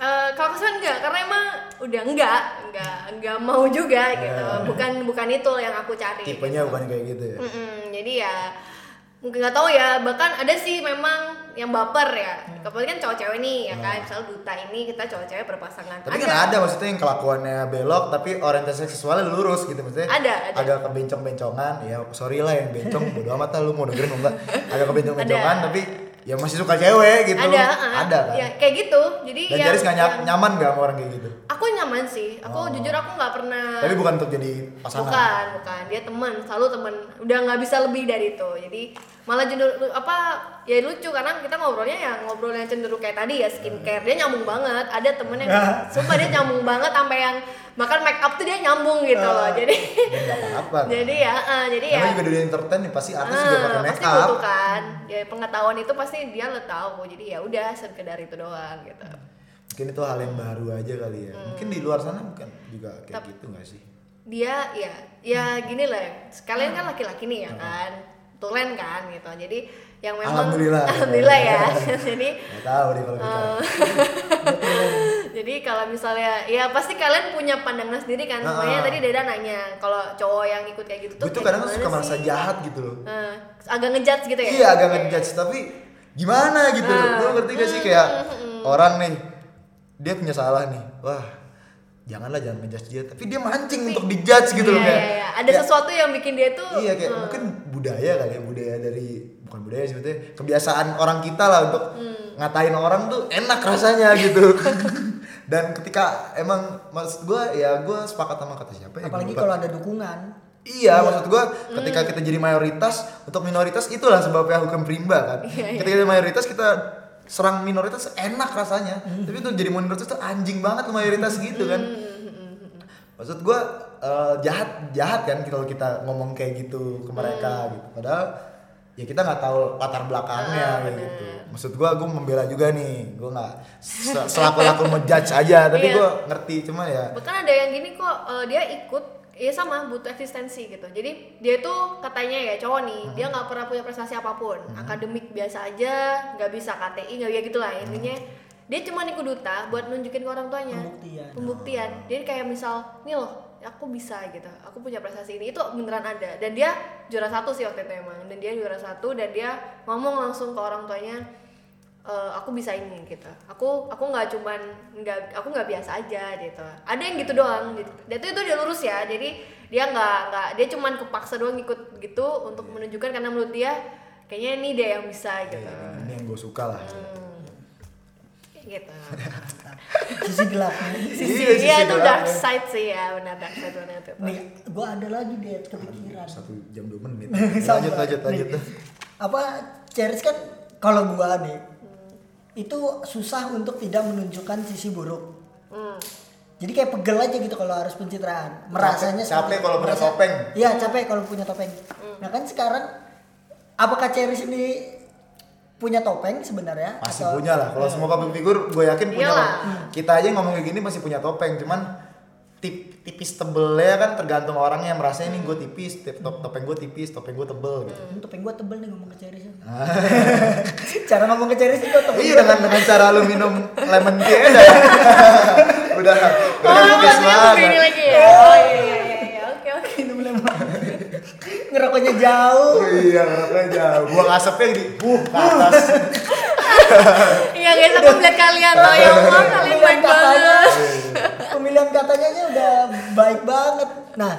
[SPEAKER 3] eh, kalau kesepian enggak, karena emang udah enggak, enggak, enggak mau juga gitu. Bukan bukan itu yang aku cari.
[SPEAKER 1] Eh. Tipenya bukan kayak gitu ya.
[SPEAKER 3] Mm-mm, jadi ya mungkin nggak tahu ya bahkan ada sih memang yang baper ya kebetulan kan cowok-cewek nih ya kan misalnya duta ini kita cowok-cewek berpasangan
[SPEAKER 1] Hmm. Tapi kan ada maksudnya yang kelakuannya belok tapi orientasi seksualnya lurus gitu maksudnya.
[SPEAKER 3] Ada, ada.
[SPEAKER 1] Agak kebencong-bencongan. Ya sorry lah yang bencong bodo amat lah lu mau dengerin enggak. Agak kebencong-bencongan
[SPEAKER 3] Ada.
[SPEAKER 1] tapi ya masih suka cewek gitu.
[SPEAKER 3] ada ah.
[SPEAKER 1] Ada kan.
[SPEAKER 3] ya, kayak gitu jadi
[SPEAKER 1] Dan
[SPEAKER 3] yang-
[SPEAKER 1] Jaris gak nyak-
[SPEAKER 3] yang-
[SPEAKER 1] nyaman gak sama orang kayak gitu.
[SPEAKER 3] aku nyaman sih aku jujur aku nggak pernah
[SPEAKER 1] Tapi bukan untuk jadi pasangan.
[SPEAKER 3] bukan bukan dia teman selalu teman udah nggak bisa lebih dari itu jadi malah cenderung apa ya lucu karena kita ngobrolnya ya ngobrol yang cenderung kayak tadi ya skincare dia nyambung banget ada temen yang sumpah dia nyambung banget sampai yang makan make up tuh dia nyambung gitu loh jadi
[SPEAKER 1] Dan gak apa-apa. kan.
[SPEAKER 3] jadi ya eh, jadi ya
[SPEAKER 1] Namanya juga dunia entertain nih pasti artis
[SPEAKER 3] eh,
[SPEAKER 1] juga pakai make
[SPEAKER 3] pasti
[SPEAKER 1] up.
[SPEAKER 3] butuh kan ya pengetahuan itu pasti dia lo tahu jadi ya udah sekedar itu doang gitu
[SPEAKER 1] Mungkin itu hal yang baru aja kali ya.
[SPEAKER 3] Hmm.
[SPEAKER 1] Mungkin di luar sana bukan juga kayak
[SPEAKER 3] Tapi-
[SPEAKER 1] gitu gak sih?
[SPEAKER 3] dia ya
[SPEAKER 1] Hmm.
[SPEAKER 3] ya gini lah ya. sekalian kan laki-laki nih ya kan tulen kan gitu jadi yang memang
[SPEAKER 1] Alhamdulillah.
[SPEAKER 3] alhamdulillah ya jadi
[SPEAKER 1] Gak tahu deh kalau gitu. kita.
[SPEAKER 3] Uh, jadi kalau misalnya ya pasti kalian punya pandangan sendiri kan
[SPEAKER 1] Ah,
[SPEAKER 3] makanya
[SPEAKER 1] ah.
[SPEAKER 3] tadi Deda nanya kalau cowok yang ikut kayak gitu tuh
[SPEAKER 1] Gue tuh
[SPEAKER 3] kayak
[SPEAKER 1] kadang
[SPEAKER 3] gimana
[SPEAKER 1] suka merasa
[SPEAKER 3] sih?
[SPEAKER 1] jahat gitu loh.
[SPEAKER 3] Eh, agak ngejudge gitu ya
[SPEAKER 1] Iya agak ngejudge tapi gimana gitu loh. Lu ngerti gak sih kayak
[SPEAKER 3] Hmm.
[SPEAKER 1] orang nih dia punya salah nih. Wah, janganlah jangan ngejudge dia, tapi dia mancing untuk dijudge gitu loh
[SPEAKER 3] Iya,
[SPEAKER 1] kayak.
[SPEAKER 3] iya, iya. ada
[SPEAKER 1] kayak-
[SPEAKER 3] sesuatu yang bikin dia tuh
[SPEAKER 1] Iya kayak
[SPEAKER 3] eh,
[SPEAKER 1] mungkin budaya kali ya, budaya dari bukan budaya sih sebetulnya kebiasaan orang kita lah untuk
[SPEAKER 3] Hmm.
[SPEAKER 1] ngatain orang tuh enak rasanya gitu. Dan ketika emang maksud gua ya gua sepakat sama kata siapa ya? gua
[SPEAKER 2] Apalagi
[SPEAKER 1] lupa.
[SPEAKER 2] kalau ada dukungan.
[SPEAKER 1] Iya, maksud gua ketika kita jadi mayoritas untuk minoritas itulah sebabnya hukum rimba kan. Ketika jadi mayoritas kita serang minoritas enak rasanya. Tapi untuk jadi minoritas tuh anjing banget ke mayoritas gitu kan. Maksud gua eh, jahat jahat kan kalau kita ngomong kayak gitu ke mereka gitu. Padahal ya kita nggak tahu latar belakangnya kayak gitu. Maksud gua gua membela juga nih. Gua nggak se- selaku-laku ngejudge aja, tapi
[SPEAKER 3] Iya.
[SPEAKER 1] gua ngerti cuma ya
[SPEAKER 3] bahkan ada yang gini kok eh, dia ikut ya sama butuh eksistensi gitu jadi dia tuh katanya ya cowok nih dia nggak pernah punya prestasi apapun akademik biasa aja nggak bisa KTI nggak ya gitulah intinya dia cuma ikut duta buat nunjukin ke orang tuanya
[SPEAKER 2] Pembuktian.
[SPEAKER 3] pembuktian jadi kayak misal nih loh aku bisa gitu aku punya prestasi ini itu beneran ada dan dia juara satu sih waktu itu emang dan dia juara satu dan dia ngomong langsung ke orang tuanya "Eh, aku bisa ini gitu aku aku nggak cuman nggak aku nggak biasa aja gitu ada yang gitu doang gitu dan itu itu dia lurus ya jadi dia nggak nggak dia cuman kepaksa doang ikut gitu untuk
[SPEAKER 1] Iya.
[SPEAKER 3] menunjukkan karena menurut dia kayaknya ini dia yang bisa gitu
[SPEAKER 1] ya, ini yang gue suka lah.
[SPEAKER 3] gitu
[SPEAKER 2] Sisi gelapnya.
[SPEAKER 3] sisi
[SPEAKER 1] Iya, sisi
[SPEAKER 3] ya itu dark
[SPEAKER 1] gelapnya.
[SPEAKER 3] side sih ya benar dark side benar itu
[SPEAKER 2] Nih, gua ada lagi deh kepikiran.
[SPEAKER 1] satu jam dua menit Ya,
[SPEAKER 2] Sabar.
[SPEAKER 1] lanjut lanjut lanjut
[SPEAKER 2] Nih, Apa Ceris kan kalau gua nih itu susah untuk tidak menunjukkan sisi buruk.
[SPEAKER 3] Hmm.
[SPEAKER 2] Jadi kayak pegel aja gitu kalau harus pencitraan. Merasanya
[SPEAKER 1] Capek- capek
[SPEAKER 2] seperti-
[SPEAKER 1] kalau punya
[SPEAKER 2] merasa-
[SPEAKER 1] topeng.
[SPEAKER 2] Iya, capek kalau punya topeng. Nah, kan sekarang apakah Ceris ini punya topeng sebenarnya
[SPEAKER 1] masih
[SPEAKER 2] Atau-
[SPEAKER 1] punya lah kalau semua public figure gue yakin punya
[SPEAKER 3] Iyalah.
[SPEAKER 1] lah kita aja ngomong kayak gini masih punya topeng cuman tip, tipis tebelnya kan tergantung orangnya merasanya nih gue tipis tip- top- topeng gue tipis topeng gue tebel gitu
[SPEAKER 2] Hmm, topeng gua tebel nih ngomong ke Ceris. Cara ngomong ke Ceris itu topeng.
[SPEAKER 1] iya dengan dengan cara lu minum lemon tea aja udah
[SPEAKER 3] Oh,
[SPEAKER 1] udah tipis
[SPEAKER 3] maksudnya begini
[SPEAKER 1] banget
[SPEAKER 3] lagi ya? Oh iya iya iya, oke oke.
[SPEAKER 2] Minum lemon. Ngerokoknya jauh.
[SPEAKER 1] Oh iya ngerokoknya jauh buang asapnya di uh ke atas
[SPEAKER 3] Iya guys, aku melihat kalian loh, ya Allah kalian
[SPEAKER 2] Pemilihan
[SPEAKER 3] baik
[SPEAKER 2] katanya, Iya,
[SPEAKER 3] banget.
[SPEAKER 2] pemilihan katanya aja udah baik banget. Nah,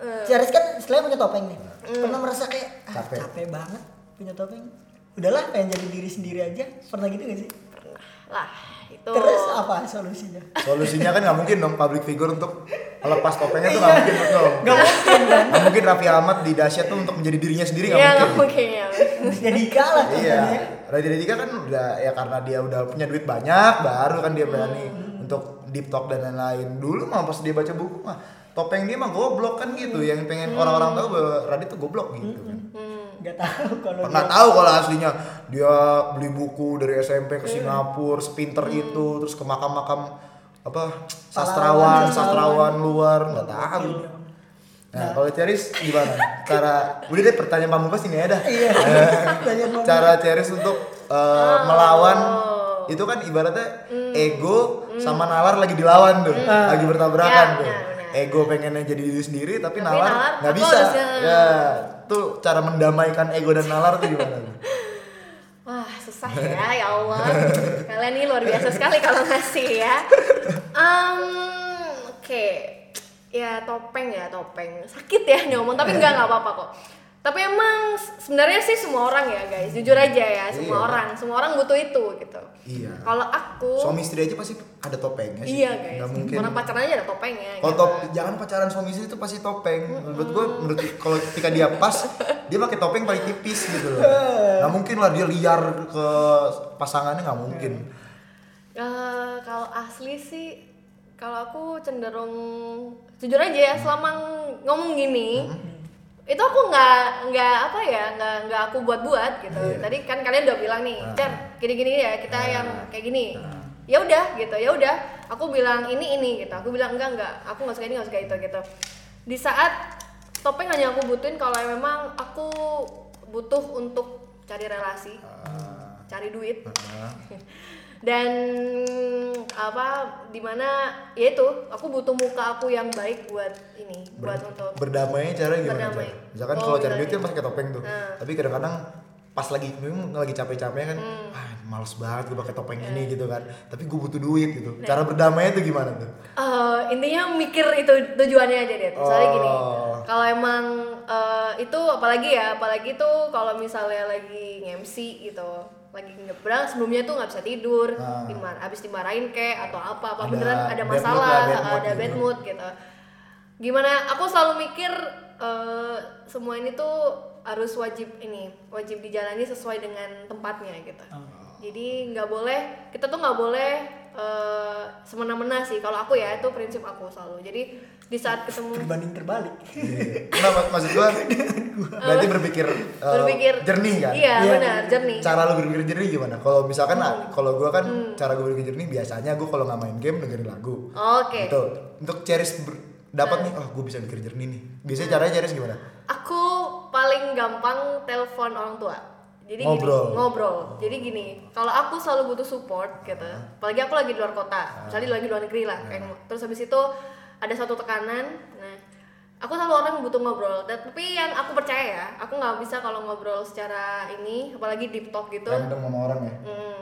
[SPEAKER 3] Eh.
[SPEAKER 2] si Aris kan selain punya topeng nih,
[SPEAKER 3] Hmm.
[SPEAKER 2] pernah merasa kayak ah,
[SPEAKER 1] Capek.
[SPEAKER 2] capek. banget punya topeng. Udahlah, pengen jadi diri sendiri aja. Pernah gitu gak sih?
[SPEAKER 3] Lah itu.
[SPEAKER 2] Terus apa solusinya?
[SPEAKER 1] solusinya kan nggak mungkin dong public figure untuk melepas topengnya tuh nggak mungkin dong
[SPEAKER 2] Gak mungkin kan?
[SPEAKER 1] Nggak mungkin Raffi Ahmad di Dasyat tuh untuk menjadi dirinya sendiri nggak
[SPEAKER 3] Iya nggak
[SPEAKER 1] mungkin.
[SPEAKER 3] mungkin ya.
[SPEAKER 2] Jadi kalah
[SPEAKER 1] Iya.
[SPEAKER 2] katanya.
[SPEAKER 1] Raditya Dika kan udah ya karena dia udah punya duit banyak baru kan dia berani untuk deep talk dan lain-lain dulu mah pas dia baca buku mah topeng dia mah goblok kan gitu yang pengen orang-orang tahu bahwa Radit tuh goblok gitu kan
[SPEAKER 2] nggak tahu kalau
[SPEAKER 1] pernah tahu kalau aslinya dia beli buku dari SMP ke Singapura sepinter itu terus ke makam-makam apa sastrawan
[SPEAKER 2] sastrawan.
[SPEAKER 1] sastrawan luar nggak tahu nah kalau Ceris gimana cara udah deh pertanyaan pamungkas ini ya dah
[SPEAKER 2] Iya. Pertanyaan Mama.
[SPEAKER 1] cara Ceris untuk eh, melawan itu kan ibaratnya ego sama nalar lagi dilawan tuh lagi bertabrakan
[SPEAKER 3] Ya,
[SPEAKER 1] tuh
[SPEAKER 3] benar, benar.
[SPEAKER 1] ego pengennya jadi diri sendiri tapi,
[SPEAKER 3] Tapi
[SPEAKER 1] nalar
[SPEAKER 3] nalar,
[SPEAKER 1] nggak
[SPEAKER 3] aku
[SPEAKER 1] bisa
[SPEAKER 3] harusnya.
[SPEAKER 1] ya tuh cara mendamaikan ego dan nalar tuh gimana tuh?
[SPEAKER 3] Wah susah ya, ya Allah. Kalian ini luar biasa sekali kalau ngasih ya. Em, Oke, ya topeng ya topeng. Sakit ya nyomong, tapi enggak nggak apa-apa kok. Tapi emang s- sebenarnya sih semua orang ya guys, jujur aja ya
[SPEAKER 1] Iya.
[SPEAKER 3] semua orang, semua orang butuh itu gitu.
[SPEAKER 1] Iya.
[SPEAKER 3] Kalau aku,
[SPEAKER 1] suami istri aja pasti ada topengnya sih
[SPEAKER 3] iya guys,
[SPEAKER 1] nggak mungkin
[SPEAKER 3] orang pacaran aja ada topengnya.
[SPEAKER 1] kalau
[SPEAKER 3] gitu.
[SPEAKER 1] top, jangan pacaran suami istri itu pasti topeng menurut gua menurut kalau ketika dia pas dia pakai topeng paling tipis gitu loh nggak mungkin lah dia liar ke pasangannya nggak mungkin
[SPEAKER 3] Eh, kalau asli sih, kalau aku cenderung jujur aja ya, selama ng- ngomong gini,
[SPEAKER 1] Hmm.
[SPEAKER 3] itu aku nggak nggak apa ya, nggak nggak aku buat-buat gitu.
[SPEAKER 1] Iya.
[SPEAKER 3] Tadi kan kalian udah bilang nih,
[SPEAKER 1] Ah.
[SPEAKER 3] Cer, gini-gini ya kita
[SPEAKER 1] Ah.
[SPEAKER 3] yang kayak gini.
[SPEAKER 1] Ah.
[SPEAKER 3] Ya udah gitu, ya udah. Aku bilang ini ini gitu, aku bilang enggak enggak, aku nggak suka ini nggak suka itu gitu. Di saat topeng hanya aku butuhin kalau memang aku butuh untuk cari relasi,
[SPEAKER 1] Ah,
[SPEAKER 3] cari duit,
[SPEAKER 1] ah.
[SPEAKER 3] dan apa dimana ya itu aku butuh muka aku yang baik buat ini buat untuk
[SPEAKER 1] berdamai cara gimana
[SPEAKER 3] Berdamai.
[SPEAKER 1] cara? Misalkan
[SPEAKER 3] Oh,
[SPEAKER 1] kalau cari
[SPEAKER 3] berdamai.
[SPEAKER 1] duit kan pakai topeng tuh.
[SPEAKER 3] Nah.
[SPEAKER 1] Tapi kadang-kadang pas lagi memang lagi capek-capeknya kan,
[SPEAKER 3] Hmm.
[SPEAKER 1] ah males banget gue pakai topeng ini gitu kan. Tapi gue butuh duit gitu.
[SPEAKER 3] Nah.
[SPEAKER 1] Cara berdamai tuh gimana tuh?
[SPEAKER 3] eh, intinya mikir itu tujuannya aja deh misalnya gini
[SPEAKER 1] Oh.
[SPEAKER 3] kalau emang eh, itu apalagi ya apalagi tuh kalau misalnya lagi ngemsi gitu lagi nyebrang sebelumnya tuh nggak bisa tidur
[SPEAKER 1] Ah.
[SPEAKER 3] dimar abis dimarahin kek atau apa apa
[SPEAKER 1] Ada
[SPEAKER 3] beneran
[SPEAKER 1] bad
[SPEAKER 3] ada
[SPEAKER 1] mood
[SPEAKER 3] masalah
[SPEAKER 1] lah, bad mood
[SPEAKER 3] ada
[SPEAKER 1] gitu.
[SPEAKER 3] bad mood gitu gimana aku selalu mikir eh, semua ini tuh harus wajib ini wajib dijalani sesuai dengan tempatnya gitu jadi nggak boleh kita tuh nggak boleh eh, semena-mena sih kalau aku ya itu prinsip aku selalu jadi di saat ketemu
[SPEAKER 2] berbanding terbalik
[SPEAKER 1] Iya. Nah, mak- maksud gue berarti berpikir, eh,
[SPEAKER 3] berpikir
[SPEAKER 1] jernih kan?
[SPEAKER 3] iya Hmm.
[SPEAKER 2] Iya.
[SPEAKER 3] benar jernih
[SPEAKER 1] Cara lo berpikir jernih gimana? Kalau misalkan ah, kalau gue kan cara gue berpikir jernih biasanya gue kalau nggak main game dengerin lagu.
[SPEAKER 3] oke Hmm.
[SPEAKER 1] Gitu. Untuk Ceris ber- dapat nih, oh gue bisa pikir jernih nih. Biasanya caranya Ceris gimana?
[SPEAKER 3] aku paling gampang telepon orang tua jadi
[SPEAKER 1] Ngobrol.
[SPEAKER 3] gini ngobrol jadi gini kalau aku selalu butuh support gitu apalagi aku lagi di luar kota misalnya lagi di luar negeri lah kayak ng- terus habis itu ada satu tekanan nah aku selalu orang yang butuh ngobrol Dan- tapi yang aku percaya ya aku nggak bisa kalau ngobrol secara ini apalagi deep talk gitu
[SPEAKER 1] Random sama orang ya.
[SPEAKER 3] hmm,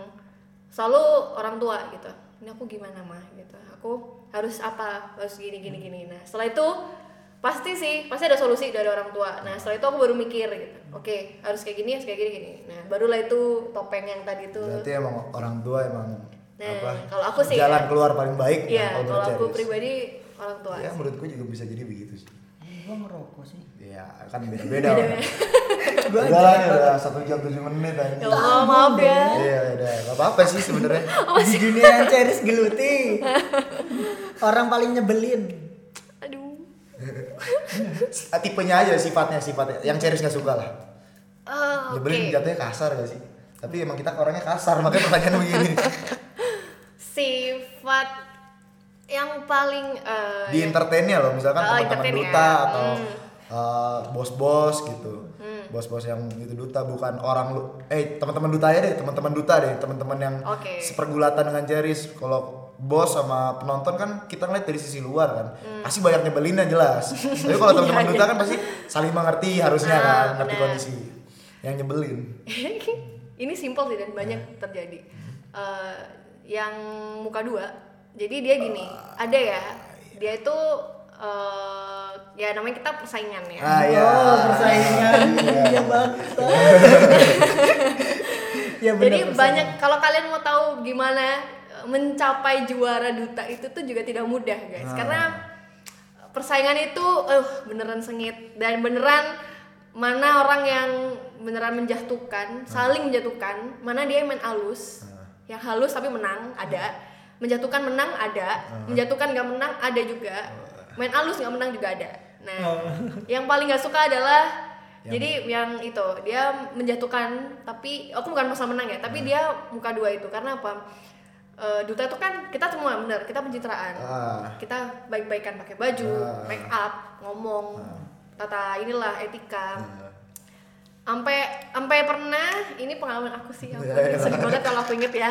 [SPEAKER 3] selalu orang tua gitu ini aku gimana mah gitu aku harus apa harus gini gini gini nah setelah itu pasti sih pasti ada solusi dari orang tua nah setelah itu aku baru mikir gitu oke harus kayak gini harus kayak gini gini nah barulah itu topeng yang tadi itu
[SPEAKER 1] Berarti emang orang tua emang
[SPEAKER 3] Nah,
[SPEAKER 1] apa?
[SPEAKER 3] kalau aku sih
[SPEAKER 1] jalan
[SPEAKER 3] ya.
[SPEAKER 1] keluar paling baik.
[SPEAKER 3] iya
[SPEAKER 1] nah,
[SPEAKER 3] kalau
[SPEAKER 1] menurut
[SPEAKER 3] aku
[SPEAKER 1] Ceris.
[SPEAKER 3] pribadi orang tua
[SPEAKER 1] Ya menurut gue juga bisa jadi begitu sih.
[SPEAKER 2] gua ngerokok sih
[SPEAKER 1] Ya kan beda-beda. orang.
[SPEAKER 2] Gua
[SPEAKER 1] udah lah ini udah satu jam tujuh menit
[SPEAKER 3] ya
[SPEAKER 1] aja.
[SPEAKER 3] Allah maaf ya
[SPEAKER 1] Iya udah nggak apa-apa sih sebenarnya.
[SPEAKER 2] ya. di dunia yang Ceris geluti orang paling nyebelin
[SPEAKER 3] aduh
[SPEAKER 1] Ah, Tipenya aja sifatnya sifatnya. Yang Ceris nggak suka lah.
[SPEAKER 3] Ah, oke
[SPEAKER 1] Nyebelin jatuhnya kasar gak sih? Tapi emang kita orangnya kasar makanya pertanyaan begini.
[SPEAKER 3] sifat yang paling eh,
[SPEAKER 1] Di entertainnya loh misalkan
[SPEAKER 3] Oh,
[SPEAKER 1] teman-teman
[SPEAKER 3] entertain ya. Hmm.
[SPEAKER 1] duta atau eh, bos-bos gitu. Bos-bos yang itu duta bukan orang lu. Eh teman-teman duta ya deh, teman-teman duta deh, teman-teman yang
[SPEAKER 3] Oke.
[SPEAKER 1] sepergulatan dengan Ceris. Kalau bos sama penonton kan kita ngeliat dari sisi luar kan
[SPEAKER 3] Hmm.
[SPEAKER 1] pasti banyak nyebelinnya jelas tapi kalau teman-teman duta kan pasti saling mengerti harusnya
[SPEAKER 3] Iya, Ah,
[SPEAKER 1] kan ngerti
[SPEAKER 3] benar.
[SPEAKER 1] kondisi yang nyebelin
[SPEAKER 3] ini simpel sih dan banyak terjadi Eh, yang muka dua jadi dia gini ada ya dia itu eh, ya namanya kita persaingan ya
[SPEAKER 1] Ah, iya.
[SPEAKER 2] oh persaingan
[SPEAKER 1] Iya.
[SPEAKER 2] ya bangsa ya bener,
[SPEAKER 3] jadi
[SPEAKER 2] persaingan.
[SPEAKER 3] banyak kalau kalian mau tahu gimana eh, mencapai juara duta itu tuh juga tidak mudah guys
[SPEAKER 1] Ah.
[SPEAKER 3] karena persaingan itu eh beneran sengit dan beneran mana orang yang beneran menjatuhkan saling menjatuhkan mana dia yang main halus yang halus tapi menang ada menjatuhkan menang ada menjatuhkan nggak menang ada juga main alus nggak menang juga ada nah yang paling nggak suka adalah jadi yang itu dia menjatuhkan tapi aku bukan masalah menang ya
[SPEAKER 1] Hmm.
[SPEAKER 3] tapi dia muka dua itu karena apa Eh, duta itu kan kita semua bener kita pencitraan
[SPEAKER 1] Ah.
[SPEAKER 3] kita baik-baikan pakai baju
[SPEAKER 1] Ah.
[SPEAKER 3] make up ngomong tata inilah etika
[SPEAKER 1] Hmm.
[SPEAKER 3] sampai sampai pernah ini pengalaman aku sih aku
[SPEAKER 1] Ya, ya.
[SPEAKER 3] sedih banget kalau aku inget ya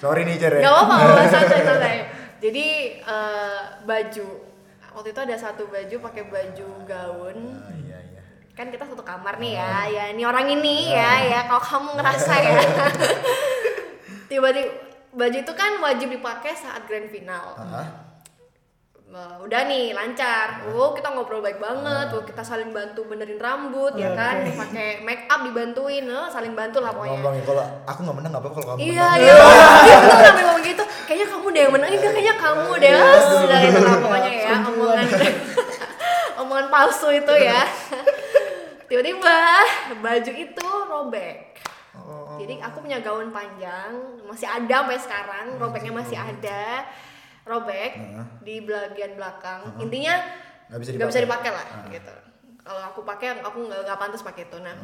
[SPEAKER 1] Sorry nih Cer. ya.
[SPEAKER 3] nggak apa-apa nggak apa-apa, santai santai jadi eh, baju waktu itu ada satu baju pakai baju gaun
[SPEAKER 1] Ah, Iya iya.
[SPEAKER 3] kan kita satu kamar nih ya ya ini orang ini ya ya kalau kamu ngerasa ya tiba-tiba baju itu kan wajib dipakai saat grand final
[SPEAKER 1] Ah,
[SPEAKER 3] Nah, udah nih lancar wow kita ngobrol baik banget wow kita saling bantu benerin rambut ya kan pakai make up dibantuin eh, saling bantu lah pokoknya
[SPEAKER 1] Ngomong ya kalau aku nggak menang nggak apa-apa kalau kamu
[SPEAKER 3] Iya,
[SPEAKER 1] menang.
[SPEAKER 3] iya. Dia tuh sampai ngomong gitu. Kayaknya kamu deh yang menang. Enggak, kayaknya kamu deh.
[SPEAKER 1] Iya,
[SPEAKER 3] Ah, Sudah itu lah pokoknya ya omongan omongan palsu itu ya. Tiba-tiba baju itu robek.
[SPEAKER 1] Oh.
[SPEAKER 3] Jadi aku punya gaun panjang, masih ada sampai sekarang, robeknya masih ada. Robek di bagian belakang. Intinya
[SPEAKER 1] Nggak bisa
[SPEAKER 3] nggak bisa
[SPEAKER 1] dipakai.
[SPEAKER 3] dipakai lah gitu. Kalau aku pakai aku nggak nggak pantas pakai itu. Nah,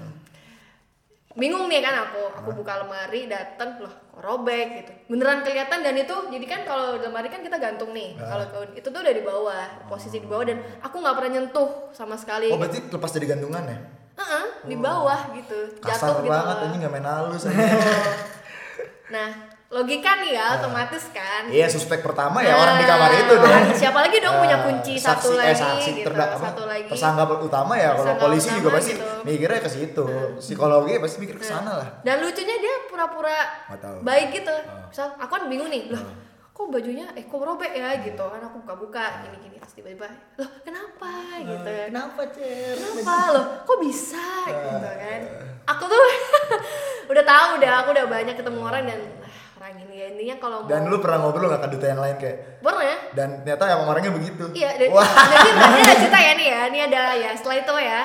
[SPEAKER 3] bingung nih kan aku aku buka lemari dateng loh kok robek gitu beneran kelihatan dan itu jadi kan kalau di lemari kan kita gantung nih kalau ke- itu tuh udah di bawah posisi di bawah dan aku nggak pernah nyentuh sama
[SPEAKER 1] Oh
[SPEAKER 3] sekali
[SPEAKER 1] berarti lepas dari gantungan ya?
[SPEAKER 3] Heeh, di bawah gitu
[SPEAKER 1] Kasar
[SPEAKER 3] jatuh gitu
[SPEAKER 1] banget
[SPEAKER 3] loh.
[SPEAKER 1] anjing nggak main halus. anjing.
[SPEAKER 3] nah logika nih ya otomatis kan
[SPEAKER 1] Iya suspek pertama ya orang di kamar
[SPEAKER 3] Nah,
[SPEAKER 1] itu dong.
[SPEAKER 3] orang- siapa lagi dong punya kunci
[SPEAKER 1] Saksi-
[SPEAKER 3] satu
[SPEAKER 1] eh,
[SPEAKER 3] lagi
[SPEAKER 1] saksi
[SPEAKER 3] gitu
[SPEAKER 1] terdak- apa,
[SPEAKER 3] satu lagi
[SPEAKER 1] tersangka utama ya kalau
[SPEAKER 3] Tersangka
[SPEAKER 1] polisi
[SPEAKER 3] utama
[SPEAKER 1] juga pasti
[SPEAKER 3] gitu. Hmm.
[SPEAKER 1] mikirnya ke situ psikologi pasti mikir ke sana lah
[SPEAKER 3] dan lucunya dia pura-pura
[SPEAKER 1] Nggak tahu. Ah.
[SPEAKER 3] baik gitu misal aku kan bingung nih loh kok bajunya eh kok robek
[SPEAKER 1] Ah.
[SPEAKER 3] ya gitu kan aku buka-buka gini gini terus tiba-tiba loh kenapa
[SPEAKER 1] Ah.
[SPEAKER 3] gitu ya
[SPEAKER 2] Kenapa, Cer?
[SPEAKER 3] kenapa loh kok bisa gitu
[SPEAKER 1] Ah.
[SPEAKER 3] kan aku tuh udah tahu udah aku udah banyak ketemu orang dan ah, orang ini ya intinya kalau
[SPEAKER 1] dan
[SPEAKER 3] mau ya?"
[SPEAKER 1] lu pernah ngobrol gak ke duta yang lain kayak
[SPEAKER 3] pernah
[SPEAKER 1] dan ternyata emang orangnya begitu
[SPEAKER 3] Iya, dan
[SPEAKER 1] gitu. wah
[SPEAKER 3] jadi berarti ada cerita ya nih ya. Ini ada ya setelah itu ya.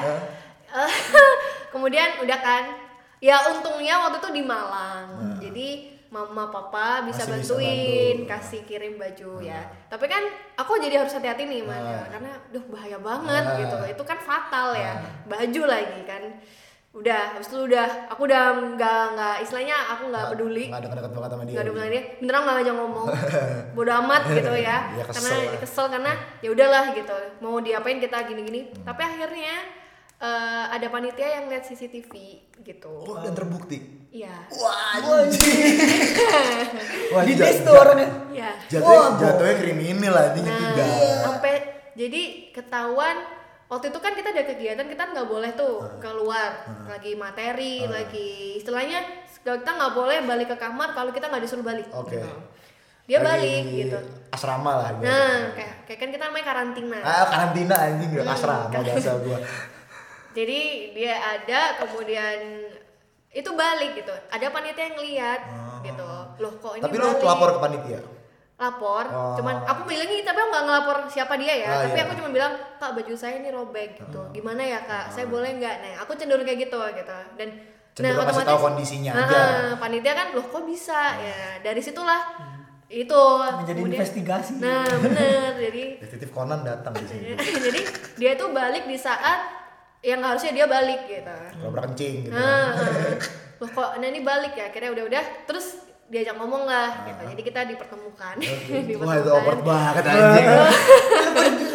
[SPEAKER 3] Eh, Kemudian udah kan. Ya untungnya waktu itu di Malang. Jadi mama papa bisa
[SPEAKER 1] Masih bisa
[SPEAKER 3] bantuin
[SPEAKER 1] bantu.
[SPEAKER 3] kasih kirim baju ya. Tapi kan aku jadi harus hati-hati nih Man, ya. karena duh bahaya banget
[SPEAKER 1] Ah.
[SPEAKER 3] gitu. Itu kan fatal ya. Baju lagi kan. Udah, habis itu udah aku udah nggak nggak istilahnya aku nggak peduli
[SPEAKER 1] nggak ada dekat banget sama dia
[SPEAKER 3] nggak ada hubungan dia beneran malah aja ngomong bodo amat gitu ya
[SPEAKER 1] Dia kesel
[SPEAKER 3] karena
[SPEAKER 1] lah.
[SPEAKER 3] kesel karena ya udahlah gitu mau diapain kita gini-gini tapi akhirnya eh, ada panitia yang lihat CCTV gitu
[SPEAKER 1] Oh, dan terbukti
[SPEAKER 3] iya
[SPEAKER 1] wah
[SPEAKER 2] Wah, anjing.
[SPEAKER 1] wah
[SPEAKER 2] Di
[SPEAKER 1] ja-
[SPEAKER 2] dis tuh orangnya.
[SPEAKER 3] iya
[SPEAKER 1] jatuhnya
[SPEAKER 2] Wah,
[SPEAKER 1] jatuhnya kriminal anjing itu
[SPEAKER 3] nah
[SPEAKER 1] gak
[SPEAKER 3] sampai jadi ketahuan waktu itu kan kita ada kegiatan kita nggak boleh tuh keluar lagi materi lagi istilahnya kita nggak boleh balik ke kamar kalau kita nggak disuruh balik
[SPEAKER 1] Oke.
[SPEAKER 3] gitu. dia
[SPEAKER 1] Oh. Lagi
[SPEAKER 3] balik gitu
[SPEAKER 1] asrama lah gitu.
[SPEAKER 3] Nah, kayak, kayak kan kita namanya karantina.
[SPEAKER 1] ah karantina anjing gak asrama
[SPEAKER 3] kan.
[SPEAKER 1] bahasa gua
[SPEAKER 3] Jadi dia ada kemudian itu balik gitu. Ada panitia yang lihat gitu. Loh kok ini
[SPEAKER 1] Ah. tapi lu
[SPEAKER 3] balik?
[SPEAKER 1] lapor ke panitia
[SPEAKER 3] Lapor.
[SPEAKER 1] Oh.
[SPEAKER 3] Cuman aku bilangin tapi aku nggak ngelapor siapa dia ya.
[SPEAKER 1] Ah,
[SPEAKER 3] tapi
[SPEAKER 1] iya. Ah.
[SPEAKER 3] aku cuma bilang, "Kak, baju saya ini robek." gitu. Gimana ya, Kak? Saya boleh nggak? Nah, aku cenderung kayak gitu gitu. Dan nah,
[SPEAKER 1] Cenderung kasih tahu kondisinya
[SPEAKER 3] Ah,
[SPEAKER 1] aja. Ah.
[SPEAKER 3] panitia kan, "Loh kok bisa?" Ya, dari situlah
[SPEAKER 1] Hmm.
[SPEAKER 3] itu
[SPEAKER 2] Menjadi
[SPEAKER 3] kemudian-
[SPEAKER 2] investigasi.
[SPEAKER 3] Nah, bener. Jadi
[SPEAKER 1] detektif Conan datang di sini
[SPEAKER 3] jadi dia tuh balik di saat yang harusnya dia balik gitu.
[SPEAKER 1] kalau kencing gitu
[SPEAKER 3] Nah, loh kok nah ini balik ya? Akhirnya udah-udah terus diajak ngomong lah gitu. Jadi kita dipertemukan.
[SPEAKER 1] Ah, Wah itu
[SPEAKER 3] Dipertemukan.
[SPEAKER 1] awkward banget anjing.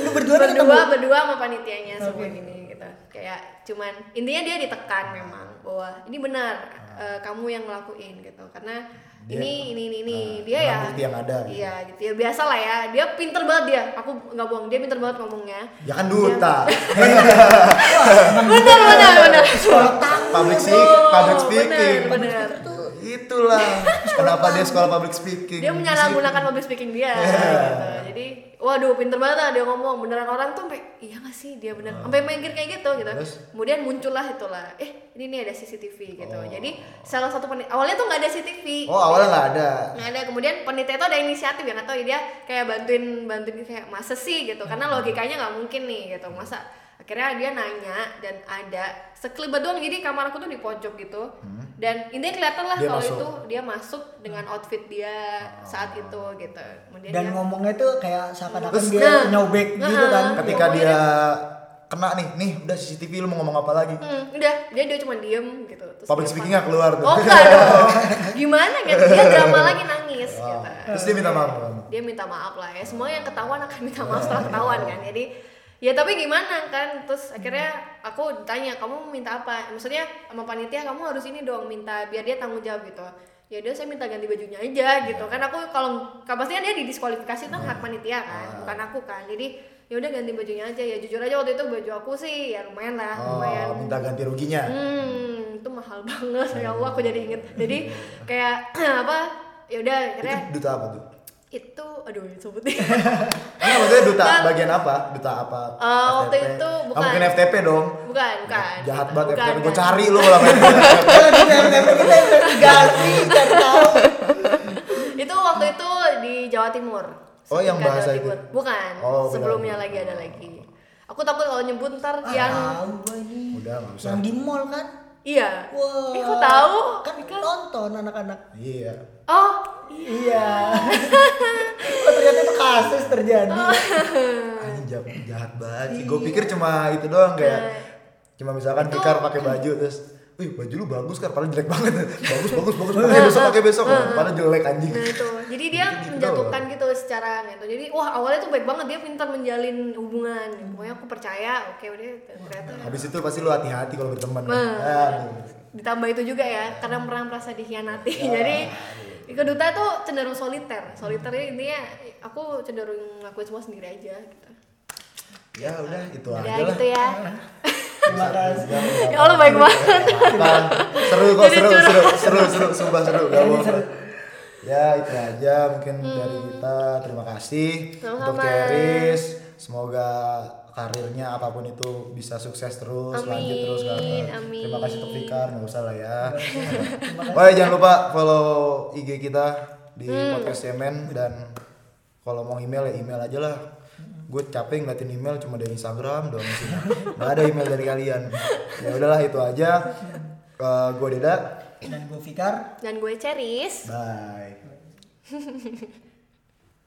[SPEAKER 2] Lu berdua nih ketemu.
[SPEAKER 3] berdua berdua sama panitianya semua gini gitu. Kayak cuman intinya dia ditekan
[SPEAKER 1] Ah.
[SPEAKER 3] memang bahwa ini benar eh, kamu yang ngelakuin gitu. Karena
[SPEAKER 1] Dia-
[SPEAKER 3] ini ini ini ini
[SPEAKER 1] ah,
[SPEAKER 3] dia
[SPEAKER 1] dengan
[SPEAKER 3] ya.
[SPEAKER 1] bukti yang ada, gitu.
[SPEAKER 3] Iya, gitu. Ya, biasa lah ya. Dia pinter banget dia. Aku nggak bohong, dia pinter banget ngomongnya.
[SPEAKER 1] Ya kan duta.
[SPEAKER 3] benar benar benar
[SPEAKER 1] public speaking, public
[SPEAKER 3] Oh,
[SPEAKER 1] speaking.
[SPEAKER 3] benar, benar.
[SPEAKER 1] Itulah kenapa dia sekolah public speaking. Iya.
[SPEAKER 3] dia menyalahgunakan public speaking dia gitu. jadi waduh pinter banget lah dia ngomong beneran orang tuh sampai iya gak sih dia bener sampai mikir kayak gitu gitu
[SPEAKER 1] Ah. Terus?
[SPEAKER 3] kemudian muncullah itulah eh ini nih ada CCTV gitu jadi salah satu penit awalnya tuh nggak ada CCTV
[SPEAKER 1] Oh, awalnya nggak ada.
[SPEAKER 3] nggak ada kemudian penitia itu ada inisiatif ya
[SPEAKER 1] Hmm.
[SPEAKER 3] atau dia kayak bantuin bantuin kayak masa sih gitu karena logikanya nggak mungkin nih gitu masa akhirnya dia nanya dan ada sekelibat doang jadi kamar aku tuh di pojok gitu dan ini kelihatan lah
[SPEAKER 1] Hmm. Dia
[SPEAKER 3] kalau
[SPEAKER 1] masuk. Ah.
[SPEAKER 3] itu dia masuk dengan outfit dia saat itu gitu kemudian
[SPEAKER 2] dan
[SPEAKER 3] dia-
[SPEAKER 2] ngomongnya tuh kayak seakan-akan
[SPEAKER 1] Terus, nah.
[SPEAKER 2] dia
[SPEAKER 3] nah,
[SPEAKER 2] nyobek gitu kan
[SPEAKER 1] ketika dia
[SPEAKER 3] kan-
[SPEAKER 1] kena nih nih udah CCTV lu mau ngomong apa lagi
[SPEAKER 3] Hmm, udah dia dia cuma diem gitu terus
[SPEAKER 1] public
[SPEAKER 3] dia
[SPEAKER 1] speakingnya keluar tuh
[SPEAKER 3] Oh enggak dong. Gimana kan dia drama lagi nangis gitu.
[SPEAKER 1] terus dia minta maaf kan?
[SPEAKER 3] Dia minta maaf lah ya. Semua yang ketahuan akan minta maaf setelah ketahuan kan. Jadi ya tapi gimana kan terus akhirnya aku tanya kamu minta apa maksudnya sama panitia kamu harus ini dong minta biar dia tanggung jawab gitu ya udah saya minta ganti bajunya aja gitu kan aku kalau kan pastinya dia didiskualifikasi itu hak panitia kan bukan aku kan jadi ya udah ganti bajunya aja ya jujur aja waktu itu baju aku sih ya lumayan lah lumayan
[SPEAKER 1] oh minta ganti ruginya
[SPEAKER 3] Hmm, itu mahal banget ya Allah aku jadi inget. Jadi kayak apa? Ya udah akhirnya
[SPEAKER 1] itu duta apa tuh
[SPEAKER 3] itu aduh sebutin.
[SPEAKER 1] Enggak Eh, maksudnya duta
[SPEAKER 3] Bukan.
[SPEAKER 1] bagian apa? Duta apa?
[SPEAKER 3] Eh, waktu
[SPEAKER 1] FTP?
[SPEAKER 3] itu
[SPEAKER 1] Nggak
[SPEAKER 3] bukan.
[SPEAKER 1] Ah, mungkin FTP dong.
[SPEAKER 3] bukan, bukan.
[SPEAKER 1] Jahat
[SPEAKER 3] Bukan,
[SPEAKER 1] banget
[SPEAKER 3] bukan,
[SPEAKER 1] FTP. Gue
[SPEAKER 3] bukan.
[SPEAKER 1] cari lu lah.
[SPEAKER 2] kalau di FTP kita investigasi cari tahu
[SPEAKER 3] Itu waktu itu di Jawa Timur.
[SPEAKER 1] Oh, yang
[SPEAKER 3] Sekitar
[SPEAKER 1] bahasa
[SPEAKER 3] Jawa
[SPEAKER 1] itu?
[SPEAKER 3] Timur. Bukan.
[SPEAKER 1] Oh, bukan.
[SPEAKER 3] sebelumnya lagi ada lagi. Aku takut kalau nyebut ntar
[SPEAKER 1] Ah.
[SPEAKER 2] yang
[SPEAKER 3] yang
[SPEAKER 1] Udah nggak usah.
[SPEAKER 2] yang di mall kan
[SPEAKER 3] iya.
[SPEAKER 2] wah
[SPEAKER 3] Eh, kok tahu?
[SPEAKER 2] kan nonton anak-anak
[SPEAKER 1] Iya.
[SPEAKER 3] Oh,
[SPEAKER 2] iya oh ternyata itu kasus terjadi
[SPEAKER 1] Anjing jahat, jahat banget sih.
[SPEAKER 3] Iya.
[SPEAKER 1] Gue pikir cuma itu doang kayak cuma misalkan Fikar pakai baju terus Wih baju lu bagus kan, padahal jelek banget. Bagus, bagus, bagus.
[SPEAKER 3] Iya.
[SPEAKER 1] Pakai besok, pakai besok. Padahal jelek anjing.
[SPEAKER 3] Nah itu, jadi dia
[SPEAKER 1] Gitu
[SPEAKER 3] menjatuhkan gitu secara gitu. Jadi wah awalnya tuh baik banget dia pintar menjalin hubungan. Pokoknya aku percaya, oke udah ternyata.
[SPEAKER 1] Habis itu pasti lu hati-hati kalau berteman. ya.
[SPEAKER 3] Nah.
[SPEAKER 1] Aduh.
[SPEAKER 3] Ditambah itu juga ya, karena pernah merasa dikhianati. Jadi keduta tuh cenderung soliter. Soliter ini intinya aku cenderung ngakuin semua sendiri aja gitu.
[SPEAKER 1] Ya udah, itu
[SPEAKER 3] Udah
[SPEAKER 1] aja lah.
[SPEAKER 3] gitu ya.
[SPEAKER 2] terima kasih
[SPEAKER 3] ya Allah baik banget.
[SPEAKER 1] Apaan? seru kok
[SPEAKER 3] Jadi
[SPEAKER 1] seru,
[SPEAKER 3] curhat.
[SPEAKER 1] seru seru seru sumpah seru gak apa ya itu aja mungkin dari kita terima kasih untuk
[SPEAKER 3] Hmm. Sama-sama.
[SPEAKER 1] Ceris semoga karirnya apapun itu bisa sukses terus
[SPEAKER 3] Amin,
[SPEAKER 1] lanjut terus karena
[SPEAKER 3] amin.
[SPEAKER 1] terima kasih untuk Fikar nggak usah lah ya
[SPEAKER 2] Terima kasih.
[SPEAKER 1] Wah jangan lupa follow IG kita di
[SPEAKER 3] Hmm.
[SPEAKER 1] podcast Yemen dan kalau mau email ya email aja lah gue capek ngeliatin email cuma dari Instagram doang sih nggak ada email dari kalian ya udahlah itu aja Eh, gue Deda
[SPEAKER 2] dan gue Fikar
[SPEAKER 3] Dan gue Ceris.
[SPEAKER 1] bye